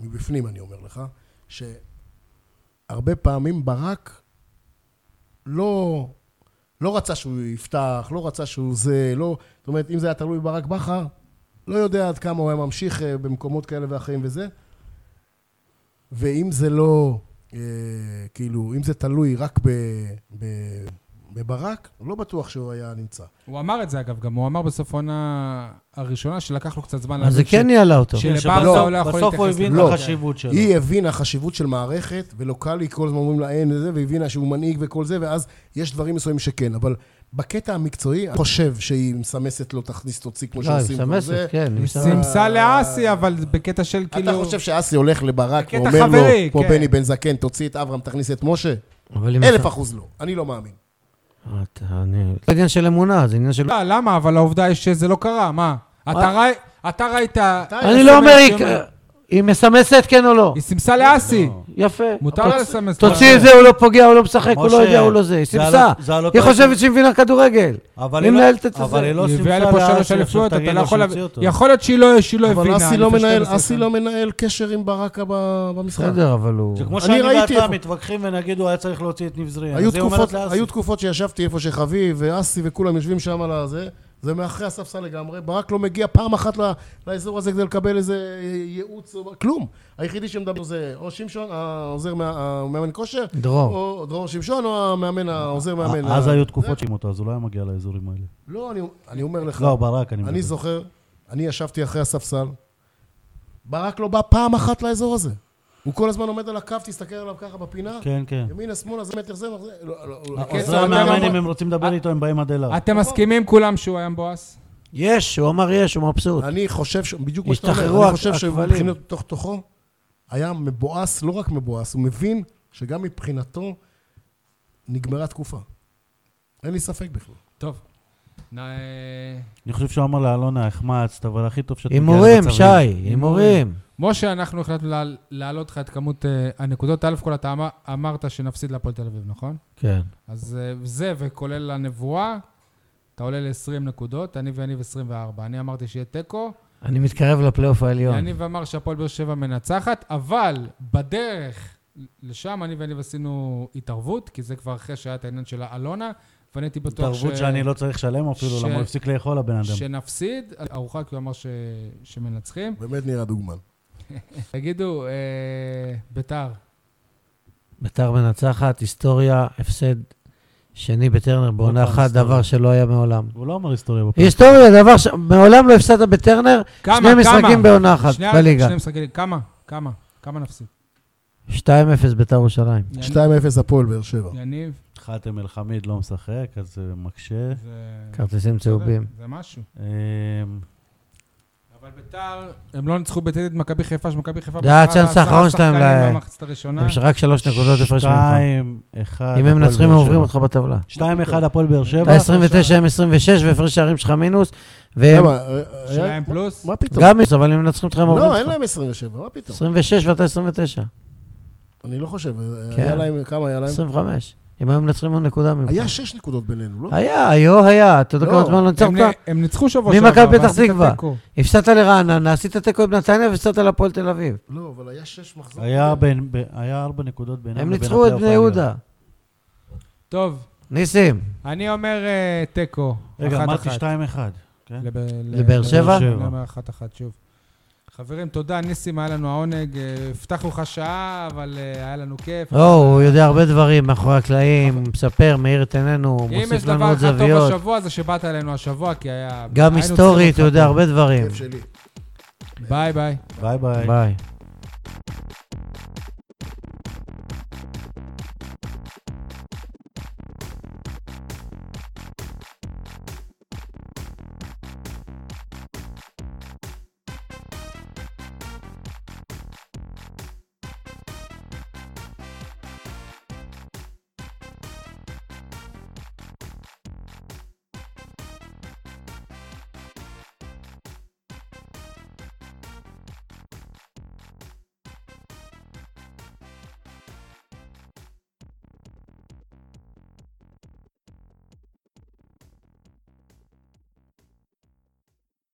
D: מבפנים אני אומר לך, שהרבה פעמים ברק לא, לא רצה שהוא יפתח, לא רצה שהוא זה, לא... זאת אומרת, אם זה היה תלוי ברק בכר, לא יודע עד כמה הוא היה ממשיך אה, במקומות כאלה ואחרים וזה. ואם זה לא, אה, כאילו, אם זה תלוי רק ב, ב, בברק, לא בטוח שהוא היה נמצא.
B: הוא אמר את זה, אגב, גם הוא אמר בסוף העונה הראשונה, שלקח לו קצת זמן
A: אז זה
B: ש-
A: כן ניהלה אותו.
B: ש- שלברדה
C: שבסוף-
B: הוא לא יכול
C: בסוף הוא
B: להתייחס
C: הבין
D: לזה.
C: את
D: לא.
C: החשיבות שלו.
D: היא הבינה חשיבות של מערכת, ולוקאלי כל הזמן אומרים לה אין וזה, והבינה שהוא מנהיג וכל זה, ואז יש דברים מסוימים שכן, אבל בקטע המקצועי, אני חושב שהיא מסמסת לו תכניס תוציא כמו
A: לא, היא
D: שעושים כל
A: מסמסת,
D: זה.
A: כן. היא מסמסת.
B: סימסה לאסי, אבל בקטע של כאילו...
D: אתה חושב שאסי הולך לברק
B: בקטע
D: ואומר לו,
B: חברי,
D: כמו
B: כן.
D: בני בן זקן, תוציא את אברהם, תכניס את משה?
A: אבל היא
D: אלף
A: מסמסת.
D: אחוז לא, אני לא מאמין.
A: אתה- אני- זה עניין של אמונה, זה עניין של...
B: לא, למה? אבל העובדה היא שזה לא קרה, מה? אתה ראי- אתה ראית...
A: אני לא אומר, היא- היא מסמסת כן או לא.
B: היא סימסה לאסי.
C: לא.
A: יפה.
B: מותר לה לסמס.
A: תוציא את זה, הוא לא פוגע, הוא לא משחק, הוא לא
C: משה,
A: יודע, הוא לא זה. היא
C: זה על-
A: סימסה.
C: זה על
A: היא
C: הפרק.
A: חושבת שהיא מבינה כדורגל.
C: אבל
A: היא
C: היא לא-
A: מנהלת את
C: אבל
A: זה.
C: היא לא
B: היא
C: סימסה
B: הביאה לפה שלוש
C: לאסי, עכשיו
B: אליפויות, אתה
C: תגיד
B: לא
C: לו
B: יכול...
C: שיוציא אותו.
B: יכול להיות שהיא לא שהיא לא הבינה.
D: אבל אסי
B: לפני
D: לא מנהל,
B: 12
D: אסי
B: שנה.
D: לא מנהל קשר עם ברק ב- במשחק.
A: בסדר, אבל הוא...
C: זה
D: אני
C: כמו שאני
D: ראיתי
C: ואתה
D: איפה-
C: מתווכחים ונגיד הוא היה צריך להוציא את נבזרין.
D: היו תקופות, היו תקופות שישבתי איפה שחביב ואסי וכולם יושבים שם על הזה, זה מאחורי הספסל לגמרי, ברק לא מגיע פעם אחת ל- לאזור הזה כדי לקבל איזה אה, ייעוץ, או- כלום. היחידי שמדבר זה או שמשון, העוזר, מה- המאמן כושר,
A: דרור.
D: או דרור שמשון, או המאמן, העוזר מאמן.
C: אה, אז
D: ה-
C: היו תקופות שעם אותו, אז הוא לא היה מגיע לאזורים האלה.
D: לא, אני- אני אומר לך.
C: לא, ברק, אני
D: אני
C: מדבר.
D: זוכר, אני ישבתי אחרי הספסל, ברק לא בא פעם אחת לאזור הזה. הוא כל הזמן עומד על הקו, תסתכל עליו ככה בפינה,
C: כן, כן.
D: ימינה, שמאלה, זה מטר זה, מחזיר. לא, לא, לא,
B: עוזרי
D: הקצב,
C: עוזרי
B: אתה
C: המאמן,
B: גם-
C: אם הם רוצים
D: אה,
C: לדבר איתו, הם באים עד אליו.
B: אתם מסכימים כולם שהוא היה מבואס?
A: יש, הוא אמר יש, הוא מבסוט.
D: אני חושב, ש- בדיוק מה שאתה
A: השתחררו
D: אומר, אני חושב
A: הכבלים.
D: שמבחינת תוך תוכו, היה מבואס, לא רק מבואס, הוא מבין שגם מבחינתו נגמרה תקופה. אין לי ספק בכלל.
B: טוב. נא, אה,
C: אני חושב שהוא אמר לאלונה, החמצת, אבל הכי טוב שאת מגיעה
A: הימורים,
C: למצבים."
A: שי, הימורים.
B: משה, אנחנו החלטנו לה- להעלות לך את כמות אה, הנקודות. א' כל אתה אמר- אמרת שנפסיד להפועל תל אביב, נכון?
A: כן.
B: אז אה, זה, וכולל הנבואה, אתה עולה ל-20 נקודות, אני ויניב 24. אני אמרתי שיהיה תיקו,
A: אני מתקרב לפלייאוף העליון.
B: יניב אמר שהפועל באר שבע מנצחת, אבל בדרך לשם אני ויניב עשינו התערבות, כי זה כבר אחרי שהיה את העניין של האלונה, ואני הייתי בטוח
C: התערבות שאני לא צריך לשלם אפילו,
B: ש-
C: למה הוא הפסיק לאכול הבן אדם.
B: שנפסיד, ארוחה כי הוא אמר ש... שמנצחים.
D: באמת נראה דוגמן.
B: תגידו, אה, ביתר,
A: ביתר מנצחת, היסטוריה, הפסד שני בטרנר בעונה
C: לא פעם
A: אחת,
C: היסטוריה.
A: דבר שלא היה מעולם.
C: הוא לא אמר היסטוריה בפעם.
A: היסטוריה, דבר ש... מעולם לא הפסדת בטרנר,
B: כמה,
A: שני משחקים
B: כמה?
A: בעונה אחת
B: שני-
A: בליגה.
B: שני משחקים, כמה? כמה? כמה נפסיד?
A: 2-0 ביתר ירושלים.
D: 2-0 הפועל באר שבע.
B: יניב,
C: חתם אל חמיד לא משחק, אז זה מקשה.
B: זה...
A: כרטיסים צהובים.
B: זה משהו.
C: אמ,
B: אבל ביתר, הם לא ניצחו בטדי את מכבי חיפה, שמכבי חיפה...
A: זה היה הצ'אנס האחרון שלהם ל-
B: ל... במחצית הראשונה.
A: יש רק שלוש נקודות הפרש ממך.
C: שתיים, אחד.
A: אם הם
C: הפועל
A: מנצחים, הם
C: באר
A: עוברים
C: שבע.
A: אותך בטבלה.
C: שתיים, אחד, הפועל באר שבע.
A: אתה 29, הם 26, והפרש שערים שלך מינוס, והם
D: למה? אה, אה,
B: שלהם
D: מה-
B: פלוס.
D: מה פתאום?
A: גם מינוס, אבל הם מנצחים אותך, הם עוברים
D: לא, אין
A: אותך.
D: להם 27, מה פתאום?
A: 26 ואתה 29,
D: אני לא חושב,
A: כן.
D: היה להם, כמה היה להם?
A: 25. אם היו מנצחים עוד נקודה ממך.
D: היה שש נקודות בינינו, לא?
A: היה, היו, היה. אתה יודע
D: לא.
A: כמה זמן לא
B: הם
A: ניצחת?
B: נ- הם ניצחו שבוע
A: ממכבי פתח
B: ועשית
A: תקווה.
B: תיקו.
A: הפסדת לרעננה, עשית תיקו עם נתניה והפסדת להפועל תל אביב.
D: לא, אבל היה שש מחזור.
C: היה בין- ב- היה ארבע נקודות בינם
A: הם
C: לבין
A: ניצחו את
C: הפלייאוף
A: בני
C: העליון.
A: יהודה.
B: טוב,
A: ניסים,
B: אני אומר אה, תיקו.
C: רגע,
B: אחת-
C: אמרתי
B: אחת.
C: שתיים, אחד. כן?
B: לב- ל-
A: לבאר שבע?
B: אני אומר אחת אחת שוב. חברים, תודה, ניסים, היה לנו העונג. אה, הבטחנו לך שעה, אבל אה, היה לנו כיף.
A: או, הוא יודע הרבה דברים מאחורי הקלעים, הוא מספר, מאיר את עינינו,
B: אם יש
A: מוסיף לנו
B: דבר
A: עוד
B: אחד טוב
A: זוויות.
B: השבוע, זה שבאת אלינו השבוע, כי היה...
A: גם
B: היינו צריכים
A: היסטורית, הוא
B: אותך
A: יודע
B: פה.
A: הרבה דברים.
D: כיף שלי.
B: ביי ביי.
C: ביי ביי.
A: ביי.